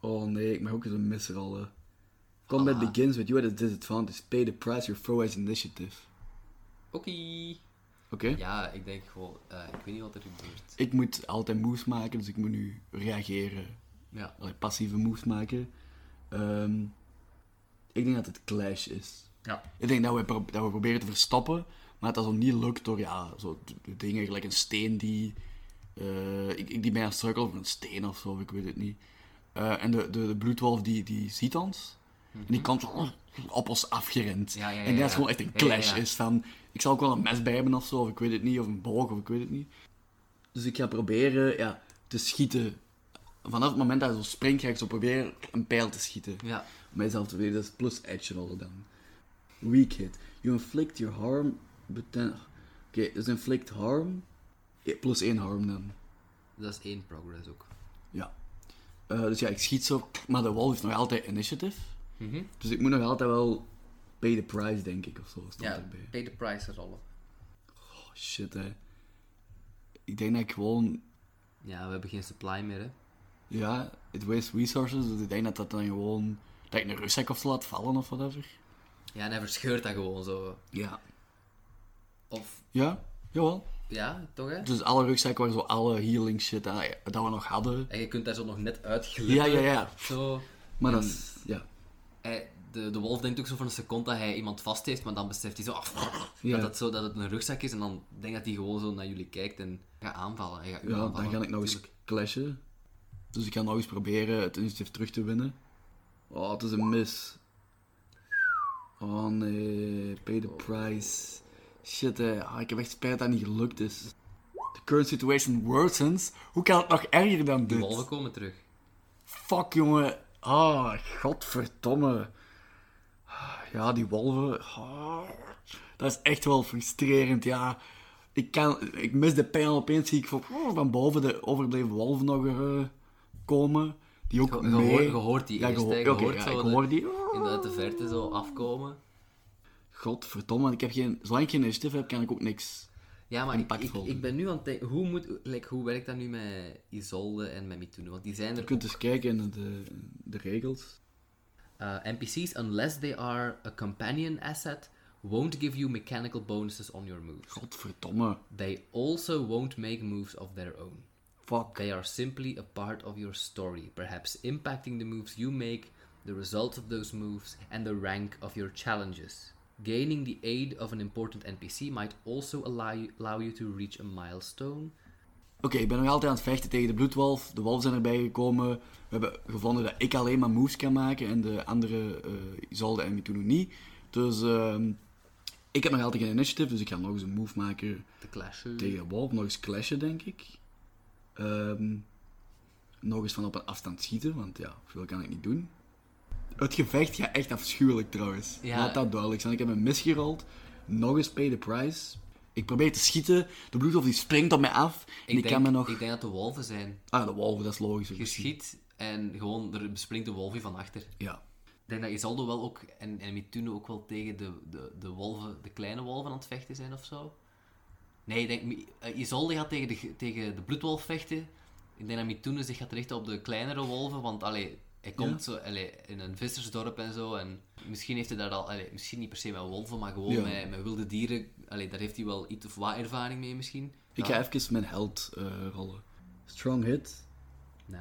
S2: Oh nee, ik mag ook eens een mis rollen. Combat
S1: Ah.
S2: begins with you at a disadvantage. Pay the price your throw as initiative.
S1: Oké.
S2: Oké.
S1: Ja, ik denk gewoon, eh, ik weet niet wat er gebeurt.
S2: Ik moet altijd moves maken, dus ik moet nu reageren.
S1: Ja,
S2: Allee, passieve moves maken. Ehm, ik denk dat het clash is.
S1: ja.
S2: Ik denk dat we, pro- dat we proberen te verstoppen, maar dat dat zo niet lukt door ja, zo d- d- dingen gelijk een steen die. eh, ik, ik die bijna struikel over een steen of zo, ik weet het niet. Eh, en de, de, de bloedwolf die, die ziet ons. En die komt zo op ons afgerend.
S1: Mhm. Ja, ja, ja,
S2: en dat
S1: ja.
S2: is gewoon echt een
S1: Ja, ja,
S2: clash.
S1: ja.
S2: Is van, ik zal ook wel een mes bij hebben of zo, of ik weet het niet, of een boog, of ik weet het niet. Dus ik ga proberen ja, te schieten. Vanaf het moment dat hij zo springt, ga ik zo proberen een pijl te schieten.
S1: Ja.
S2: Om mijzelf te weten, dat is plus action rollen dan. Weak hit. You inflict your harm, but then... Oké, dus inflict harm. Ja, Plus één harm dan.
S1: Dat is één progress ook.
S2: Ja. Eh, dus ja, ik schiet zo, maar de wolf heeft nog altijd initiative.
S1: Mhm.
S2: Dus ik moet nog altijd wel pay the price, denk ik, of zo. Stond
S1: Ja,
S2: erbij.
S1: pay the price rollen.
S2: Oh, shit, hè. Ik denk dat ik gewoon...
S1: Ja, we hebben geen supply meer, hè.
S2: Ja, it wastes resources, dus ik denk dat dat dan gewoon... Dat ik een rugzak of zo laat vallen, of whatever.
S1: Ja, en hij verscheurt dat gewoon zo.
S2: Ja.
S1: Of,
S2: Ja, jawel.
S1: ja, toch, hè?
S2: Dus alle rugzakken waar zo alle healing shit aan, dat we nog hadden.
S1: En je kunt daar zo nog net
S2: Ja,
S1: uitglippen.
S2: ja, ja.
S1: Zo.
S2: Maar dan... Ja.
S1: Hij- de, de wolf denkt ook zo voor een seconde dat hij iemand vast heeft, maar dan beseft hij zo, ah,
S2: Ja.
S1: dat, het zo dat het een rugzak is. En dan denkt dat hij gewoon zo naar jullie kijkt en gaat aanvallen. Hij gaat u
S2: Ja,
S1: aanvallen.
S2: dan ga ik nog eens clashen. Dus ik ga nog eens proberen het initiatief terug te winnen. Oh, het is een mis. Oh nee, pay the price. Shit, hè. Ah, ik heb echt spijt dat het niet gelukt is. The current situation worsens. Hoe kan het nog erger dan
S1: De
S2: dit?
S1: wolven komen terug.
S2: Fuck, jongen. Ah, godverdomme. Ja, die wolven. Ah, dat is echt wel frustrerend, ja. Ik, kan, ik mis de pijl. Opeens zie ik van, oh, van boven de overbleven wolven nog eh, komen. Die ook
S1: Je
S2: mee...
S1: hoort, je hoort die
S2: ja,
S1: eerst,
S2: ik hoor,
S1: hè. Je
S2: oké,
S1: hoort
S2: ja,
S1: zo
S2: ik
S1: de-
S2: hoor die.
S1: in de uit de verte zo afkomen.
S2: Godverdomme, ik heb geen, zolang ik geen initiatief heb, kan ik ook niks.
S1: Ja, maar ik, ik,
S2: Impactvol.
S1: ik ben nu aan het denken, hoe, moet, like, hoe werkt dat nu met Isolde en met Mituno? Want die zijn er
S2: Je kunt eens kijken in de, de regels.
S1: Uh, NPC's, unless they are a companion asset, won't give you mechanical bonuses on your moves.
S2: Godverdomme.
S1: They also won't make moves of their own.
S2: Fuck.
S1: They are simply a part of your story, perhaps impacting the moves you make, the results of those moves, and the rank of your challenges. Gaining the aid of an important NPC might also allow you, allow you to reach a milestone.
S2: Oké, ik ben nog altijd aan het vechten tegen de bloedwolf. De wolven zijn erbij gekomen. We hebben gevonden dat ik alleen maar moves kan maken en de andere eh Isolde en Mituno niet. Dus ehm, ik heb nog altijd geen initiative, dus ik ga nog eens een move maken
S1: The clash. eh.
S2: tegen de wolf. Nog eens clashen, denk ik. Ehm, nog eens van op een afstand schieten, want ja, veel kan ik niet doen. Het gevecht gaat echt afschuwelijk trouwens.
S1: Ja.
S2: Laat dat duidelijk zijn. Ik heb een mis gerold. Nog eens pay the price. Ik probeer te schieten. De bloedwolf die springt op mij af. en ik
S1: denk,
S2: kan me nog...
S1: ik denk dat de wolven zijn.
S2: Ah, de wolven, dat is logisch.
S1: Je schiet en gewoon er springt de wolfie van achter.
S2: Ja.
S1: Ik denk dat Isaldo wel ook, en, en Mituno ook wel tegen de, de, de wolven, de kleine wolven aan het vechten zijn of zo. Nee, ik denk, Mi- eh, Isolde gaat tegen de, g- tegen de bloedwolf vechten. Ik denk dat Mituno zich gaat richten op de kleinere wolven, want allee, hij komt zo, allee, in een vissersdorp en zo. En misschien heeft hij daar al, allee, misschien niet per se met wolven, maar gewoon
S2: Ja.
S1: met, met wilde dieren. Allee, daar heeft hij wel iets of wat ervaring mee misschien.
S2: Ik
S1: Ja.
S2: ga even mijn held eh, rollen. Strong hit.
S1: Ah,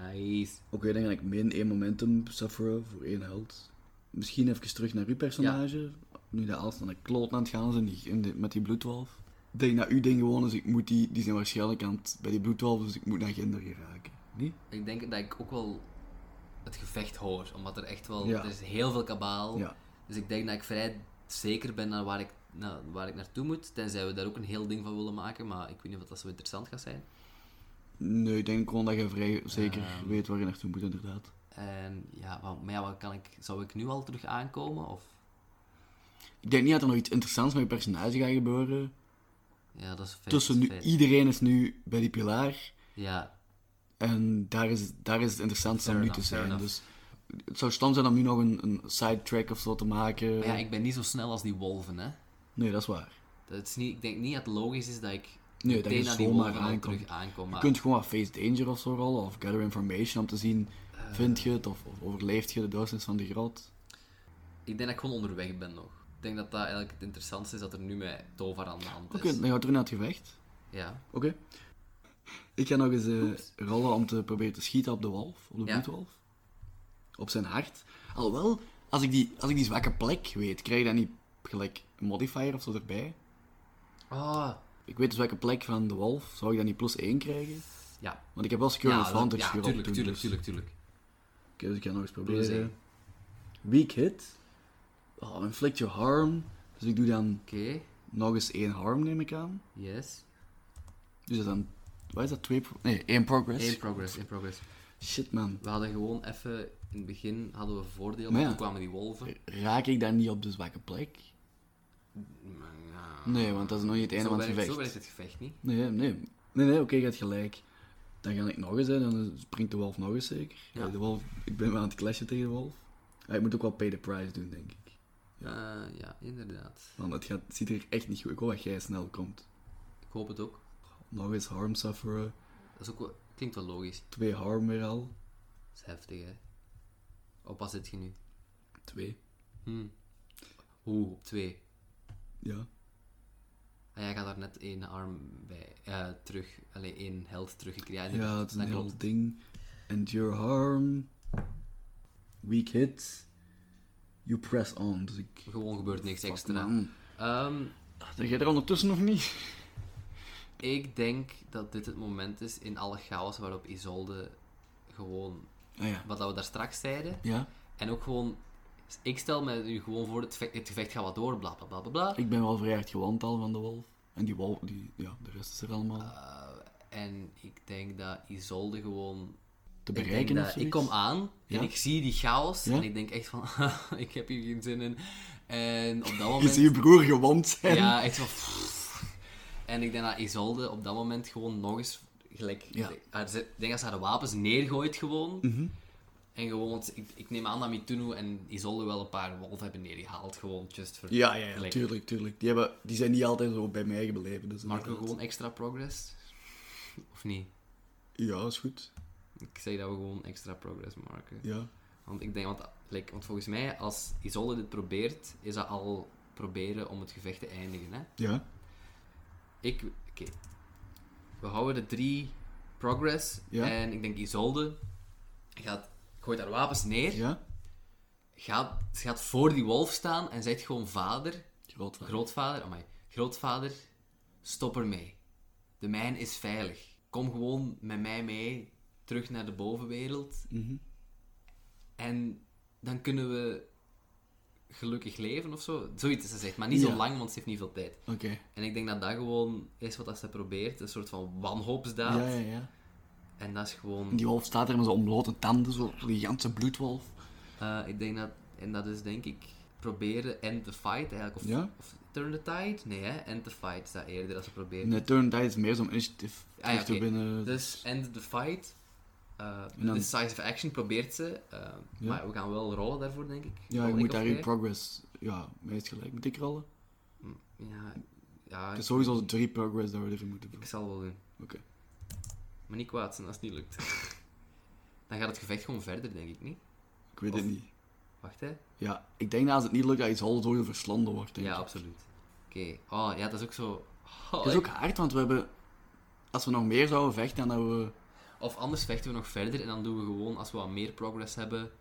S1: Nice.
S2: Oké, dan ga ik min 1 momentum sufferen voor één held. Misschien even terug naar uw personage. Nu dat alles naar de kloot aan het gaan is in die, in die- met die bloedwolf. Ik denk dat uw ding gewoon is, ik moet die, die zijn waarschijnlijk aan het, bij die bloedwolf, dus ik moet naar Ginder geraken. Nee?
S1: Ik denk dat ik ook wel het gevecht hoor, omdat er echt wel...
S2: Ja.
S1: Er is heel veel kabaal.
S2: Ja.
S1: Dus ik denk dat ik vrij zeker ben naar waar ik, naar, waar ik naartoe moet. Tenzij we daar ook een heel ding van willen maken, maar ik weet niet of dat zo interessant gaat zijn.
S2: Nee, ik denk gewoon dat je vrij zeker weet waar je naartoe moet, inderdaad.
S1: En ja, wa- maar ja, wat kan ik... Zou ik nu al terug aankomen, of...
S2: Ik denk niet dat er nog iets interessants met je personage gaat gebeuren.
S1: Ja, dat is feit.
S2: Tussen nu,
S1: feit.
S2: iedereen is nu bij die pilaar.
S1: Ja,
S2: En daar is, daar is het interessantste om
S1: Fair
S2: nu te
S1: enough, fair
S2: zijn.
S1: enough.
S2: Dus het zou stom zijn om nu nog een, een sidetrack of zo te maken.
S1: maar ja, ik ben niet zo snel als die wolven, hè.
S2: Nee, dat is waar.
S1: Dat is niet, ik denk niet dat het logisch is dat ik
S2: Nee, dat
S1: meteen
S2: je
S1: naar die
S2: zomaar
S1: wolven al
S2: aankomt.
S1: terug Ah. aankom.
S2: Je
S1: Maar...
S2: kunt gewoon wat face danger of zo rollen, of gather information om te zien,
S1: Eh.
S2: vind je het of, of overleeft je de duizend van de grot?
S1: Ik denk dat ik gewoon onderweg ben nog. Ik denk dat dat eigenlijk het interessantste is dat er nu met Tovar aan de hand is.
S2: Oké, dan gaat er naar het gevecht.
S1: Ja.
S2: Oké. Ik ga nog eens eh, rollen om te proberen te schieten op de wolf, op de
S1: Ja.
S2: bloedwolf. Op zijn hart. Alhoewel, als ik, die, als ik die zwakke plek weet, krijg je dan niet gelijk een modifier of zo erbij?
S1: Oh,
S2: Ik weet dus welke plek van de wolf. Zou ik dan niet plus 1 krijgen?
S1: ja.
S2: Want ik heb wel Secure
S1: ja,
S2: Advantage
S1: ja,
S2: gerold
S1: tuurlijk,
S2: toen,
S1: tuurlijk,
S2: dus-
S1: tuurlijk, tuurlijk.
S2: Oké, dus ik ga nog eens
S1: Plus
S2: proberen.
S1: één.
S2: Weak hit. Oh, inflict your harm. Dus ik doe dan
S1: Oké,
S2: nog eens één harm, neem ik aan.
S1: yes.
S2: Dus dat is dan Wat is dat? Twee pro- Nee, één progress.
S1: In progress, in progress.
S2: Shit, man.
S1: We hadden gewoon even... In het begin hadden we voordeel,
S2: Maar ja.
S1: toen kwamen die wolven.
S2: Raak ik daar niet op de zwakke plek?
S1: Maar ja,
S2: Nee, want dat is nog niet het einde
S1: zo,
S2: van het
S1: werkt, zo
S2: gevecht.
S1: werkt het gevecht niet.
S2: Nee, nee. Nee, nee, oké, je hebt gelijk. Dan ga ik nog eens, hè. Dan springt de wolf nog eens zeker.
S1: Ja.
S2: Eh, De wolf, ik ben wel aan het clashen tegen de wolf. Ja, ik moet ook wel pay the price doen, denk ik.
S1: Ja, Eh, ja inderdaad.
S2: Want het, gaat, het ziet er echt niet goed. Ik hoop dat jij snel komt.
S1: Ik hoop het ook.
S2: Nog eens harm sufferen.
S1: Dat is ook wel, klinkt wel logisch.
S2: Twee harm weer al.
S1: Dat is heftig, hè. Op wat zit je nu?
S2: Twee.
S1: Hmm. Oeh, op twee.
S2: Ja.
S1: Ah, jij gaat daar net één arm bij eh, terug. Alleen één held teruggekregen.
S2: Ja, het is een
S1: dat
S2: heel
S1: klopt.
S2: ding. Endure harm. Weak hit. You press on. Dus ik... Ah,
S1: Gewoon gebeurt niks
S2: Fuck,
S1: extra.
S2: man.
S1: Ehm,
S2: Zeg jij er ondertussen nog niet?
S1: ik denk dat dit het moment is in alle chaos waarop Isolde gewoon
S2: Ah ja.
S1: wat dat we daar straks zeiden.
S2: Ja?
S1: En ook gewoon. Ik stel me nu gewoon voor het gevecht, het gevecht gaat wat door, bla bla bla bla. bla.
S2: Ik ben wel vrij hard gewond al van de wolf. En die wolf, die, ja, de rest is er allemaal
S1: Eh, en ik denk dat Isolde gewoon
S2: te
S1: Ik denk
S2: bereiken
S1: dat-
S2: of
S1: Ik kom aan
S2: Ja.
S1: en ik zie die chaos
S2: Ja.
S1: en ik denk echt van, ik heb hier geen zin in. En op dat
S2: Je
S1: moment...
S2: ziet je broer gewond zijn.
S1: ja, echt van... En ik denk dat Isolde op dat moment gewoon nog eens gelijk...
S2: Ja. Mhm.
S1: haar ze- ik denk dat ze haar wapens neergooit gewoon. En gewoon, want ik, ik neem aan dat Mituno en Isolde wel een paar wolven hebben neergehaald. Gewoon, just for...
S2: Ja, ja, ja,
S1: Gelijk.
S2: tuurlijk, tuurlijk. Die, hebben, die zijn niet altijd zo bij mij gebleven. Dus
S1: Maken we
S2: inderdaad.
S1: gewoon extra progress? Of niet?
S2: Ja, is goed.
S1: Ik zeg dat we gewoon extra progress maken.
S2: Ja.
S1: Want ik denk, want, like, want volgens mij, als Isolde dit probeert, is dat al proberen om het gevecht te eindigen. Hè?
S2: Ja.
S1: Ik, oké. We houden de drie progress.
S2: Ja.
S1: En ik denk Isolde gaat, gooit haar wapens neer,
S2: Ja.
S1: gaat, ze gaat voor die wolf staan en zegt gewoon vader,
S2: Groot.
S1: grootvader, amai, grootvader, stop ermee. De mijn is veilig. Kom gewoon met mij mee terug naar de bovenwereld.
S2: Mhm.
S1: En dan kunnen we gelukkig leven of zo. Zoiets is ze zegt, maar niet
S2: Ja.
S1: zo lang, want ze heeft niet veel tijd.
S2: Oké.
S1: En ik denk dat dat gewoon is wat dat ze probeert. Een soort van wanhoopsdaad.
S2: Ja, ja, ja.
S1: En dat is gewoon...
S2: Die wolf staat er met zijn ontblote tanden, zo die ganse bloedwolf.
S1: eh, ik denk dat... En dat is denk ik proberen end the fight eigenlijk. Of,
S2: Ja.
S1: of turn the tide? Nee, hè? End the fight is dat eerder dat ze proberen.
S2: Nee, turn die is meer zo'n initiatief
S1: Ah, ja,
S2: terug te
S1: oké.
S2: winnen.
S1: Dus end the fight. Eh
S2: eh, En dan-
S1: Decisive action probeert ze. eh, Maar we gaan wel rollen daarvoor, denk ik.
S2: ja,
S1: Rol
S2: je
S1: ik
S2: moet
S1: of
S2: daar in
S1: jij? Ah,
S2: progress... Ja, mij is gelijk. Moet ik rollen?
S1: Ja, ja
S2: Het
S1: ik,
S2: is sowieso drie progress dat we even moeten doen.
S1: ik zal wel doen.
S2: Oké.
S1: Maar niet kwaad zijn als het niet lukt. Dan gaat het gevecht gewoon verder, denk ik niet.
S2: Ik weet
S1: Of-
S2: het niet.
S1: Wacht hè?
S2: Ja, ik denk dat als het niet lukt, dat iets half door je verslonden wordt, denk
S1: Ja,
S2: ik.
S1: absoluut. Oké. Oh ja, dat is ook zo. Oh,
S2: Het is ook hard, want we hebben... Als we nog meer zouden vechten, dan hadden we...
S1: Of anders vechten we nog verder en dan doen we gewoon, als we wat meer progress hebben,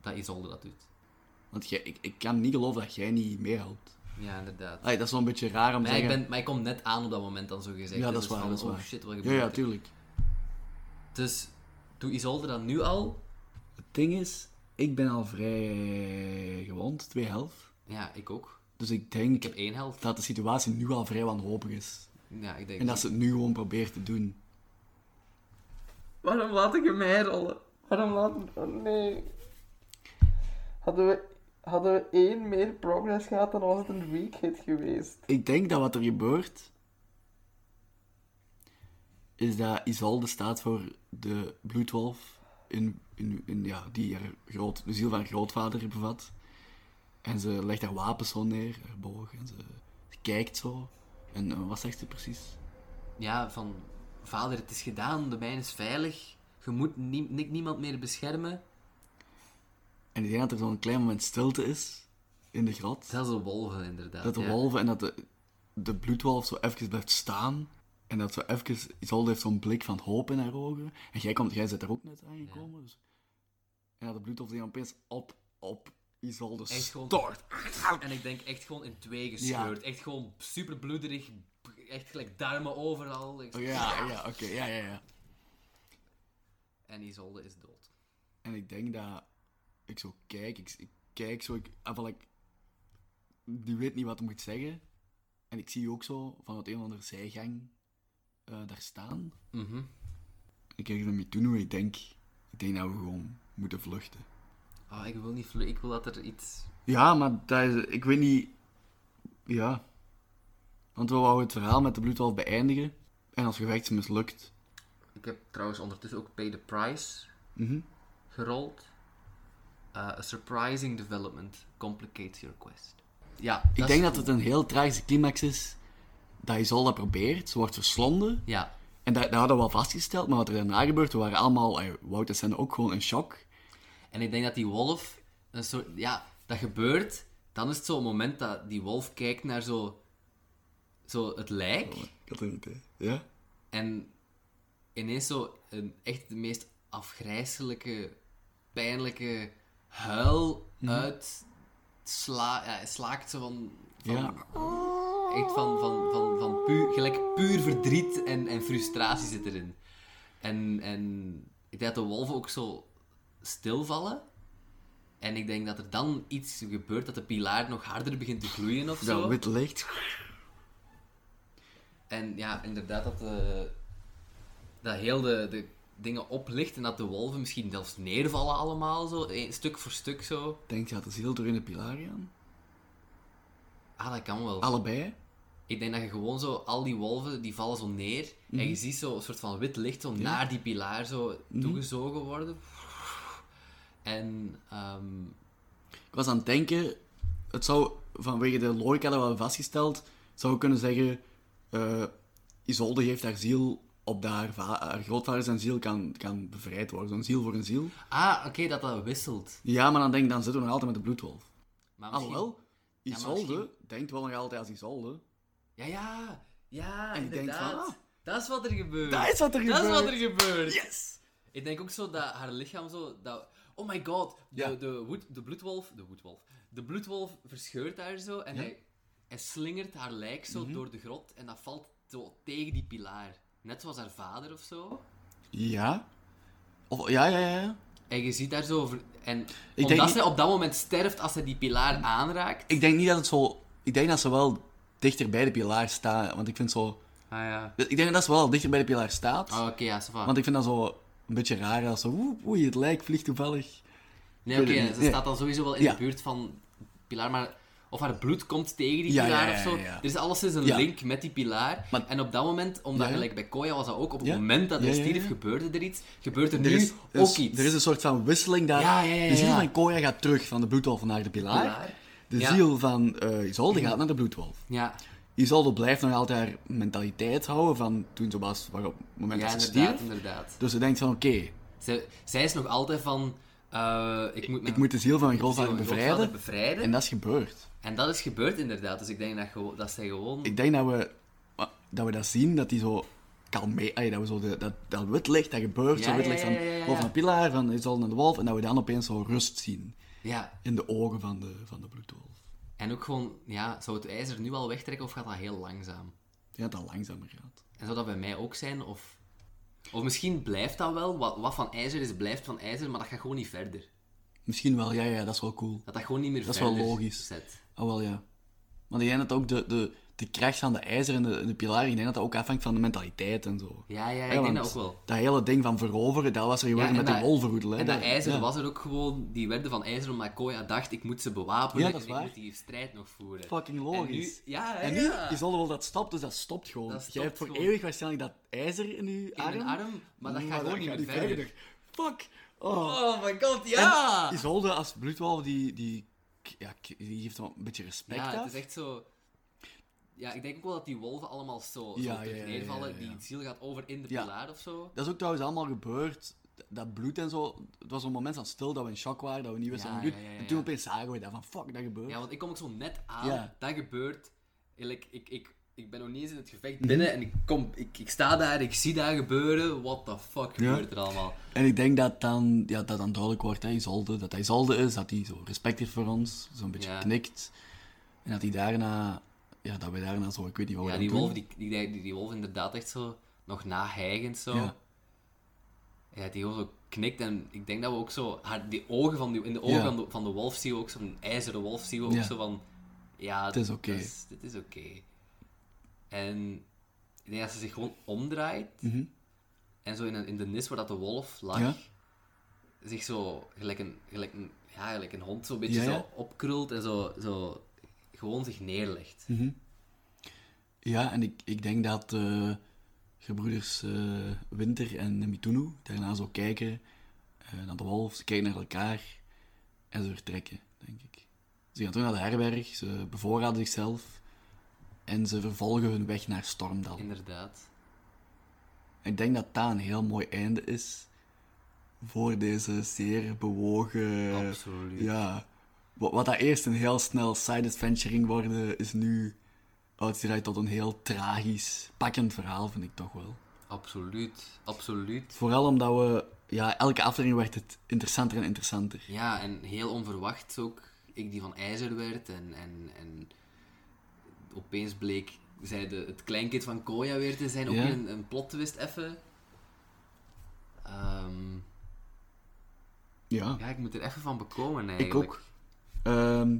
S1: dat Isolde dat doet.
S2: Want jij, ik, ik kan niet geloven dat jij niet meehelpt.
S1: Ja, inderdaad.
S2: Allee, dat is wel een beetje raar om te
S1: Maar ik,
S2: zeggen...
S1: ben, maar ik kom net aan op dat moment dan zo gezegd.
S2: Ja,
S1: hè,
S2: dat is
S1: dus
S2: waar,
S1: van,
S2: dat is
S1: oh
S2: waar.
S1: shit, wat
S2: Ja,
S1: gebeurt
S2: ja,
S1: er?
S2: tuurlijk.
S1: Dus doe Isolde dat nu al?
S2: Het ding is, ik ben al vrij gewond, twee helft.
S1: Ja, ik ook.
S2: Dus ik denk
S1: Ik heb één helft.
S2: dat de situatie nu al vrij wanhopig is.
S1: Ja, ik denk...
S2: En dat ze het nu gewoon probeert te doen.
S1: Waarom laat ik hem mij rollen? Waarom laat ik... nee. Hadden we, hadden we één meer progress gehad, dan was het een weak hit geweest.
S2: Ik denk dat wat er gebeurt, is dat Isolde staat voor de bloedwolf, in, in, in, ja, die haar groot, de ziel van haar grootvader bevat. En ze legt haar wapens zo neer, haar boog, en ze, ze kijkt zo. En eh, wat zegt ze precies?
S1: Ja, van... Vader, het is gedaan. De mijn is veilig. Je moet nie- ni- niemand meer beschermen.
S2: En ik denk dat er zo'n klein moment stilte is in de grot.
S1: Zelfs de wolven, inderdaad.
S2: Dat de
S1: ja.
S2: wolven en dat de, de bloedwolf zo even blijft staan. En dat zo even... Isolde heeft zo'n blik van hoop in haar ogen. En jij, komt, jij bent er ook net aangekomen. Dus... En dat de bloedwolf die dan opeens op, op Isolde
S1: Echt gewoon-
S2: stort.
S1: En ik denk echt gewoon in twee gescheurd. Echt gewoon super bloederig. Echt gelijk duimen overal. Echt-
S2: Oh, ja, ja, oké. ja, ja, ja.
S1: En Isolde is dood.
S2: En ik denk dat... Ik zo kijk, ik, ik kijk zo... Ik, afval ik... Die weet niet wat hij moet zeggen. En ik zie ook zo van het een of andere zijgang eh, daar staan.
S1: Mhm.
S2: Ik kijk er mee toe hoe ik denk. Ik denk dat we gewoon moeten vluchten.
S1: Ah, ik wil niet vlu- Ik wil dat er iets...
S2: Ja, maar dat is, ik weet niet. Ja. Want we wouden het verhaal met de bloedwalf beëindigen. En als gevecht mislukt.
S1: Ik heb trouwens ondertussen ook Pay the Price
S2: Mhm.
S1: gerold. Eh, a surprising development complicates your quest. Ja,
S2: Ik denk dat het een heel tragische climax is. Dat Isolde probeert, ze wordt verslonden.
S1: Ja,
S2: En dat, dat hadden we al vastgesteld, maar wat er daarna gebeurt, we waren allemaal, eh, Wout en Senne ook gewoon in shock.
S1: En ik denk dat die wolf een soort. Ja, dat gebeurt. Dan is het zo'n moment dat die wolf kijkt naar zo. Zo het lijk.
S2: Ik had het niet, hè? Ja?
S1: En ineens zo. Een, echt de meest afgrijselijke, pijnlijke huil uit. Sla, ja, slaakt zo van. van
S2: Ja.
S1: Echt van, van, van, van puur, gelijk puur verdriet en, en frustratie zit erin. En, en ik denk dat de wolven ook zo stilvallen. En ik denk dat er dan iets gebeurt dat de pilaar nog harder begint te gloeien of zo.
S2: Dat wit licht.
S1: En ja, inderdaad dat, de, dat heel de, de dingen oplicht en dat de wolven misschien zelfs neervallen allemaal zo, eh, stuk voor stuk zo.
S2: Denk je dat de ziel door in de pilaar gaan?
S1: Ah, dat kan wel.
S2: Allebei?
S1: Ik denk dat je gewoon zo, al die wolven, die vallen zo neer. En
S2: Mhm.
S1: je ziet zo een soort van wit licht zo naar die pilaar zo toegezogen worden. En, ehm,
S2: Ik was aan het denken, het zou vanwege de logica dat we hadden vastgesteld, zou ik kunnen zeggen, eh, Isolde geeft haar ziel op dat haar, va- haar grootvader zijn ziel kan, kan bevrijd worden. Zo'n ziel voor een ziel.
S1: ah, oké, dat dat wisselt.
S2: Ja, maar dan denk ik, dan zitten we nog altijd met de bloedwolf.
S1: Maar misschien-
S2: Alhoewel,
S1: maar
S2: Isolde
S1: misschien-
S2: denkt wel nog altijd als Isolde.
S1: Ja, ja, ja,
S2: En je denkt van,
S1: inderdaad.
S2: ah.
S1: dat is wat er gebeurt.
S2: Dat is wat er
S1: Dat is
S2: gebeurt.
S1: wat er gebeurt.
S2: Yes!
S1: Ik denk ook zo dat haar lichaam zo. Dat... Oh my god, de,
S2: Ja.
S1: de, woed- de bloedwolf. De woedwolf. De bloedwolf verscheurt haar zo en hij, hij slingert haar lijk zo
S2: Mhm.
S1: door de grot en dat valt zo tegen die pilaar. Net zoals haar vader of zo.
S2: Ja? Of, ja, ja, ja, ja.
S1: En je ziet daar zo. ver- En
S2: denk
S1: omdat
S2: niet-
S1: zij op dat moment sterft als zij die pilaar aanraakt.
S2: Ik denk niet dat het zo... Ik denk dat ze wel dichter bij de pilaar staan, want ik vind zo...
S1: Ah ja.
S2: Ik denk dat ze wel dichter bij de pilaar staat.
S1: Ah, Oké, ja, ça va.
S2: Want ik vind dat zo een beetje raar als zo, oeh, oei, het lijk vliegt toevallig.
S1: Nee, oké,
S2: weet het niet.
S1: ze
S2: Nee.
S1: staat dan sowieso wel in
S2: Ja.
S1: de buurt van Pilaar, maar of haar bloed komt tegen die
S2: Ja,
S1: Pilaar
S2: ja, ja,
S1: of zo.
S2: ja, ja.
S1: Er is alleszins een
S2: Ja.
S1: link met die Pilaar.
S2: Maar-
S1: En op dat moment, omdat
S2: Ja.
S1: gelijk bij Koya was dat ook, op het
S2: Ja.
S1: moment dat
S2: Ja,
S1: hij
S2: ja, ja.
S1: stierf gebeurde er iets, gebeurt er,
S2: Er
S1: nu
S2: is, er
S1: ook
S2: is-
S1: iets.
S2: er is een soort van wisseling daar.
S1: Ja, ja, ja,
S2: De ziel
S1: ja.
S2: van Koya gaat terug van de bloedwolf naar de pilaar.
S1: Pilaar.
S2: De
S1: Ja.
S2: ziel van eh Isolde gaat naar de bloedwolf.
S1: Ja,
S2: Isolde blijft nog altijd haar mentaliteit houden van toen ze was, waarop het moment
S1: ja
S2: dat ze
S1: inderdaad,
S2: stierf.
S1: inderdaad.
S2: Dus ze denkt van, oké,
S1: Zij, zij is nog altijd van, eh, ik moet mijn
S2: ik moet de ziel van mijn
S1: ziel
S2: grootvader
S1: en
S2: bevrijden.
S1: grootvader bevrijden.
S2: En
S1: En...
S2: dat is gebeurd.
S1: dat is gebeurd inderdaad, dus ik denk dat, gewo- dat zij gewoon...
S2: Ik denk dat we dat, we dat zien, dat die zo kalmeer, ay, dat we zo de, dat, dat wit licht, dat gebeurt,
S1: Ja,
S2: zo wit
S1: ja,
S2: licht
S1: ja,
S2: van,
S1: ja, ja, ja.
S2: van de pilaar, van Isolde naar de wolf, en dat we dan opeens zo rust zien
S1: Ja,
S2: in de ogen van de, van de bloedwolf.
S1: en ook gewoon, ja, zou het ijzer nu al wegtrekken of gaat dat heel langzaam?
S2: Ik denk dat dat langzamer gaat.
S1: En zou dat bij mij ook zijn? Of, of misschien blijft dat wel. Wat, wat van ijzer is, blijft van ijzer, maar dat gaat gewoon niet verder.
S2: Misschien wel, ja, ja, dat is wel cool.
S1: Dat dat gewoon niet meer
S2: Dat is wel
S1: verder
S2: logisch.
S1: zet.
S2: Oh, wel ja. Maar ik denk dat ook de, de, de kracht van de ijzer en de, en de pilaar, ik denk dat dat ook afhangt van de mentaliteit en zo.
S1: Ja, ja, ik
S2: Ja,
S1: denk
S2: want
S1: dat ook wel.
S2: Dat hele ding van veroveren, dat was er gewoon
S1: Ja, en
S2: met de
S1: dat-
S2: wolverhoedel. hè.
S1: En dat ijzer
S2: ja.
S1: was er ook gewoon, die werden van ijzer omdat Koya dacht, ik moet ze bewapenen
S2: Ja, dat is
S1: en ik
S2: waar.
S1: moet die strijd nog voeren.
S2: Fucking
S1: En
S2: logisch.
S1: nu, ja,
S2: En
S1: ja.
S2: nu is al wel dat stopt, dus dat stopt gewoon.
S1: Dat stopt
S2: Jij hebt voor
S1: gewoon.
S2: eeuwig waarschijnlijk dat ijzer in je
S1: in
S2: arm. Mm,
S1: een arm, maar dat gaat
S2: maar
S1: gewoon niet
S2: gaat
S1: meer verder.
S2: Fuck. Oh.
S1: Oh my god, ja!
S2: En Isolde als bloedwolf, die, die, ja, die geeft hem een beetje respect
S1: Ja,
S2: af.
S1: het is echt zo... Ja, ik denk ook wel dat die wolven allemaal zo,
S2: Ja,
S1: zo terug
S2: ja, ja, ja,
S1: neervallen.
S2: ja.
S1: Die ziel gaat over in de
S2: Ja.
S1: pilaar of zo.
S2: Dat is ook trouwens allemaal gebeurd. Dat bloed en zo. Het was een moment van stil dat we in shock waren, dat we niet wisten
S1: Ja,
S2: wat het
S1: ja,
S2: bloed.
S1: ja,
S2: En toen
S1: ja.
S2: opeens zagen we dat van fuck, dat gebeurt.
S1: Ja, want ik kom ook zo net aan.
S2: Ja.
S1: Dat gebeurt. Eerlijk, ik, ik, ik ben nog niet eens in het gevecht binnen en ik, kom, ik, ik sta daar, ik zie daar gebeuren. What the fuck
S2: Ja.
S1: gebeurt er allemaal?
S2: En ik denk dat dan, ja, dat dan duidelijk wordt, hè, Isolde, dat hij Isolde is, dat hij zo respect heeft voor ons, zo'n beetje
S1: Ja.
S2: knikt. En dat hij daarna, ja, dat wij daarna zo, ik weet niet wat
S1: Ja,
S2: we
S1: die
S2: dan
S1: wolf,
S2: doen.
S1: die, die, die, die wolf inderdaad echt zo nog nahijgend zo.
S2: Ja.
S1: Ja. die gewoon zo knikt en ik denk dat we ook zo... Haar, die ogen van die, in de ogen
S2: Ja.
S1: van, de, van de wolf zien we ook zo'n ijzeren wolf zien we ook
S2: Ja.
S1: zo van... Ja,
S2: is oké.
S1: dat is- Dit is oké. En Ik denk dat ze zich gewoon omdraait. En zo in, een- in de nis waar dat de wolf lag,
S2: Mhm. Ja.
S1: zich zo gelijk een, gelijk een, ja, gelijk een hond zo'n beetje
S2: Ja, ja.
S1: zo opkrult en zo, zo gewoon zich neerlegt.
S2: Mhm. Ja, en ik, ik denk dat eh gebroeders eh, Winter en Mitunu daarna zo kijken eh, naar de wolf. Ze kijken naar elkaar en ze vertrekken, denk ik. Ze gaan terug naar de herberg, ze bevoorraden zichzelf en ze vervolgen hun weg naar Stormdal.
S1: Inderdaad.
S2: Ik denk dat dat een heel mooi einde is voor deze zeer bewogen...
S1: Absoluut.
S2: Ja, wat, wat dat eerst een heel snel side-adventuring worden, is nu uitgedraaid tot een heel tragisch, pakkend verhaal, vind ik toch wel.
S1: Absoluut. Absoluut.
S2: Vooral omdat we, ja, elke aflevering werd het interessanter en interessanter.
S1: Ja, en heel onverwacht ook. Ik die van ijzer werd en, en, en opeens bleek zij de, het kleinkind van Koya weer te zijn. Ook
S2: Ja.
S1: weer een, een plot twist even. Ehm,
S2: Ja,
S1: ja, ik moet er even van bekomen
S2: ik
S1: eigenlijk.
S2: ook. Ehm,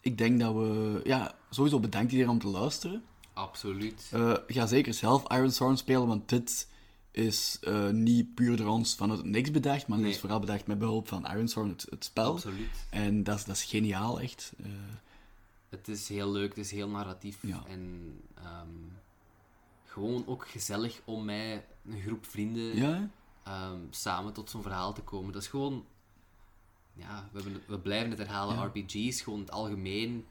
S2: ik denk dat we, ja, sowieso bedankt iedereen om te luisteren.
S1: Absoluut.
S2: Eh, ga zeker zelf Iron Storm spelen, want dit is eh, niet puur door ons vanuit het niks bedacht, maar het
S1: Nee.
S2: is vooral bedacht met behulp van Iron Storm, het, het spel.
S1: Absoluut.
S2: En dat is, dat is geniaal, echt. Eh,
S1: Het is heel leuk, het is heel narratief.
S2: Ja.
S1: En ehm, gewoon ook gezellig om mij, een groep vrienden,
S2: ja, hè?
S1: ehm, samen tot zo'n verhaal te komen. Dat is gewoon... Ja, we, hebben, het- we blijven het herhalen.
S2: Ja.
S1: RPG's, gewoon in het algemeen.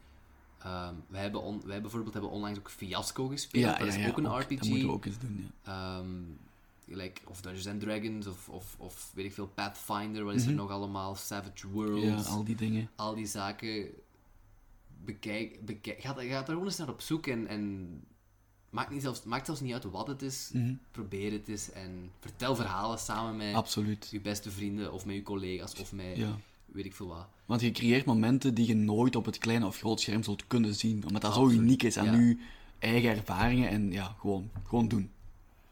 S1: Ehm, wij, hebben on- wij bijvoorbeeld hebben onlangs ook Fiasco gespeeld.
S2: ja,
S1: dat
S2: ja,
S1: is
S2: ja,
S1: ook een
S2: Dat moeten we
S1: RPG.
S2: ook eens doen, ja.
S1: Ehm, gelijk, of Dungeons and Dragons, of, of, of weet ik veel, Pathfinder, wat is er nog allemaal? Savage Worlds
S2: Mhm. Ja, al die dingen.
S1: al die zaken bekijk, bekijk ga, ga daar gewoon eens naar op zoek en, en maakt, niet zelfs, maakt zelfs niet uit wat het is,
S2: Mhm.
S1: probeer het eens en vertel verhalen samen met
S2: Absoluut.
S1: je beste vrienden of met je collega's of met
S2: Ja.
S1: weet ik veel wat.
S2: Want je creëert momenten die je nooit op het kleine of groot scherm zult kunnen zien. Omdat dat zo uniek is aan
S1: ja.
S2: uw eigen ervaringen. En ja, gewoon, gewoon doen.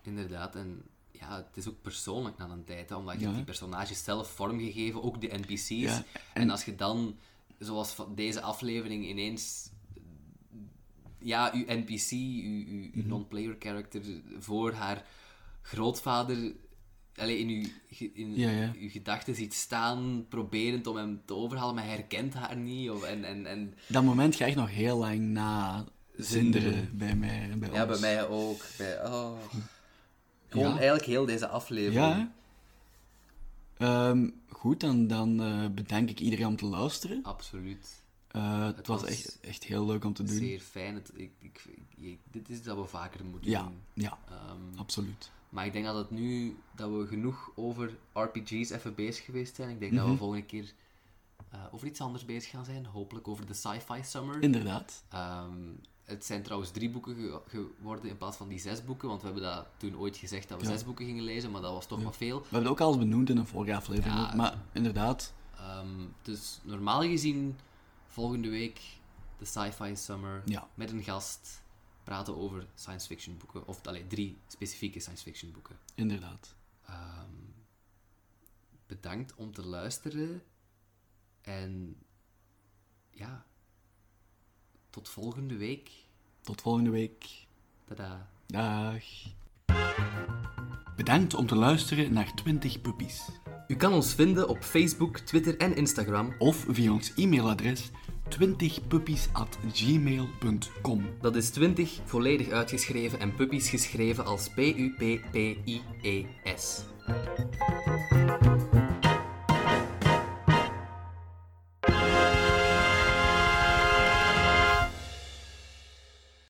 S1: Inderdaad, en ja, het is ook persoonlijk na een tijd, hè, omdat je
S2: Ja,
S1: hebt
S2: hè.
S1: die personages zelf vormgegeven, ook de NPC's.
S2: Ja,
S1: en... als je dan, zoals van deze aflevering, ineens ja, je NPC, je, je-
S2: Mhm.
S1: je non-player character, voor haar grootvader allee, in, uw, ge- in
S2: Ja, ja.
S1: uw gedachten ziet staan, proberend om hem te overhalen, maar hij herkent haar niet. Of, en, en, en
S2: Dat moment ga ik nog heel lang na zinderen bij mij en bij
S1: Ja, bij
S2: ons.
S1: mij ook. Bij, oh. Gewoon
S2: Ja.
S1: eigenlijk heel deze aflevering.
S2: Ja, hè? Ehm, goed, dan, dan eh, bedank ik iedereen om te luisteren.
S1: Absoluut.
S2: Eh, het, was,
S1: was
S2: echt, echt heel leuk om te doen.
S1: Zeer fijn. Het, ik, ik, ik- dit is dat we vaker moeten
S2: Ja,
S1: doen.
S2: ja,
S1: Ehm,
S2: absoluut.
S1: Maar ik denk dat het nu dat we genoeg over RPG's even bezig geweest zijn. Ik denk dat
S2: Mhm.
S1: we volgende keer eh, over iets anders bezig gaan zijn. Hopelijk over de Sci-Fi Summer.
S2: Inderdaad.
S1: Ehm, het zijn trouwens drie boeken ge- geworden in plaats van die zes boeken. Want we hebben dat toen ooit gezegd dat we
S2: Ja.
S1: zes boeken gingen lezen, maar dat was toch wat veel.
S2: We hebben het ook al eens benoemd in een vorige aflevering.
S1: Ja.
S2: Maar inderdaad,
S1: Ehm, dus normaal gezien volgende week de Sci-Fi Summer
S2: Ja.
S1: met een gast praten over science fiction boeken. Of allee, drie specifieke science fiction boeken.
S2: inderdaad.
S1: Ehm, bedankt om te luisteren. En ja, tot volgende week.
S2: Tot volgende week.
S1: Tada.
S2: Dag. Bedankt om te luisteren naar 20 Puppies.
S1: U kan ons vinden op Facebook, Twitter en Instagram.
S2: Of via ons e-mailadres 20puppies.gmail.com
S1: Dat is 20 volledig uitgeschreven en E puppies geschreven als P-U-P-P-I-E-S.